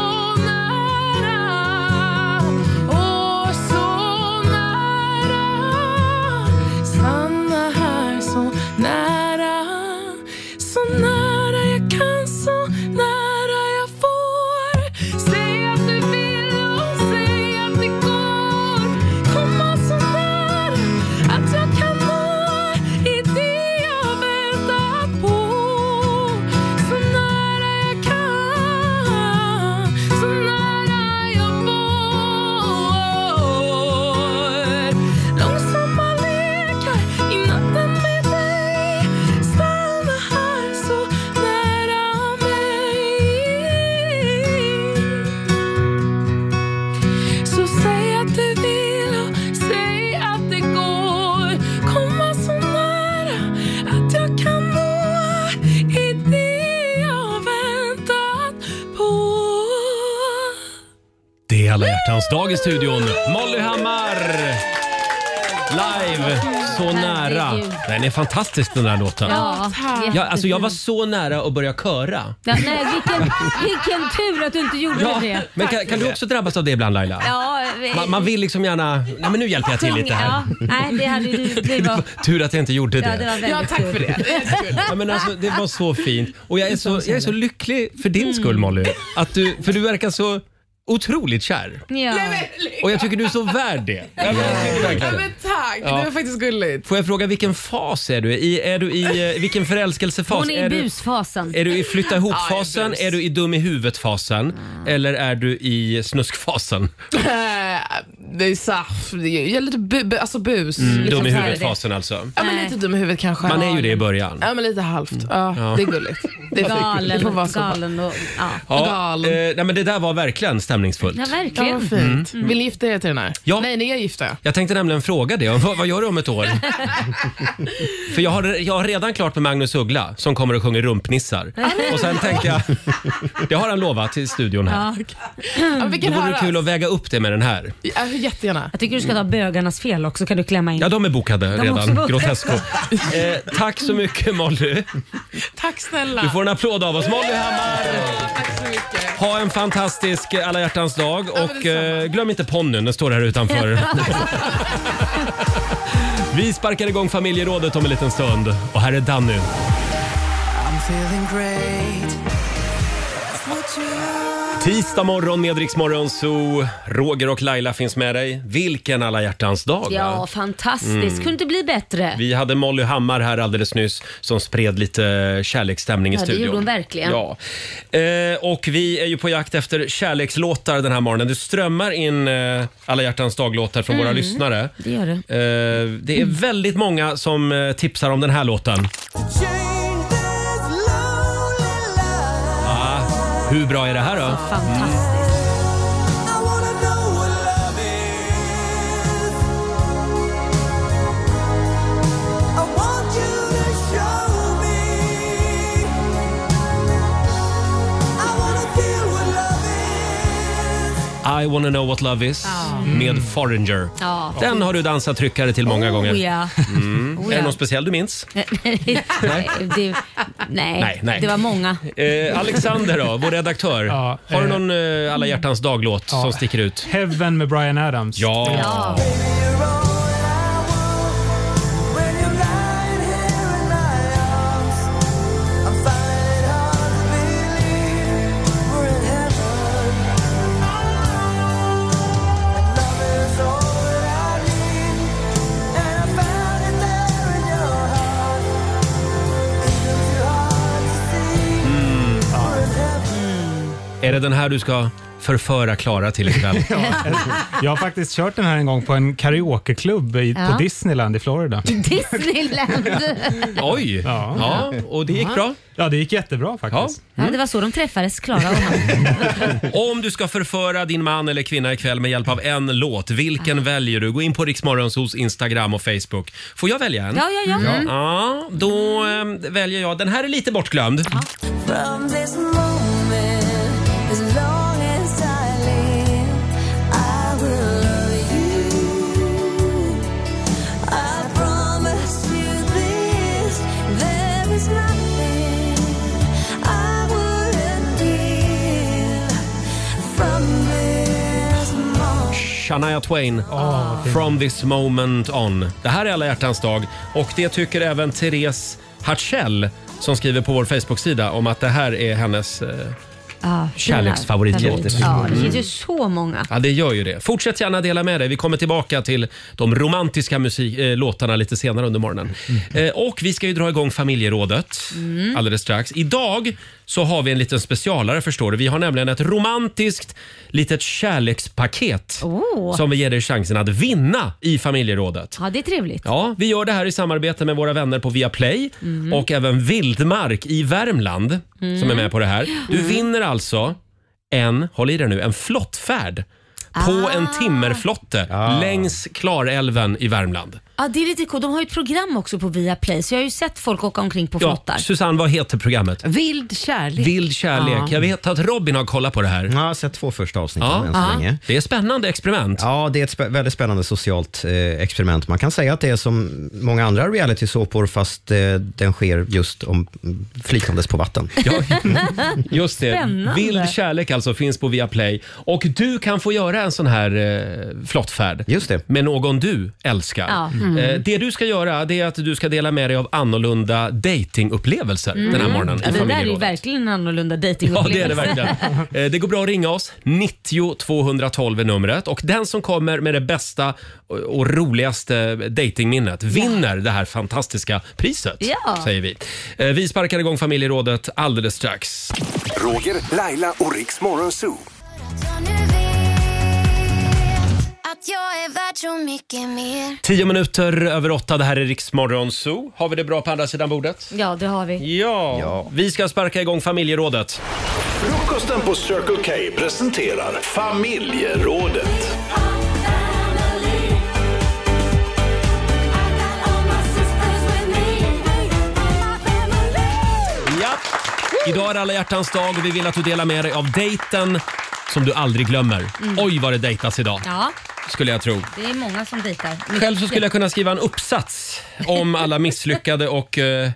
Speaker 13: nära Åh, så nära Stanna här så nära så nära jag kan, så nära jag får Säg att du vill och säg att det går Komma så nära att jag kan nå i det jag väntar på Så nära jag kan, så nära jag får Långsamma lekar i natten med dig Stanna här så nära mig Så säg att du vill och säg att det går Komma så nära att jag kan nå i det jag väntat på
Speaker 1: Det är alla hjärtans dag i studion. Molly Hammar! Live, så nära.
Speaker 2: Herregud.
Speaker 1: Den är fantastisk den där låten.
Speaker 2: Ja,
Speaker 1: Ja, alltså jag var så nära att börja köra.
Speaker 2: Ja, nej, vilken, vilken tur att du inte gjorde
Speaker 1: Ja,
Speaker 2: det.
Speaker 1: men kan, kan du också drabbas av det ibland Laila?
Speaker 2: Ja, vi-
Speaker 1: Man, man vill liksom gärna... Nej men nu hjälper jag till lite här.
Speaker 2: Ja, nej, det hade du... Det var,
Speaker 1: Tur att jag inte gjorde
Speaker 2: ja,
Speaker 1: det.
Speaker 2: det var väldigt tur.
Speaker 1: Ja, men alltså, det var så fint. Och jag är så, jag är så lycklig för
Speaker 2: Mm.
Speaker 1: din skull Molly. Att du, för du verkar så otroligt kär.
Speaker 2: Ja.
Speaker 1: Och jag tycker du är så värd det. Ja, men jag tycker
Speaker 15: Ja,
Speaker 1: verkligen det.
Speaker 15: men tack,
Speaker 1: Ja.
Speaker 15: det var faktiskt gulligt.
Speaker 1: Får jag fråga vilken fas är du i? Är du i eh, vilken förälskelsefas?
Speaker 2: Hon är i
Speaker 1: är, du,
Speaker 2: busfasen.
Speaker 1: är du i flytta
Speaker 2: Ja, jag
Speaker 1: ihop-fasen?
Speaker 2: bus.
Speaker 1: är du i dum i huvudet-fasen?
Speaker 2: Mm.
Speaker 1: Eller är du i snusk-fasen?
Speaker 15: Eh, det är saff, det är jag är lite bu, bu, alltså bus.
Speaker 1: Mm,
Speaker 15: liksom
Speaker 1: dum i
Speaker 15: så här.
Speaker 1: huvudet-fasen alltså.
Speaker 15: Ja, men lite dum i huvudet kanske.
Speaker 1: Man är ju det i början.
Speaker 15: Ja, men lite halvt. Ja,
Speaker 1: Mm. Ja.
Speaker 15: Det är gulligt. Det är det får
Speaker 2: Galen,
Speaker 15: vara så.
Speaker 2: galen och... Ja.
Speaker 1: Ja, eh, nej, men det där var verkligen stämningsfullt.
Speaker 2: Ja, verkligen.
Speaker 15: Ja, vad fint.
Speaker 1: Mm.
Speaker 15: Vill ni gifta er till den här?
Speaker 1: Ja.
Speaker 15: Nej, ni är gifta.
Speaker 1: Jag tänkte nämligen fråga det. Vad, vad gör du om ett år? För jag har, jag har redan klart med Magnus Uggla som kommer och sjunger rumpnissar. Och sen tänker jag, det har han lovat till studion här.
Speaker 2: Ja.
Speaker 15: Ja,
Speaker 1: Då
Speaker 15: vilken
Speaker 1: vore det
Speaker 15: höra.
Speaker 1: kul att väga upp det med den här.
Speaker 15: Ja, jättegärna.
Speaker 2: Jag tycker du ska ta bögarnas fel också, kan du klämma in.
Speaker 1: Ja, de är bokade
Speaker 2: De är också
Speaker 1: redan.
Speaker 2: bokade.
Speaker 1: Grotesco. Eh, tack så mycket Molly.
Speaker 15: Tack snälla.
Speaker 1: Du får en applåd av oss. Molly Hammar!
Speaker 15: Tack så mycket.
Speaker 1: Ha en fantastisk eh, alla hjärtans dag och eh, glöm inte ponnyn, den står här utanför. Vi sparkar igång familjerådet om en liten stund och här är Danny.
Speaker 7: I'm feeling great. That's what you are.
Speaker 1: Tisdag morgon med Rix Morgon Zoo. Roger och Laila finns med dig. Vilken alla hjärtans dag!
Speaker 2: Ja,
Speaker 1: va?
Speaker 2: fantastiskt.
Speaker 1: Mm.
Speaker 2: Kunde inte bli bättre.
Speaker 1: Vi hade Molly Hammar här alldeles nyss som spred lite kärleksstämning i
Speaker 2: Ja, det
Speaker 1: studion.
Speaker 2: gjorde hon verkligen.
Speaker 1: Ja. Eh, och vi är ju på jakt efter kärlekslåtar den här morgonen. Det strömmar in eh, alla hjärtans daglåtar från våra
Speaker 2: Mm.
Speaker 1: lyssnare.
Speaker 2: Det gör det.
Speaker 1: Eh, det är väldigt många som eh, tipsar om den här låten. Ah, hur bra är det här då?
Speaker 7: I want you to show me. I wanna feel what love
Speaker 1: I wanna know what love is med Foreigner.
Speaker 2: Ah. Ja. Oh,
Speaker 1: Den har du dansat tryckare till många gånger.
Speaker 2: ja.
Speaker 1: Mm.
Speaker 2: Oh,
Speaker 1: Är
Speaker 2: ja.
Speaker 1: det någon speciell du minns?
Speaker 2: nej, det, nej.
Speaker 1: Nej, nej.
Speaker 2: det var många.
Speaker 1: Eh, Alexander då, vår redaktör. har du
Speaker 9: eh,
Speaker 1: någon eh, alla hjärtans dag-låt
Speaker 9: ja.
Speaker 1: som sticker ut?
Speaker 9: Heaven med Bryan Adams.
Speaker 1: Ja. Ja.
Speaker 7: I'm finding it hard to believe.
Speaker 1: Är det den här du ska förföra Klara till ikväll?
Speaker 9: Jag har faktiskt kört den här en gång på en karaokeklubb i,
Speaker 2: Ja.
Speaker 9: på Disneyland i Florida.
Speaker 2: Disneyland!
Speaker 1: Oj!
Speaker 9: Ja.
Speaker 1: Ja, och det gick bra?
Speaker 9: Ja, det gick jättebra faktiskt.
Speaker 2: Ja, det var så de träffades, Klara och han.
Speaker 1: Om du ska förföra din man eller kvinna ikväll med hjälp av en låt, vilken väljer du? Gå in på Riksmorgonsos Instagram och Facebook. Får jag välja en?
Speaker 2: Ja, ja, ja. Mm.
Speaker 1: ja då ehm, väljer jag. Den här är lite bortglömd.
Speaker 13: From this moment, as long as I live, I will love you. I promise you this, there is nothing I wouldn't give from this moment.
Speaker 1: Shania Twain,
Speaker 2: Ah,
Speaker 1: From this moment on. Det här är alla hjärtans dag och det tycker även Therese Hartzell som skriver på vår Facebook-sida om att det här är hennes... eh,
Speaker 2: Ja,
Speaker 1: Kärleksfavorit.
Speaker 2: favorit. Ja, det finns
Speaker 1: Mm.
Speaker 2: ju så många.
Speaker 1: Ja, det gör ju det. Fortsätt gärna dela med dig. Vi kommer tillbaka till de romantiska musik- eh, låtarna lite senare under morgonen. Eh, och vi ska ju dra igång familjerådet
Speaker 16: Mm.
Speaker 1: alldeles strax. Idag så har vi en liten specialare förstår du. Vi har nämligen ett romantiskt litet kärlekspaket
Speaker 2: Oh.
Speaker 1: som vi ger dig chansen att vinna i familjerådet.
Speaker 2: Ja, det är trevligt.
Speaker 1: Ja, vi gör det här i samarbete med våra vänner på Viaplay
Speaker 2: Mm.
Speaker 1: och även Vildmark i Värmland
Speaker 2: Mm.
Speaker 1: som är med på det här. Du
Speaker 2: Mm.
Speaker 1: vinner alltså en, håll i dig nu, en flottfärd på
Speaker 2: Ah.
Speaker 1: en timmerflotte längs Klarälven i Värmland.
Speaker 2: Ja, det är lite coolt. De har ju ett program också på Viaplay, så jag har ju sett folk åka omkring på flottar.
Speaker 1: Ja, Susanne, vad heter programmet?
Speaker 4: Vild kärlek.
Speaker 1: Vild kärlek.
Speaker 4: Ja.
Speaker 1: Jag vet att Robin har kollat på det här.
Speaker 3: Jag har sett två första avsnitt än så
Speaker 1: Ja.
Speaker 3: länge.
Speaker 1: Det är spännande experiment.
Speaker 3: Ja, det är ett spä- väldigt spännande socialt eh, experiment. Man kan säga att det är som många andra realitysåpor fast eh, den sker just om flytandes på vatten.
Speaker 1: Just det.
Speaker 2: Spännande.
Speaker 1: Vild kärlek alltså finns på Viaplay. Och du kan få göra en sån här eh, flottfärd Just det. med någon du älskar.
Speaker 2: Ja. Mm.
Speaker 1: Eh, det du ska göra det är att du ska dela med dig av annorlunda datingupplevelser den här morgonen
Speaker 2: Mm. Ja,
Speaker 1: i
Speaker 2: det där är ju
Speaker 1: familjerådet.
Speaker 2: verkligen en annorlunda
Speaker 1: Ja, det
Speaker 2: dejtingupplevelse.
Speaker 1: är det verkligen. Eh, Det går bra att ringa oss. 90 212 är numret. Och den som kommer med det bästa och- och roligaste datingminnet vinner det här fantastiska priset,
Speaker 6: Ja.
Speaker 1: säger vi. Eh, Vi sparkar igång familjerådet alldeles strax.
Speaker 6: Roger, Laila och Riks Morgonzoo.
Speaker 13: Att jag är värd så mycket mer.
Speaker 1: Tio minuter över åtta, det här är Riksmorgon Zoo. Har vi det bra på andra sidan bordet?
Speaker 2: Ja, det har vi.
Speaker 1: Ja. Vi ska sparka igång familjerådet.
Speaker 17: Frukosten på Circle K presenterar familjerådet.
Speaker 1: Ja. Idag är alla hjärtans dag och vi vill att du delar med dig av dejten som du aldrig glömmer.
Speaker 2: Mm.
Speaker 1: Oj, vad det dejtas idag,
Speaker 2: Ja,
Speaker 1: skulle jag tro.
Speaker 2: det är många som dejtar.
Speaker 1: Själv så skulle jag kunna skriva en uppsats om alla misslyckade och eh,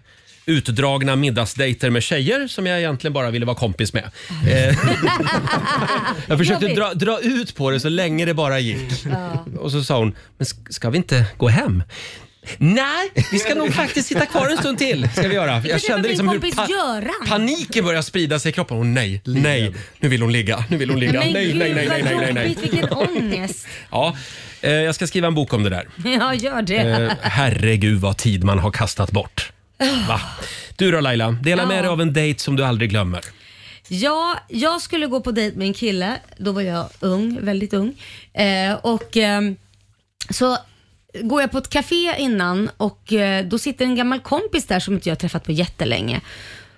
Speaker 1: utdragna middagsdejter med tjejer som jag egentligen bara ville vara kompis med. Eh, jag försökte
Speaker 2: Jobbigt.
Speaker 1: dra, dra ut på det så länge det bara gick. Och så sa hon, men sk- ska vi inte gå hem? Nej, vi ska nog faktiskt sitta kvar en stund till. Ska vi göra. liksom
Speaker 2: Jag träffade min kompis
Speaker 1: pa-
Speaker 2: Göran.
Speaker 1: paniken började sprida sig i kroppen. Åh nej, nej, nu vill hon ligga, nu vill hon ligga. Nej,
Speaker 2: Men
Speaker 1: nej,
Speaker 2: gud,
Speaker 1: nej, nej,
Speaker 2: vad
Speaker 1: nej, nej,
Speaker 2: jobbigt.
Speaker 1: nej.
Speaker 2: Vilken ångest.
Speaker 1: Ja, eh, jag ska skriva en bok om det där.
Speaker 2: Ja, gör det.
Speaker 1: Eh, herregud vad tid man har kastat bort. Va? Du då Laila, dela
Speaker 2: Ja.
Speaker 1: med dig av en dejt som du aldrig glömmer.
Speaker 2: Ja, jag skulle gå på dejt med en kille. Då var jag ung, väldigt ung. Eh, och ehm, så går jag på ett café innan och eh, då sitter en gammal kompis där som inte jag har träffat på jättelänge.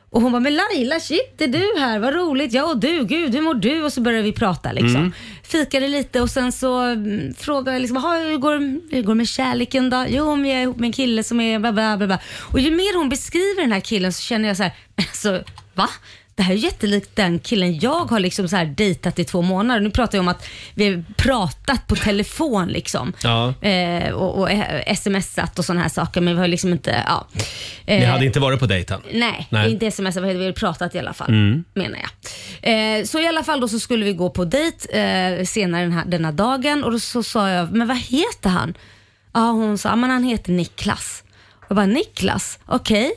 Speaker 2: Och hon bara, men Laila, shit, är du här? Vad roligt. Ja, och du, gud, hur mår du? Och så började vi prata liksom.
Speaker 13: Mm.
Speaker 2: Fikade lite och sen så mm, frågade jag liksom, "Jaha, hur går, hur går det med kärleken då? Jo, men jag är ihop med en kille som är bla, bla, bla, bla. Och ju mer hon beskriver den här killen så känner jag så här, alltså, va? Det här är jättelikt den killen jag har liksom så här dejtat i två månader. Nu pratar jag om att vi har pratat på telefon liksom.
Speaker 1: Ja.
Speaker 2: Eh, och, och eh, smsat och sådana här saker men vi har liksom inte, ja.
Speaker 1: Ni
Speaker 2: Eh,
Speaker 1: hade inte varit på dejten?
Speaker 2: Nej,
Speaker 1: Nej.
Speaker 2: inte smsat, vi hade väl pratat i alla fall.
Speaker 1: Mm.
Speaker 2: Menar jag. Eh, så i alla fall då så skulle vi gå på dejt eh, senare den här, denna dagen och då så sa jag, men vad heter han? Ja, hon sa, men han heter Niklas. Jag bara, Niklas, okej.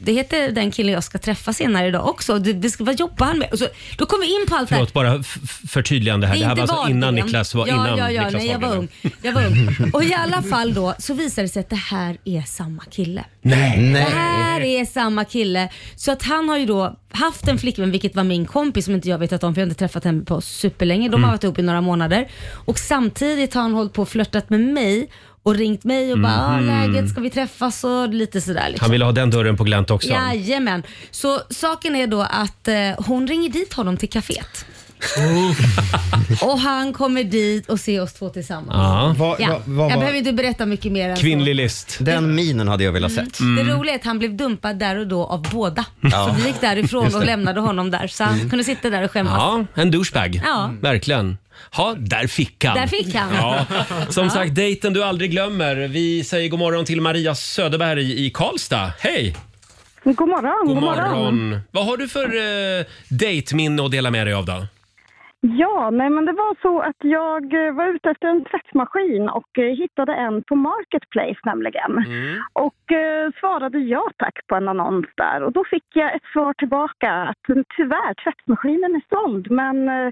Speaker 2: det heter den killen jag ska träffa senare idag också. Det, det ska, vad jobbar han med? Och så, då kom vi in på allt det här.
Speaker 1: Förlåt, bara f- f- förtydligande här. Det, här var
Speaker 2: inte
Speaker 1: alltså innan
Speaker 2: Wahlgren.
Speaker 1: Niklas var
Speaker 2: ja,
Speaker 1: innan
Speaker 2: ja, ja,
Speaker 1: Niklas
Speaker 2: nej, jag var
Speaker 1: Wahlgren.
Speaker 2: ung. Jag var ung. Och i alla fall då så visade det sig att det här är samma kille.
Speaker 1: Nej.
Speaker 2: Det här är samma kille. Så att han har ju då haft en flickvän, vilket var min kompis som inte jag vetat om för jag har inte träffat henne på superlänge. De har
Speaker 16: Mm.
Speaker 2: varit ihop i några månader. Och samtidigt har han hållit på och flörtat med mig och ringt mig och bara
Speaker 1: Mhm.
Speaker 2: "Ah, “läget, ska vi träffas?” och lite sådär. Liksom.
Speaker 1: Han ville ha den dörren på glänt också.
Speaker 2: Jajamän. Så saken är då att eh, hon ringer dit honom till kaféet. och han kommer dit och ser oss två tillsammans.
Speaker 3: Ja. Vad-
Speaker 2: Ja.
Speaker 3: vad- vad
Speaker 2: jag
Speaker 3: var-
Speaker 2: behöver inte berätta mycket mer än så.
Speaker 3: Kvinnlig list. Den minen hade jag velat sett.
Speaker 2: Mm. Det roliga är att han blev dumpad där och då av båda.
Speaker 1: Mm. Ja.
Speaker 2: Så vi gick därifrån
Speaker 1: Just
Speaker 2: och
Speaker 1: det.
Speaker 2: lämnade honom där. Så han
Speaker 1: Mm.
Speaker 2: kunde sitta där och skämmas.
Speaker 1: Ja, en douchebag. Mm.
Speaker 2: Ja.
Speaker 1: Verkligen. Ja, där fick han.
Speaker 2: Där fick han.
Speaker 1: Ja. Som
Speaker 2: Ja.
Speaker 1: sagt, dejten du aldrig glömmer. Vi säger god morgon till Maria Söderberg i Karlstad. Hej!
Speaker 8: God morgon, god,
Speaker 1: Vad har du för eh, dejtminne att dela med dig av då?
Speaker 8: Ja, nej men det var så att jag eh, var ute efter en tvättmaskin och eh, hittade en på Marketplace nämligen. Och eh, svarade ja tack på en annons där och då fick jag ett svar tillbaka att eh, tyvärr tvättmaskinen är såld men eh,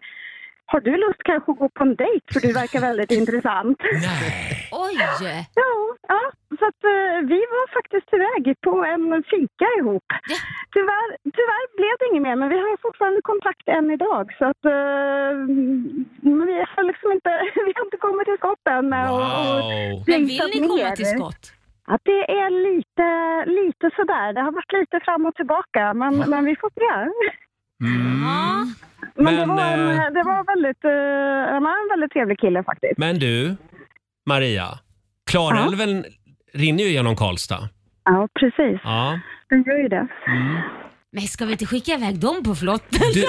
Speaker 8: har du lust kanske att gå på en dejt för du verkar väldigt intressant.
Speaker 2: Oj!
Speaker 8: Ja, ja, så att eh, vi var faktiskt iväg på en fika ihop. Tyvärr, tyvärr blev det inget mer, men vi har fortfarande kontakt än idag. Så att eh, men vi har liksom inte, vi har inte kommit till skott än. med att- och
Speaker 2: Men
Speaker 8: dejtat
Speaker 2: vill ni komma
Speaker 8: mer.
Speaker 2: till skott?
Speaker 8: Ja, det är lite, lite sådär. Det har varit lite fram och tillbaka, men, men vi får se. Men, det, var en,
Speaker 1: eh,
Speaker 8: det var väldigt, eh, han var en väldigt trevlig kille faktiskt.
Speaker 1: men du, Maria. Klarälven rinner ju genom Karlstad.
Speaker 8: Ja, precis.
Speaker 1: Ja. Mm.
Speaker 8: Den gör ju det.
Speaker 2: Men ska vi inte skicka iväg dem på flotten?
Speaker 1: Du,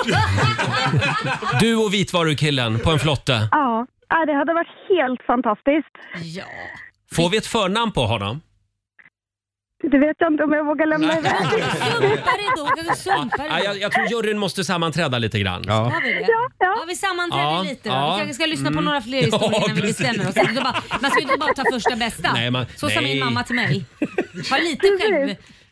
Speaker 1: du och vitvarukillen på en flotte.
Speaker 8: Ja, ja, det hade varit helt fantastiskt.
Speaker 2: Ja.
Speaker 1: Får vi ett förnamn på honom?
Speaker 8: Det vet jag inte om jag vågar lämna iväg.
Speaker 2: Sumpar det då? Kan vi sumpa
Speaker 1: Ja,
Speaker 2: det då?
Speaker 1: jag, jag tror juryn måste sammanträda lite grann.
Speaker 2: Har vi det? Ja, vi sammanträder
Speaker 1: Ja,
Speaker 2: lite då.
Speaker 1: ja.
Speaker 2: Vi kanske ska lyssna på
Speaker 1: Mm.
Speaker 2: några fler historier
Speaker 1: Ja,
Speaker 2: innan vi
Speaker 1: precis.
Speaker 2: bestämmer oss. Inte bara, man ska ju inte bara ta första bästa.
Speaker 1: Nej, man-
Speaker 2: så sa
Speaker 1: nej.
Speaker 2: min mamma till mig. Ha lite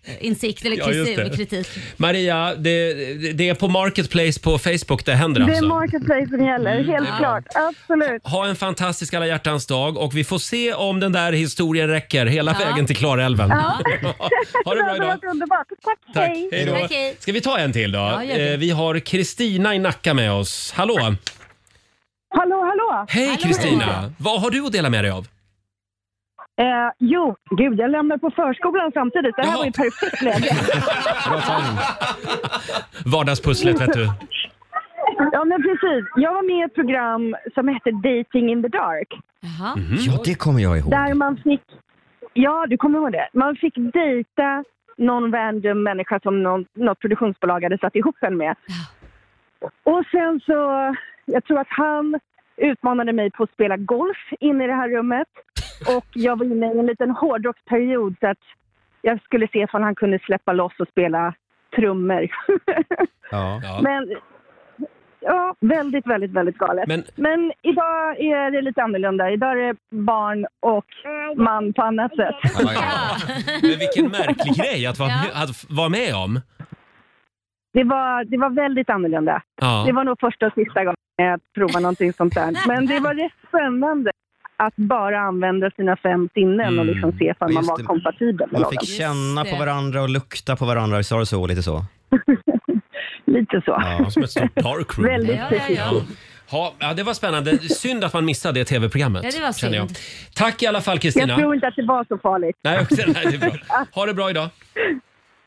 Speaker 2: självinsikt eller
Speaker 1: Ja, just det.
Speaker 2: kritik. kritik.
Speaker 1: Maria, det, det- det är på Marketplace på Facebook det händer
Speaker 8: Det är
Speaker 1: alltså.
Speaker 8: marketplace som gäller, helt
Speaker 1: Ja.
Speaker 8: klart. Absolut.
Speaker 1: Ha en fantastisk alla hjärtans dag och vi får se om den där historien räcker hela
Speaker 8: Ja.
Speaker 1: vägen till Klarälven.
Speaker 8: Ja.
Speaker 1: ha det bra
Speaker 8: Det har
Speaker 1: idag.
Speaker 8: varit underbart. Tack,
Speaker 1: Tack,
Speaker 8: hej.
Speaker 1: hej då. Ska vi ta en till då?
Speaker 8: Ja, gör det.
Speaker 1: Eh, vi har Kristina i Nacka med oss. Hallå!
Speaker 18: Hallå, hallå!
Speaker 1: Hej Kristina! Vad har du att dela med dig av?
Speaker 18: Eh, jo, gud, jag lämnar på förskolan samtidigt. Det här var ju perfekt läge.
Speaker 1: Vardagspusslet vet du.
Speaker 18: ja, men precis. Jag var med i ett program som hette Dating in the Dark.
Speaker 3: Mm-hmm. Ja, det kommer jag ihåg.
Speaker 18: Där man fick... Ja, du kommer ihåg det. Man fick dejta någon random människa som någon, något produktionsbolag hade satt ihop en med. Och sen så... Jag tror att han utmanade mig på att spela golf inne i det här rummet. Och jag var inne i en liten hårdrocksperiod så att jag skulle se om han kunde släppa loss och spela trummor.
Speaker 1: Ja.
Speaker 18: Men ja, väldigt, väldigt, väldigt galet.
Speaker 1: Men-
Speaker 18: Men, idag är det lite annorlunda. Idag är det barn och man på annat sätt.
Speaker 1: Men vilken märklig grej att vara, att vara med om.
Speaker 18: Det var, det var väldigt annorlunda.
Speaker 1: Ja.
Speaker 18: Det var nog första och sista gången jag provade någonting sånt där. Men det var rätt spännande att bara använda sina fem sinnen och
Speaker 1: Mm.
Speaker 18: liksom se om man
Speaker 3: just
Speaker 18: var
Speaker 3: det.
Speaker 18: kompatibel med
Speaker 3: Man
Speaker 18: någon.
Speaker 3: fick känna
Speaker 18: det.
Speaker 3: på varandra och lukta på varandra. Visst var det så? Lite så.
Speaker 18: Lite så.
Speaker 1: Ja, som ett stort dark room.
Speaker 18: Väldigt Ja, ja, ja.
Speaker 1: Ja. Ja, ja, det var spännande. Synd att man missade det tv-programmet.
Speaker 18: Ja, det var
Speaker 1: känner jag.
Speaker 18: synd.
Speaker 1: Tack i alla fall
Speaker 18: Jag
Speaker 1: Kristina.
Speaker 18: tror inte att det var så farligt.
Speaker 1: Nej, okej, nej, det är bra. Ha det bra idag.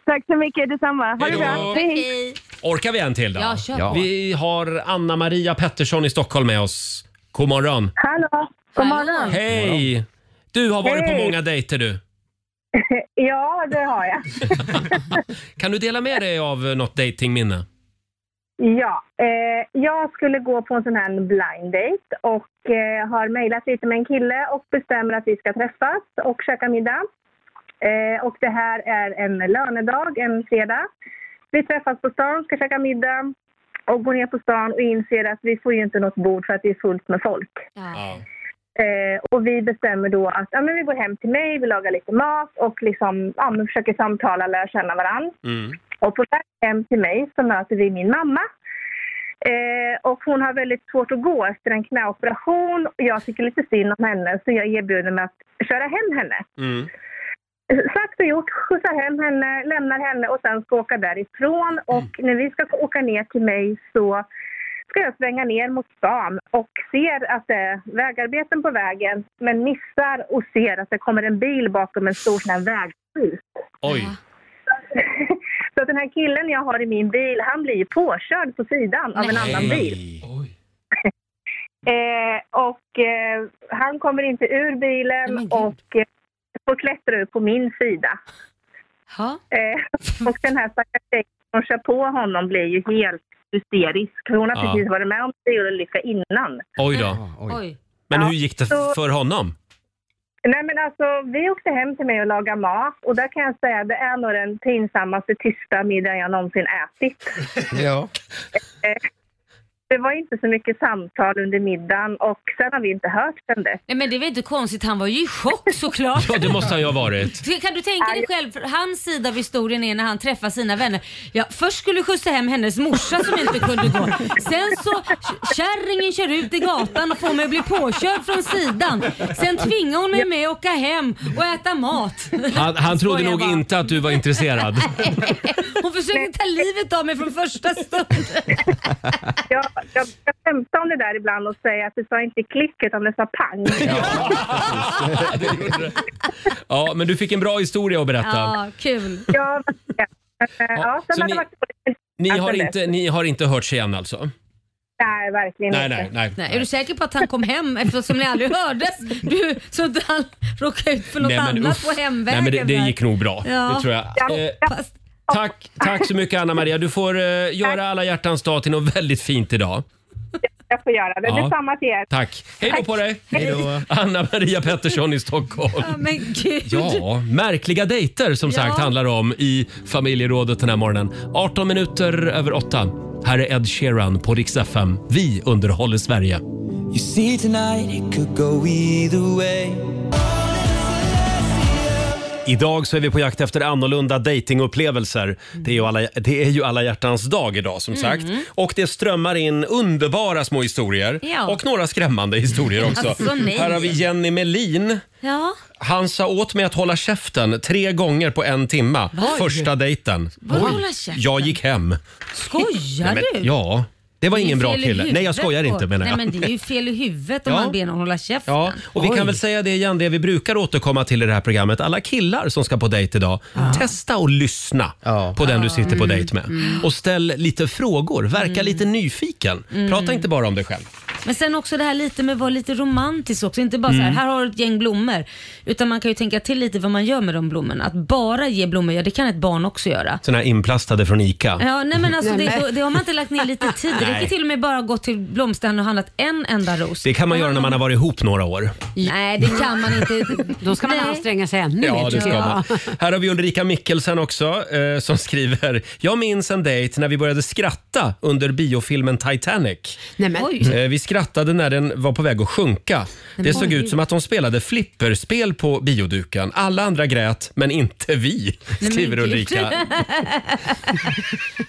Speaker 18: Tack så mycket, detsamma. Ha det
Speaker 1: Hej då.
Speaker 18: bra.
Speaker 2: Hej.
Speaker 1: Orkar vi en till då?
Speaker 18: Ja, kör på.
Speaker 1: Vi har Anna-Maria Pettersson i Stockholm med oss. God morgon.
Speaker 18: Hallå,
Speaker 8: god morgon.
Speaker 1: Hej! Du har varit på
Speaker 8: Hej.
Speaker 1: många dejter du.
Speaker 8: Ja, det har jag.
Speaker 1: Kan du dela med dig av eh, något dejtingminne?
Speaker 8: Ja, eh, jag skulle gå på en sån här blind date och eh, har mejlat lite med en kille och bestämmer att vi ska träffas och käka middag. Eh, och det här är en lönedag, en fredag. Vi träffas på stan, ska käka middag och går ner på stan och inser att vi får ju inte något bord för att det är fullt med folk.
Speaker 16: Eh, och vi bestämmer då att ja, men vi går hem till mig, vi lagar lite mat och liksom, ja, men försöker samtala, lära känna varandra.
Speaker 3: Mm.
Speaker 16: Och på väg hem till mig så möter vi min mamma. Eh, och hon har väldigt svårt att gå efter en knäoperation. Jag tycker lite synd om henne så jag erbjuder mig att köra hem henne.
Speaker 7: Mm.
Speaker 16: Sagt och gjort, skjutsar hem henne, lämnar henne och sen ska åka därifrån. Och när vi ska åka ner till mig så ska jag svänga ner mot stan och ser att det är vägarbeten på vägen men missar och ser att det kommer en bil bakom en stor sån här vägskylt.
Speaker 1: Oj.
Speaker 16: Så att den här killen jag har i min bil, han blir ju påkörd på sidan av en annan bil. Eh, och eh, han kommer inte ur bilen och eh, får klättra upp på min sida. Eh, och den här stackars tjejen som kör på honom blir ju helt hysterisk. Hon har
Speaker 1: Ja.
Speaker 16: precis varit med om en bilolycka innan.
Speaker 1: Oj då.
Speaker 16: Oj.
Speaker 1: Men hur gick det
Speaker 16: så-
Speaker 1: för honom?
Speaker 16: Nej men alltså, vi åkte hem till mig och lagade mat och där kan jag säga att det är nog den pinsammaste tysta middagen jag någonsin ätit.
Speaker 11: Ja.
Speaker 16: Eh, Det var inte så mycket samtal under middagen och sen har vi inte hört sen dess.
Speaker 2: Nej men det var inte konstigt, han var ju i chock såklart.
Speaker 1: Ja, det måste han ju ha varit.
Speaker 2: Kan du tänka dig själv, för hans sida av historien är när han träffar sina vänner. Ja, först skulle skjutsa hem hennes morsa som inte kunde gå. Sen så kärringen kör ut i gatan och får mig att bli påkörd från sidan. Sen tvingar hon mig med att åka hem och äta mat.
Speaker 1: Han, han trodde
Speaker 2: Skojar
Speaker 1: nog
Speaker 2: bara.
Speaker 1: inte att du var intresserad.
Speaker 2: Hon försökte ta livet av mig från första stund.
Speaker 16: Jag, jag, jag skämtar om det där ibland och säger att det sa inte klick utan det sa pang.
Speaker 1: Ja, men du fick en bra historia att berätta.
Speaker 2: kul.
Speaker 16: Ja, men, eh, ja, sen
Speaker 1: så
Speaker 16: har
Speaker 1: ni-
Speaker 16: det varit dåligt.
Speaker 1: Ni, har
Speaker 16: sen
Speaker 1: inte,
Speaker 16: dess.
Speaker 1: ni har inte hört sig än alltså?
Speaker 16: Nej, verkligen
Speaker 1: Nej,
Speaker 16: inte.
Speaker 1: nej, nej.
Speaker 2: Nej, är du säker på att han kom hem eftersom ni aldrig hördes? Du, så att han råkade ut för något
Speaker 1: Nej, men
Speaker 2: annat
Speaker 1: uff.
Speaker 2: på
Speaker 1: Nej,
Speaker 2: hemvägen.
Speaker 1: men det, det
Speaker 2: där.
Speaker 1: gick nog bra.
Speaker 2: Ja.
Speaker 1: Det tror jag. Eh,
Speaker 2: Fast-
Speaker 1: tack, tack så mycket Anna Maria. Du får eh, göra alla hjärtans dag till något väldigt fint idag.
Speaker 16: Jag får göra det.
Speaker 1: Ja.
Speaker 16: Detsamma till er.
Speaker 1: Tack. Hej då
Speaker 16: Tack.
Speaker 1: på dig.
Speaker 16: Hej då.
Speaker 1: Anna Maria Pettersson i Stockholm.
Speaker 2: Ja, men gud.
Speaker 1: Ja, märkliga dejter som sagt
Speaker 2: Ja.
Speaker 1: handlar om i familjerådet den här morgonen. 18 minuter över 8. Här är Ed Sheeran på Rix FM. Vi underhåller Sverige.
Speaker 7: You see tonight it could go either way.
Speaker 1: Idag så är vi på jakt efter annorlunda datingupplevelser. Det, är ju alla- det är ju alla hjärtans dag idag som
Speaker 2: Mm.
Speaker 1: sagt. Och det strömmar in underbara små historier
Speaker 2: Ja.
Speaker 1: och några skrämmande historier också.
Speaker 2: Alltså, nej.
Speaker 1: Här har vi Jenny Melin.
Speaker 2: Ja.
Speaker 1: Han sa åt mig att hålla käften tre gånger på en timma.
Speaker 2: Oj.
Speaker 1: Första dejten.
Speaker 2: Vadå hålla käften?
Speaker 1: Jag gick hem.
Speaker 2: Skojar
Speaker 1: Nej, men-
Speaker 2: du?
Speaker 1: Ja. Det var
Speaker 2: är ju
Speaker 1: ingen bra
Speaker 2: fel i
Speaker 1: kille. Nej, jag
Speaker 2: huvudet
Speaker 1: skojar
Speaker 2: på-
Speaker 1: inte menar jag.
Speaker 2: Nej, men det är ju fel i huvudet om
Speaker 1: Ja.
Speaker 2: man ber någon hålla käften.
Speaker 1: Ja, och vi kan väl säga det igen, det vi brukar återkomma till i det här programmet. Alla killar som ska på dejt idag, testa och lyssna på den du sitter på dejt med. Och ställ lite frågor, verka lite nyfiken.
Speaker 2: Mm.
Speaker 1: Prata inte bara om dig själv.
Speaker 2: Men sen också det här lite med att vara lite romantisk också. Inte bara så
Speaker 1: Mm.
Speaker 2: här, här har du ett gäng blommor. Utan man kan ju tänka till lite vad man gör med de blommorna. Att bara ge blommor, ja det kan ett barn också göra.
Speaker 1: Såna här inplastade från ICA.
Speaker 2: Ja, nej men alltså
Speaker 1: Nej,
Speaker 2: det,
Speaker 1: men-
Speaker 2: då, det har man inte lagt ner lite tid. Det räcker
Speaker 1: Nej.
Speaker 2: till och med bara att gå till blomsterhandeln och handlat en enda ros.
Speaker 1: Det kan man göra när man har varit ihop några år.
Speaker 2: Nej, det kan man inte.
Speaker 4: Då ska man anstränga sig ännu mer
Speaker 1: Ja, det
Speaker 4: tycker
Speaker 1: ska
Speaker 4: jag.
Speaker 1: man. Här har vi Ulrika Mickelsen också eh, som skriver. Jag minns en dejt när vi började skratta under biofilmen Titanic.
Speaker 4: Nej, men- Oj.
Speaker 1: Eh, vi skrattade när den var på väg att sjunka.
Speaker 4: men
Speaker 1: Det såg
Speaker 4: oj.
Speaker 1: ut som att de spelade flipperspel på bioduken. Alla andra grät, men inte vi,
Speaker 2: Nej, men
Speaker 1: skriver
Speaker 2: gud.
Speaker 1: Ulrika.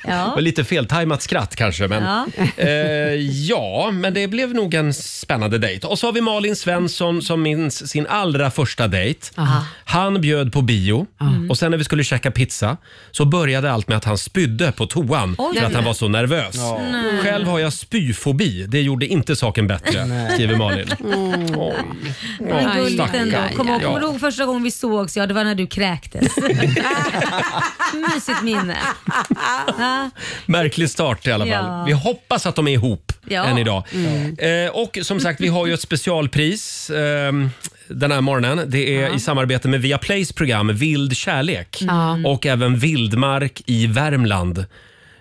Speaker 2: ja.
Speaker 1: Och lite feltajmat skratt kanske, men... Ja.
Speaker 2: Ja.
Speaker 1: Eh, ja, men det blev nog en spännande dejt. Och så har vi Malin Svensson som minns sin allra första dejt. Han bjöd på bio
Speaker 2: Mm.
Speaker 1: och sen när vi skulle käka pizza så började allt med att han spydde på toan
Speaker 2: Oj.
Speaker 1: för att han var så nervös.
Speaker 2: Ja. Nej.
Speaker 1: Själv har jag spyfobi. Det gjorde inte saken bättre, skriver Malin. Oj.
Speaker 2: Mm. Men
Speaker 1: Oj,
Speaker 2: gulligt ändå.
Speaker 1: stackarn.
Speaker 2: Kommer
Speaker 1: Mm. Ja.
Speaker 2: kommer du ihåg första gången vi sågs? Ja, det var när du kräktes. Mysigt minne. Ja.
Speaker 1: Märklig start i alla fall.
Speaker 2: Ja.
Speaker 1: Vi hoppas att de är ihop
Speaker 2: Ja.
Speaker 1: än idag.
Speaker 2: Mm.
Speaker 1: Eh, och som sagt, vi har ju ett specialpris ehm, den här morgonen. Det är i samarbete med Viaplays program Vild kärlek
Speaker 2: Mm.
Speaker 1: och även Vildmark i Värmland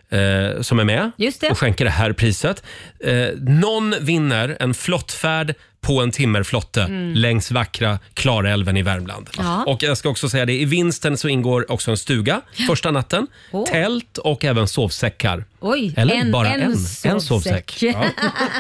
Speaker 1: eh, som är med
Speaker 2: Just det.
Speaker 1: och skänker det här priset. Eh, någon vinner en flottfärd på en timmerflotte
Speaker 2: Mm.
Speaker 1: längs vackra Klarälven i Värmland.
Speaker 2: Ja.
Speaker 1: Och jag ska också säga det, i vinsten så ingår också en stuga första natten,
Speaker 2: Åh.
Speaker 1: tält och även sovsäckar.
Speaker 2: Oj,
Speaker 1: Eller
Speaker 2: en,
Speaker 1: bara
Speaker 2: en,
Speaker 1: en. En
Speaker 2: sovsäck.
Speaker 1: sovsäck. Ja.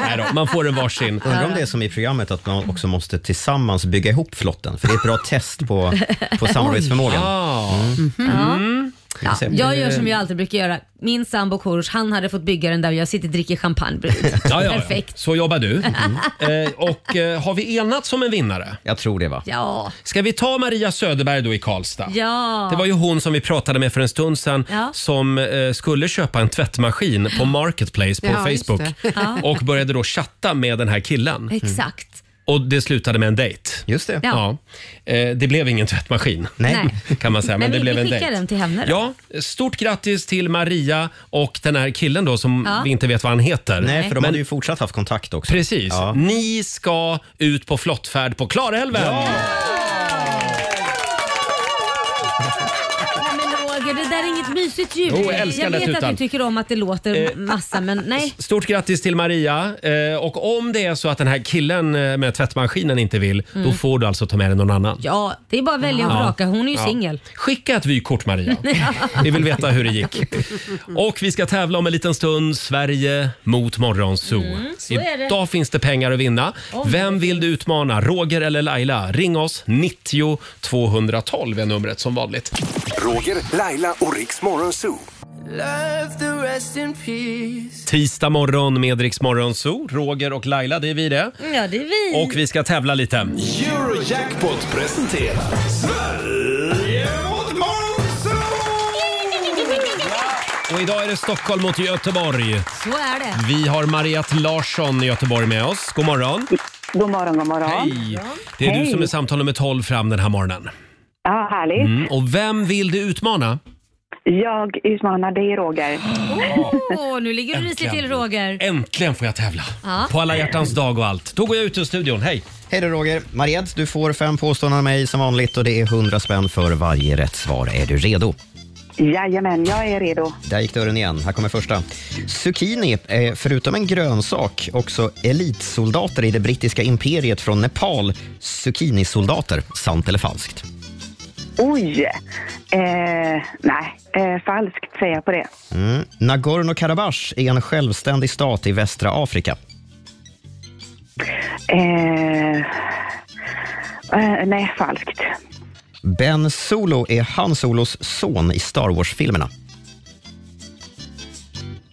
Speaker 1: Nej då, man får en varsin.
Speaker 3: Undrar om det är som i programmet att man också måste tillsammans bygga ihop flotten. För det är ett bra test på, på samarbetsförmågan.
Speaker 1: Oj.
Speaker 3: Mm.
Speaker 2: Mm-hmm. Ja.
Speaker 3: Ska vi se.
Speaker 2: Jag gör som jag alltid brukar göra. Min sambo Korosh, han hade fått bygga den där och jag sitter och dricker champagne bredvid.
Speaker 1: Ja, ja, ja.
Speaker 2: Perfekt.
Speaker 1: Så jobbar du. Eh, och eh, har vi enats som en vinnare?
Speaker 3: Jag tror det va?
Speaker 2: Ja.
Speaker 1: Ska vi ta Maria Söderberg då i Karlstad?
Speaker 2: Ja.
Speaker 1: Det var ju hon som vi pratade med för en stund sedan
Speaker 2: Ja.
Speaker 1: som eh, skulle köpa en tvättmaskin på Marketplace på
Speaker 2: Ja, just
Speaker 1: Facebook
Speaker 2: det. Ja. Mm.
Speaker 1: och Mm. började då chatta med den här killen.
Speaker 2: Exakt.
Speaker 1: Och det slutade med en dejt.
Speaker 3: Just det.
Speaker 1: Ja.
Speaker 2: Ja.
Speaker 1: Eh, det blev ingen tvättmaskin
Speaker 2: Nej.
Speaker 1: kan man säga, men,
Speaker 2: Men vi,
Speaker 1: det blev
Speaker 2: vi
Speaker 1: en
Speaker 2: skickar
Speaker 1: dejt.
Speaker 2: den till henne då.
Speaker 1: Ja, stort grattis till Maria och den här killen då som
Speaker 2: Ja.
Speaker 1: vi inte vet vad han heter.
Speaker 3: Nej, för de hade ju
Speaker 1: fortsatt haft kontakt också. Precis.
Speaker 3: Ja.
Speaker 1: Ni ska ut på flottfärd på Klarälven.
Speaker 2: Nej, men Roger, det där är inget mysigt ljud.
Speaker 1: Jo, jag älskar
Speaker 2: jag
Speaker 1: den
Speaker 2: vet
Speaker 1: tutan.
Speaker 2: att du tycker om att det låter
Speaker 1: Eh.
Speaker 2: massa, men nej.
Speaker 1: Stort grattis till Maria. Eh, och om det är så att den här killen eh, med tvättmaskinen inte vill,
Speaker 2: Mm.
Speaker 1: då får du alltså ta med dig någon annan.
Speaker 2: Ja, det är bara att välja och
Speaker 1: Ja.
Speaker 2: vraka. Hon är ju
Speaker 1: Ja.
Speaker 2: singel.
Speaker 1: Skicka ett vykort Maria. Vi vill veta hur det gick. Och vi ska tävla om en liten stund. Sverige mot Morgonzoo.
Speaker 2: Mm, så är det.
Speaker 1: Idag finns det pengar att vinna.
Speaker 2: Oj.
Speaker 1: Vem vill du utmana? Roger eller Laila? Ring oss. 90 212 är numret som vanligt.
Speaker 6: Roger, Laila och Riks Morgonzoo.
Speaker 7: Love the rest in peace.
Speaker 1: Tisdag morgon med Rix Morgonzoo. Roger och Laila, det är vi det.
Speaker 2: Ja, det är vi.
Speaker 1: Och vi ska tävla lite.
Speaker 17: Eurojackpot presenterar Sverige mot
Speaker 1: Och idag är det Stockholm mot Göteborg.
Speaker 2: Så är det.
Speaker 1: Vi har Mariette Larsson i Göteborg med oss. God morgon.
Speaker 19: God morgon, god morgon.
Speaker 1: Hej. Det är du
Speaker 19: Hej.
Speaker 1: som är samtal nummer 12 fram den här morgonen.
Speaker 19: Ja, härligt.
Speaker 1: Mm. Och vem vill du utmana?
Speaker 19: Jag utmanar dig, Roger.
Speaker 2: Åh, nu ligger du risigt till Roger.
Speaker 1: Äntligen får jag tävla.
Speaker 2: Ja.
Speaker 1: På alla hjärtans dag och allt. Då går jag ut ur studion. Hej!
Speaker 3: Hej då Roger. Mariette, du får fem påståenden av mig som vanligt och det är 100 spänn för varje rätt svar. Är du redo?
Speaker 19: Jajamän, jag är redo.
Speaker 3: Där gick dörren igen. Här kommer första. Zucchini är förutom en grönsak också elitsoldater i det brittiska imperiet från Nepal. Zucchinisoldater. Sant eller falskt?
Speaker 19: Oj! Eh, nej, eh, falskt säger jag på det.
Speaker 3: Mm. Nagorno-Karabach är en självständig stat i västra Afrika.
Speaker 19: Eh, eh, nej, falskt.
Speaker 3: Ben Solo är Han Solos son i Star Wars-filmerna.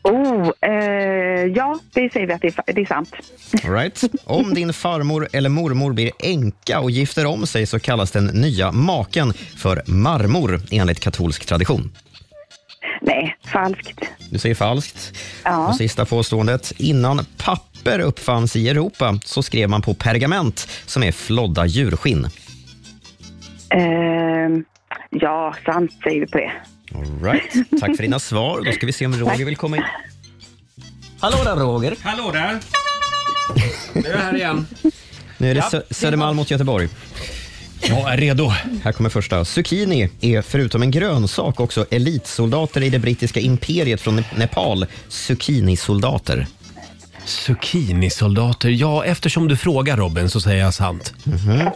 Speaker 19: Oh, eh, ja, det säger vi att det är, fa- det är sant.
Speaker 3: All Right. Om din farmor eller mormor blir änka och gifter om sig så kallas den nya maken för marmor enligt katolsk tradition.
Speaker 19: Nej, falskt.
Speaker 3: Du säger falskt.
Speaker 19: Ja.
Speaker 3: Och sista påståendet. Innan papper uppfanns i Europa så skrev man på pergament som är flodda djurskinn.
Speaker 19: Eh, ja, sant säger vi på det.
Speaker 3: All Right. Tack för dina svar. Då ska vi se om Roger vill komma in. Hallå där Roger!
Speaker 1: Hallå där! Nu är jag här igen.
Speaker 3: Nu är det
Speaker 1: Ja,
Speaker 3: Sö- Södermalm mot Göteborg.
Speaker 1: Jag är redo.
Speaker 3: Här kommer första. Zucchini är förutom en grönsak också elitsoldater i det brittiska imperiet från Ne- Nepal. Zucchinisoldater.
Speaker 1: Zucchinisoldater. Ja, eftersom du frågar Robin så säger jag sant.
Speaker 3: Mm.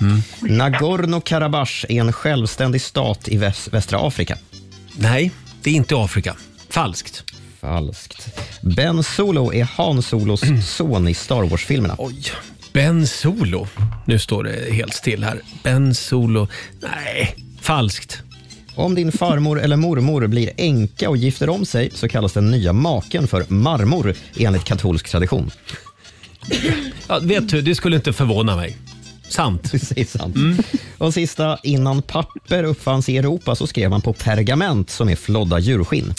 Speaker 3: Nagorno-Karabach är en självständig stat i väs- västra Afrika.
Speaker 1: Nej, det är inte Afrika. Falskt.
Speaker 3: Falskt. Ben Solo är Han Solos son i Star Wars-filmerna.
Speaker 1: Mm. Oj. Ben Solo. Nu står det helt still här. Ben Solo. Nej, falskt.
Speaker 3: Om din farmor eller mormor blir änka och gifter om sig så kallas den nya maken för marmor enligt katolsk tradition.
Speaker 1: Ja, vet du, det skulle inte förvåna mig. Sant. Mm.
Speaker 3: Du säger sant. Och sista, innan papper uppfanns i Europa så skrev man på pergament som är flodda djurskinn.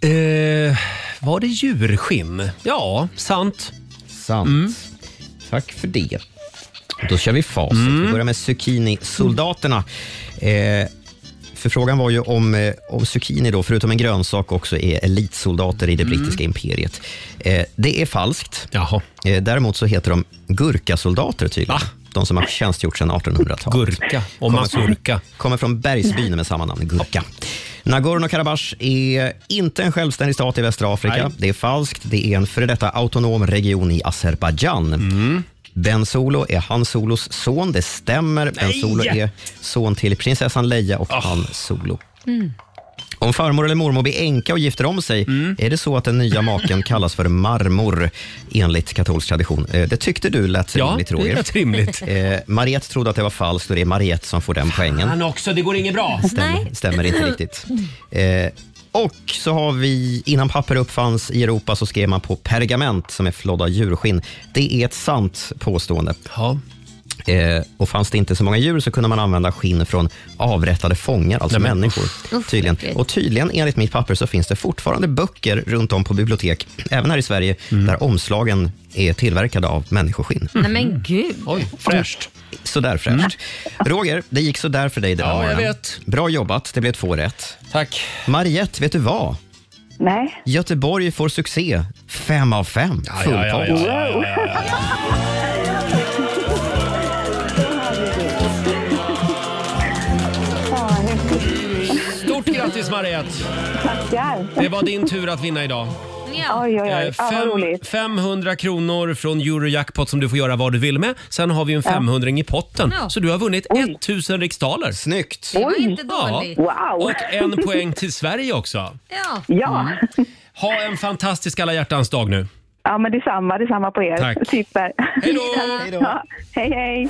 Speaker 1: Eh, var det djurskinn? Ja, sant. Mm.
Speaker 3: Sant. Tack för det. Då kör vi facit.
Speaker 1: Mm.
Speaker 3: Vi börjar med zucchini-soldaterna. Eh, för frågan var ju om, eh, om zucchini, då, förutom en grönsak, också är elitsoldater i det
Speaker 1: Mm.
Speaker 3: brittiska imperiet. Eh, det är falskt. Eh, däremot så heter de gurkasoldater tydligen. De som har tjänstgjort sedan 1800-talet.
Speaker 1: Gurka och
Speaker 3: Kommer-
Speaker 1: mazurka.
Speaker 3: Kommer från bergsbyn med samma namn, Gurka. Nagorno-Karabach är inte en självständig stat i västra Afrika.
Speaker 1: Nej. Mm.
Speaker 3: Det är falskt. Det är en före detta autonom region i Azerbajdzjan. Ben Solo är Han Solos son. Det stämmer. Ben
Speaker 2: Nej!
Speaker 3: Solo är son till prinsessan Leia
Speaker 1: Ah.
Speaker 3: och Han Solo.
Speaker 2: Mm.
Speaker 3: Om farmor eller mormor blir änka och gifter om sig,
Speaker 1: Mm.
Speaker 3: är det så att den nya maken kallas för marmor enligt katolsk tradition? Eh, Det tyckte du lät
Speaker 1: Ja,
Speaker 3: rimligt,
Speaker 1: det
Speaker 3: Roger.
Speaker 1: lät rimligt.
Speaker 3: Eh, Mariette trodde att det var falskt och det är Mariette som får den poängen.
Speaker 1: Han också, det går inget bra.
Speaker 3: Stämmer, stämmer inte riktigt. Eh, och så har vi, innan papper uppfanns i Europa så skrev man på pergament som är flådda djurskinn. Det är ett sant påstående. Eh, och fanns det inte så många djur så kunde man använda skinn från avrättade fångar, alltså
Speaker 1: Nej, men,
Speaker 3: människor.
Speaker 1: usch.
Speaker 3: tydligen.
Speaker 1: Usch,
Speaker 3: Och tydligen, enligt mitt papper, så finns det fortfarande böcker runt om på bibliotek, även här i Sverige,
Speaker 1: Mm.
Speaker 3: där omslagen är tillverkade av människoskinn.
Speaker 2: Nej men gud.
Speaker 1: Oj,
Speaker 3: Fräscht. Mm. Sådär fräscht. Roger, det gick sådär för dig den här
Speaker 1: Ja, jag
Speaker 3: morgonen.
Speaker 1: vet.
Speaker 3: Bra jobbat, det blev två rätt.
Speaker 1: Tack.
Speaker 3: Mariette, vet du vad?
Speaker 19: Nej.
Speaker 3: Göteborg får succé. Fem av fem. Full
Speaker 1: ja, ja, ja,
Speaker 3: pott.
Speaker 1: ja, ja, ja, Stort grattis Mariette!
Speaker 19: Tackar.
Speaker 1: Det var din tur att vinna idag.
Speaker 19: Oj, oj, oj.
Speaker 1: Eh,
Speaker 19: Ja, vad
Speaker 1: fem-
Speaker 19: roligt.
Speaker 1: 500 kronor från Eurojackpot som du får göra vad du vill med. Sen har vi en
Speaker 19: Ja.
Speaker 1: 500 i potten.
Speaker 19: Ja.
Speaker 1: Så du har vunnit 1000 riksdaler.
Speaker 3: Snyggt!
Speaker 2: Det var inte dåligt.
Speaker 19: Wow.
Speaker 1: Och en poäng till Sverige också.
Speaker 2: Ja.
Speaker 19: Ja.
Speaker 1: Ha en fantastisk alla hjärtans dag nu.
Speaker 19: ja, men detsamma. Detsamma på er.
Speaker 1: Tack.
Speaker 19: Super.
Speaker 1: Hej då!
Speaker 19: Ja, hej, hej.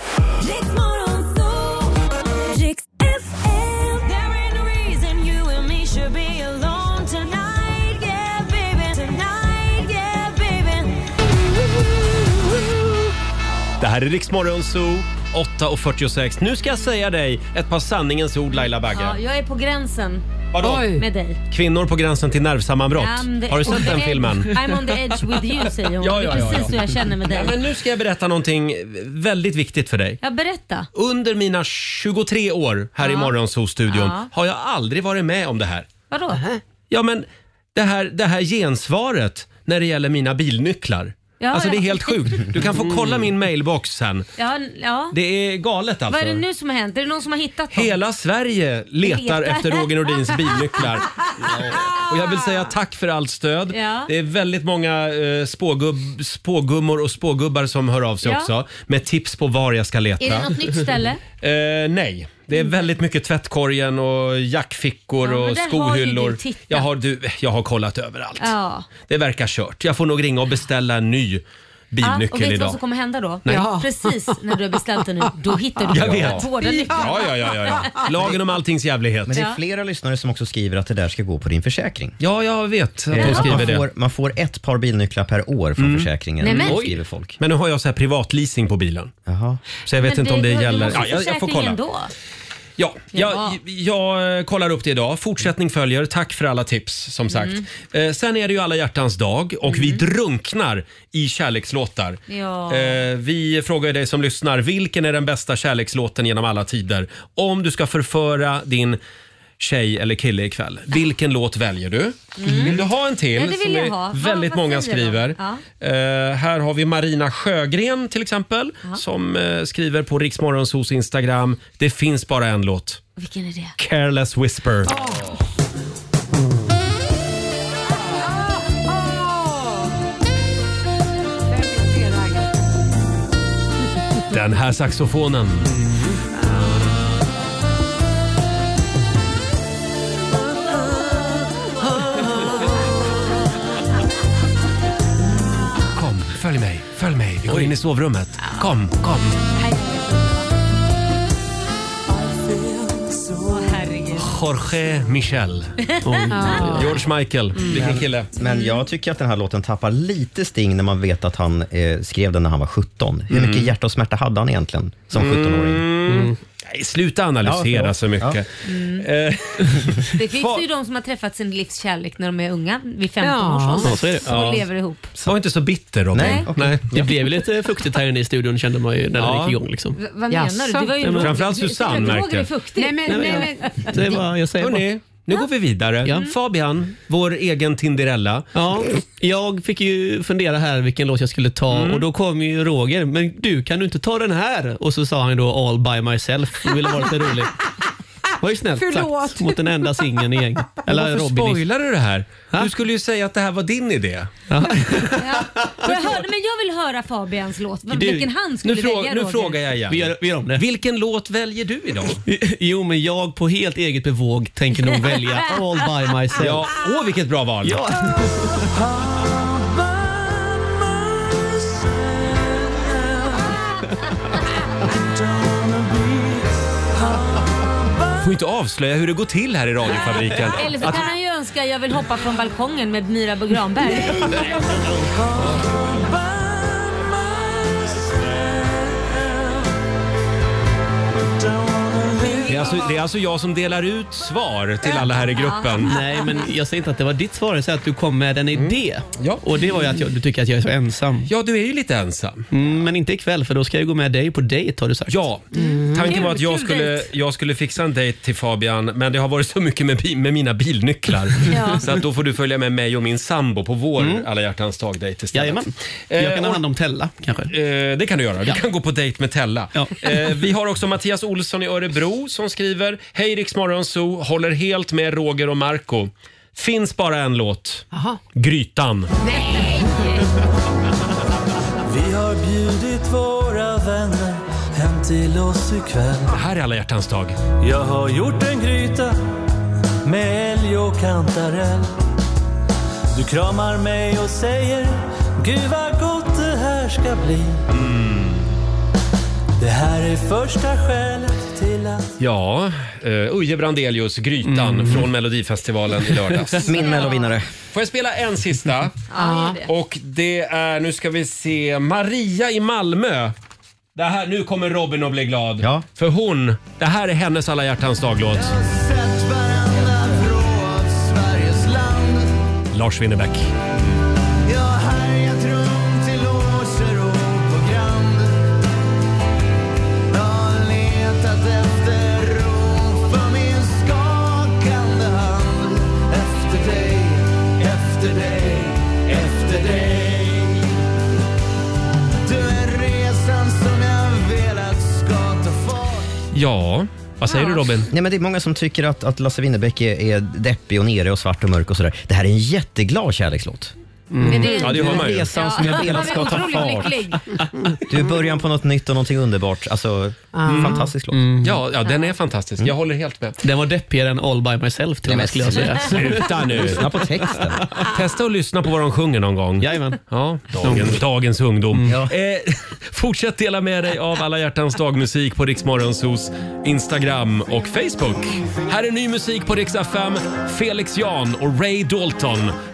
Speaker 1: Det här är Riksmorgon Zoo 8.46. Nu ska jag säga dig ett par sanningens ord Laila Bagge.
Speaker 2: Ja, jag är på gränsen.
Speaker 1: Vadå? Oj.
Speaker 2: Med dig.
Speaker 1: Kvinnor på gränsen till nervsammanbrott.
Speaker 2: I'm the-
Speaker 1: Har du
Speaker 2: on
Speaker 1: sett
Speaker 2: the
Speaker 1: den
Speaker 2: edge-
Speaker 1: filmen?
Speaker 2: I'm on the edge with you säger hon.
Speaker 1: Ja, ja,
Speaker 2: det är
Speaker 1: ja,
Speaker 2: precis
Speaker 1: ja.
Speaker 2: hur jag känner med dig.
Speaker 1: Ja, men nu ska jag berätta någonting väldigt viktigt för dig.
Speaker 2: Ja, berätta.
Speaker 1: Under mina 23 år här i
Speaker 2: Ja.
Speaker 1: Morgonzoo-studion
Speaker 2: Ja.
Speaker 1: har jag aldrig varit med om det här.
Speaker 2: Vadå?
Speaker 1: Ja, men det här, det här gensvaret när det gäller mina bilnycklar.
Speaker 2: Ja,
Speaker 1: alltså det är
Speaker 2: ja.
Speaker 1: helt sjukt. Du kan få kolla min mailbox sen.
Speaker 2: Ja, ja.
Speaker 1: Det är galet alltså.
Speaker 2: Vad är det nu som har hänt? Är det någon som har hittat dem?
Speaker 1: Hela Sverige letar
Speaker 2: Letar.
Speaker 1: efter Roger Nordins bilnycklar. Och jag vill säga tack för allt stöd.
Speaker 2: Ja.
Speaker 1: Det är väldigt många eh, spågubb, spågummor och spågubbar som hör av sig
Speaker 2: Ja.
Speaker 1: också med tips på var jag ska leta.
Speaker 2: Är det något nytt ställe?
Speaker 1: Eh, nej. Det är väldigt mycket tvättkorgen och jackfickor
Speaker 2: Mm. Ja, men
Speaker 1: och
Speaker 2: där har ju
Speaker 1: skohyllor.
Speaker 2: du tittat.
Speaker 1: jag, har, du, jag har kollat överallt.
Speaker 2: Ja.
Speaker 1: Det verkar kört. Jag får nog ringa och beställa en ny bilnyckel
Speaker 2: ja, Ah, och vet du
Speaker 1: idag.
Speaker 2: vad som kommer hända då?
Speaker 1: Nej.
Speaker 2: Ja. Precis när du har beställt den nu, då hittar du
Speaker 1: Jag vet.
Speaker 2: båda nycklarna.
Speaker 1: Ja, ja, ja, ja, ja. Lagen om alltings jävlighet.
Speaker 3: Men det är
Speaker 2: Ja.
Speaker 3: flera lyssnare som också skriver att det där ska gå på din försäkring.
Speaker 1: Ja, jag vet att
Speaker 3: Eh,
Speaker 1: de skriver
Speaker 3: man,
Speaker 1: det.
Speaker 3: får, man får ett par bilnycklar per år från försäkringen,
Speaker 1: Nej, men-
Speaker 3: Det
Speaker 1: Oj.
Speaker 3: skriver folk.
Speaker 1: Men nu har jag så här privatleasing på bilen. Så jag vet
Speaker 2: Men
Speaker 1: inte om
Speaker 2: du-
Speaker 1: det
Speaker 2: du
Speaker 1: gäller.
Speaker 2: måste
Speaker 1: Ja, jag, jag får kolla.
Speaker 2: försäkringen Då.
Speaker 1: Ja,
Speaker 2: Ja.
Speaker 1: jag, jag eh, kollar upp det idag.
Speaker 2: Mm.
Speaker 1: Fortsättning följer. Tack för alla tips som sagt. Eh, sen är det ju alla hjärtans dag och
Speaker 2: Mm.
Speaker 1: vi drunknar i kärlekslåtar.
Speaker 2: Ja.
Speaker 1: Eh, vi frågar dig som lyssnar, vilken är den bästa kärlekslåten genom alla tider? Om du ska förföra din tjej eller kille ikväll, vilken låt väljer du? Vill du ha en till?
Speaker 2: Mm. Ja, det vill
Speaker 1: som
Speaker 2: jag
Speaker 1: är-
Speaker 2: ha. Vad-
Speaker 1: Väldigt
Speaker 2: vad
Speaker 1: många
Speaker 2: säger de?
Speaker 1: skriver.
Speaker 2: Ja.
Speaker 1: Eh, här har vi Marina Sjögren till exempel som eh, skriver på Riksmorgonsos Instagram. Det finns bara en låt.
Speaker 2: Vilken är det?
Speaker 1: Careless Whisper. Den här saxofonen. Kom, följ mig, följ mig. Vi går in i sovrummet. Kom, kom.
Speaker 2: Åh herregud.
Speaker 1: Jorge Michel.
Speaker 2: Ja.
Speaker 1: George Michael. Vilken kille.
Speaker 3: Mm. Men jag tycker att den här låten tappar lite sting när man vet att han eh, skrev den när han var 17. Hur
Speaker 1: Mm.
Speaker 3: mycket hjärta och smärta hade han egentligen som 17-åring?
Speaker 1: Nej, sluta analysera
Speaker 3: Ja, förlåt.
Speaker 1: så mycket. Eh,
Speaker 2: Mm. Det finns ju de som har träffat sin livs kärlek när de är unga, vid 15
Speaker 10: Ja.
Speaker 2: års ålder.
Speaker 10: Ja, så är det. Ja.
Speaker 2: lever det ihop.
Speaker 1: Var inte så bitter Robin.
Speaker 10: Nej.
Speaker 1: Nej.
Speaker 10: Det blev lite fuktigt här inne i studion kände man ju när
Speaker 1: Ja.
Speaker 10: den gick igång. Liksom.
Speaker 2: V- vad menar
Speaker 10: Jaså?
Speaker 2: du? Det var ju
Speaker 10: Ja, men-
Speaker 1: Framförallt Susanne märkte.
Speaker 2: Roger är fuktig.
Speaker 4: Nej, men,
Speaker 10: Nej,
Speaker 4: nej, men,
Speaker 10: Det var, jag säger bara.
Speaker 1: Hörrni, nu går vi vidare. Fabian, vår egen Tinderella.
Speaker 10: Ja, jag fick ju fundera här vilken låt jag skulle ta
Speaker 1: Mm.
Speaker 10: och då kom ju Roger. Men du, kan du inte ta den här? Och så sa han då All by myself. Det ville vara lite roligt. var ju snällt
Speaker 1: Förlåt.
Speaker 10: sagt mot den enda singeln i gänget. Eller
Speaker 1: Varför
Speaker 10: Robin.
Speaker 1: spoilar du det här? Du skulle ju säga att det här var din idé.
Speaker 2: Jag, hörde, men jag vill höra Fabians låt.
Speaker 1: Du,
Speaker 2: Vilken han skulle
Speaker 1: nu frå-
Speaker 2: välja
Speaker 1: nu
Speaker 2: Roger.
Speaker 1: frågar jag igen.
Speaker 10: Vi gör, vi gör om det.
Speaker 1: Vilken låt väljer du idag?
Speaker 10: Jo, men jag på helt eget bevåg tänker nog välja All by myself.
Speaker 1: Ja, åh vilket bra val.
Speaker 10: Ja.
Speaker 1: Får inte avslöja hur det går till här i radiofabriken.
Speaker 2: Eller så
Speaker 1: Att-
Speaker 2: kan han ju önska jag vill hoppa från balkongen med Mira Bo Granberg.
Speaker 1: det, är alltså, det är alltså jag som delar ut svar till alla här i gruppen. Mm.
Speaker 10: Nej, men jag säger inte att det var ditt svar. Jag säger att du kom med en idé.
Speaker 1: Ja.
Speaker 10: Och det var ju att jag, du tycker att jag är så ensam.
Speaker 1: Ja, du är ju lite ensam.
Speaker 10: Mm, men inte ikväll, för då ska jag gå med dig på dejt har du sagt.
Speaker 1: Ja,
Speaker 10: Mm.
Speaker 1: Tanken var att jag skulle, jag skulle fixa en dejt till Fabian, men det har varit så mycket med, bi- med mina bilnycklar.
Speaker 10: Ja. Mm.
Speaker 1: Så att då får du följa med mig och min sambo på vår alla hjärtans dag-dejt istället.
Speaker 10: Jajamän. Jag kan ha hand om Tella kanske.
Speaker 1: Eh, det kan du göra. Du kan gå på dejt med Tella. Eh, vi har också Mattias Olsson i Örebro som skriver Hej Rix Morgon Zoo, håller helt med Roger och Marco. Finns bara en låt. Grytan.
Speaker 2: Nej!
Speaker 14: Vi har bjudit våra vänner hem till oss ikväll.
Speaker 1: Det här är alla hjärtans dag.
Speaker 14: Jag har gjort en gryta med älg och kantarell. Du kramar mig och säger Gud vad gott det här ska bli.
Speaker 1: Mm.
Speaker 14: Det här är första skälet till att...
Speaker 1: Ja, eh, Uje Brandelius, Grytan från Melodifestivalen i lördags.
Speaker 3: Mm. Min mellovinnare.
Speaker 1: Får jag spela en sista?
Speaker 3: Ja,
Speaker 2: gör
Speaker 1: Och det är, nu ska vi se, Maria i Malmö. Det här, nu kommer Robin att bli glad. För hon, det här är hennes alla hjärtans daglåt.
Speaker 14: Sett varenda vrå av Sveriges land.
Speaker 1: Lars Winnerbäck.
Speaker 14: Jag har härjat runt i loger och på Grand. Jag har letat efter ro för min skakande hand. Efter dig, efter dig, efter dig. Du är resan som jag velat ska ta fart.
Speaker 1: Ja, vad säger du Robin?
Speaker 3: Nej, men det är många som tycker att, att Lasse Winnerbäck är, är deppig och nere och svart och mörk och sådär. Det här är en jätteglad kärlekslåt.
Speaker 1: Mm.
Speaker 2: Men det är- Mm. Ja, det hör man ju.
Speaker 3: Resan som
Speaker 2: Ja,
Speaker 3: jag
Speaker 2: man
Speaker 3: velat
Speaker 2: är
Speaker 3: ska ta
Speaker 2: otroligt
Speaker 3: fart.
Speaker 2: lycklig.
Speaker 3: Du är början på något nytt och någonting underbart. Alltså,
Speaker 2: Mm.
Speaker 3: fantastisk låt.
Speaker 1: Ja, ja, den är fantastisk. Jag håller helt med.
Speaker 10: Mm. Den var deppigare än All by myself till och med skulle jag säga.
Speaker 1: Sluta nu!
Speaker 10: Lyssna på
Speaker 3: texten.
Speaker 1: Testa att lyssna på vad de sjunger någon gång.
Speaker 10: Jajamän.
Speaker 1: Ja, dagens, dagens ungdom. Eh, fortsätt dela med dig av alla hjärtans dagmusik på Riksmorgonsos Instagram och Facebook. Här är ny musik på Rix FM. Felix Jan och Ray Dalton.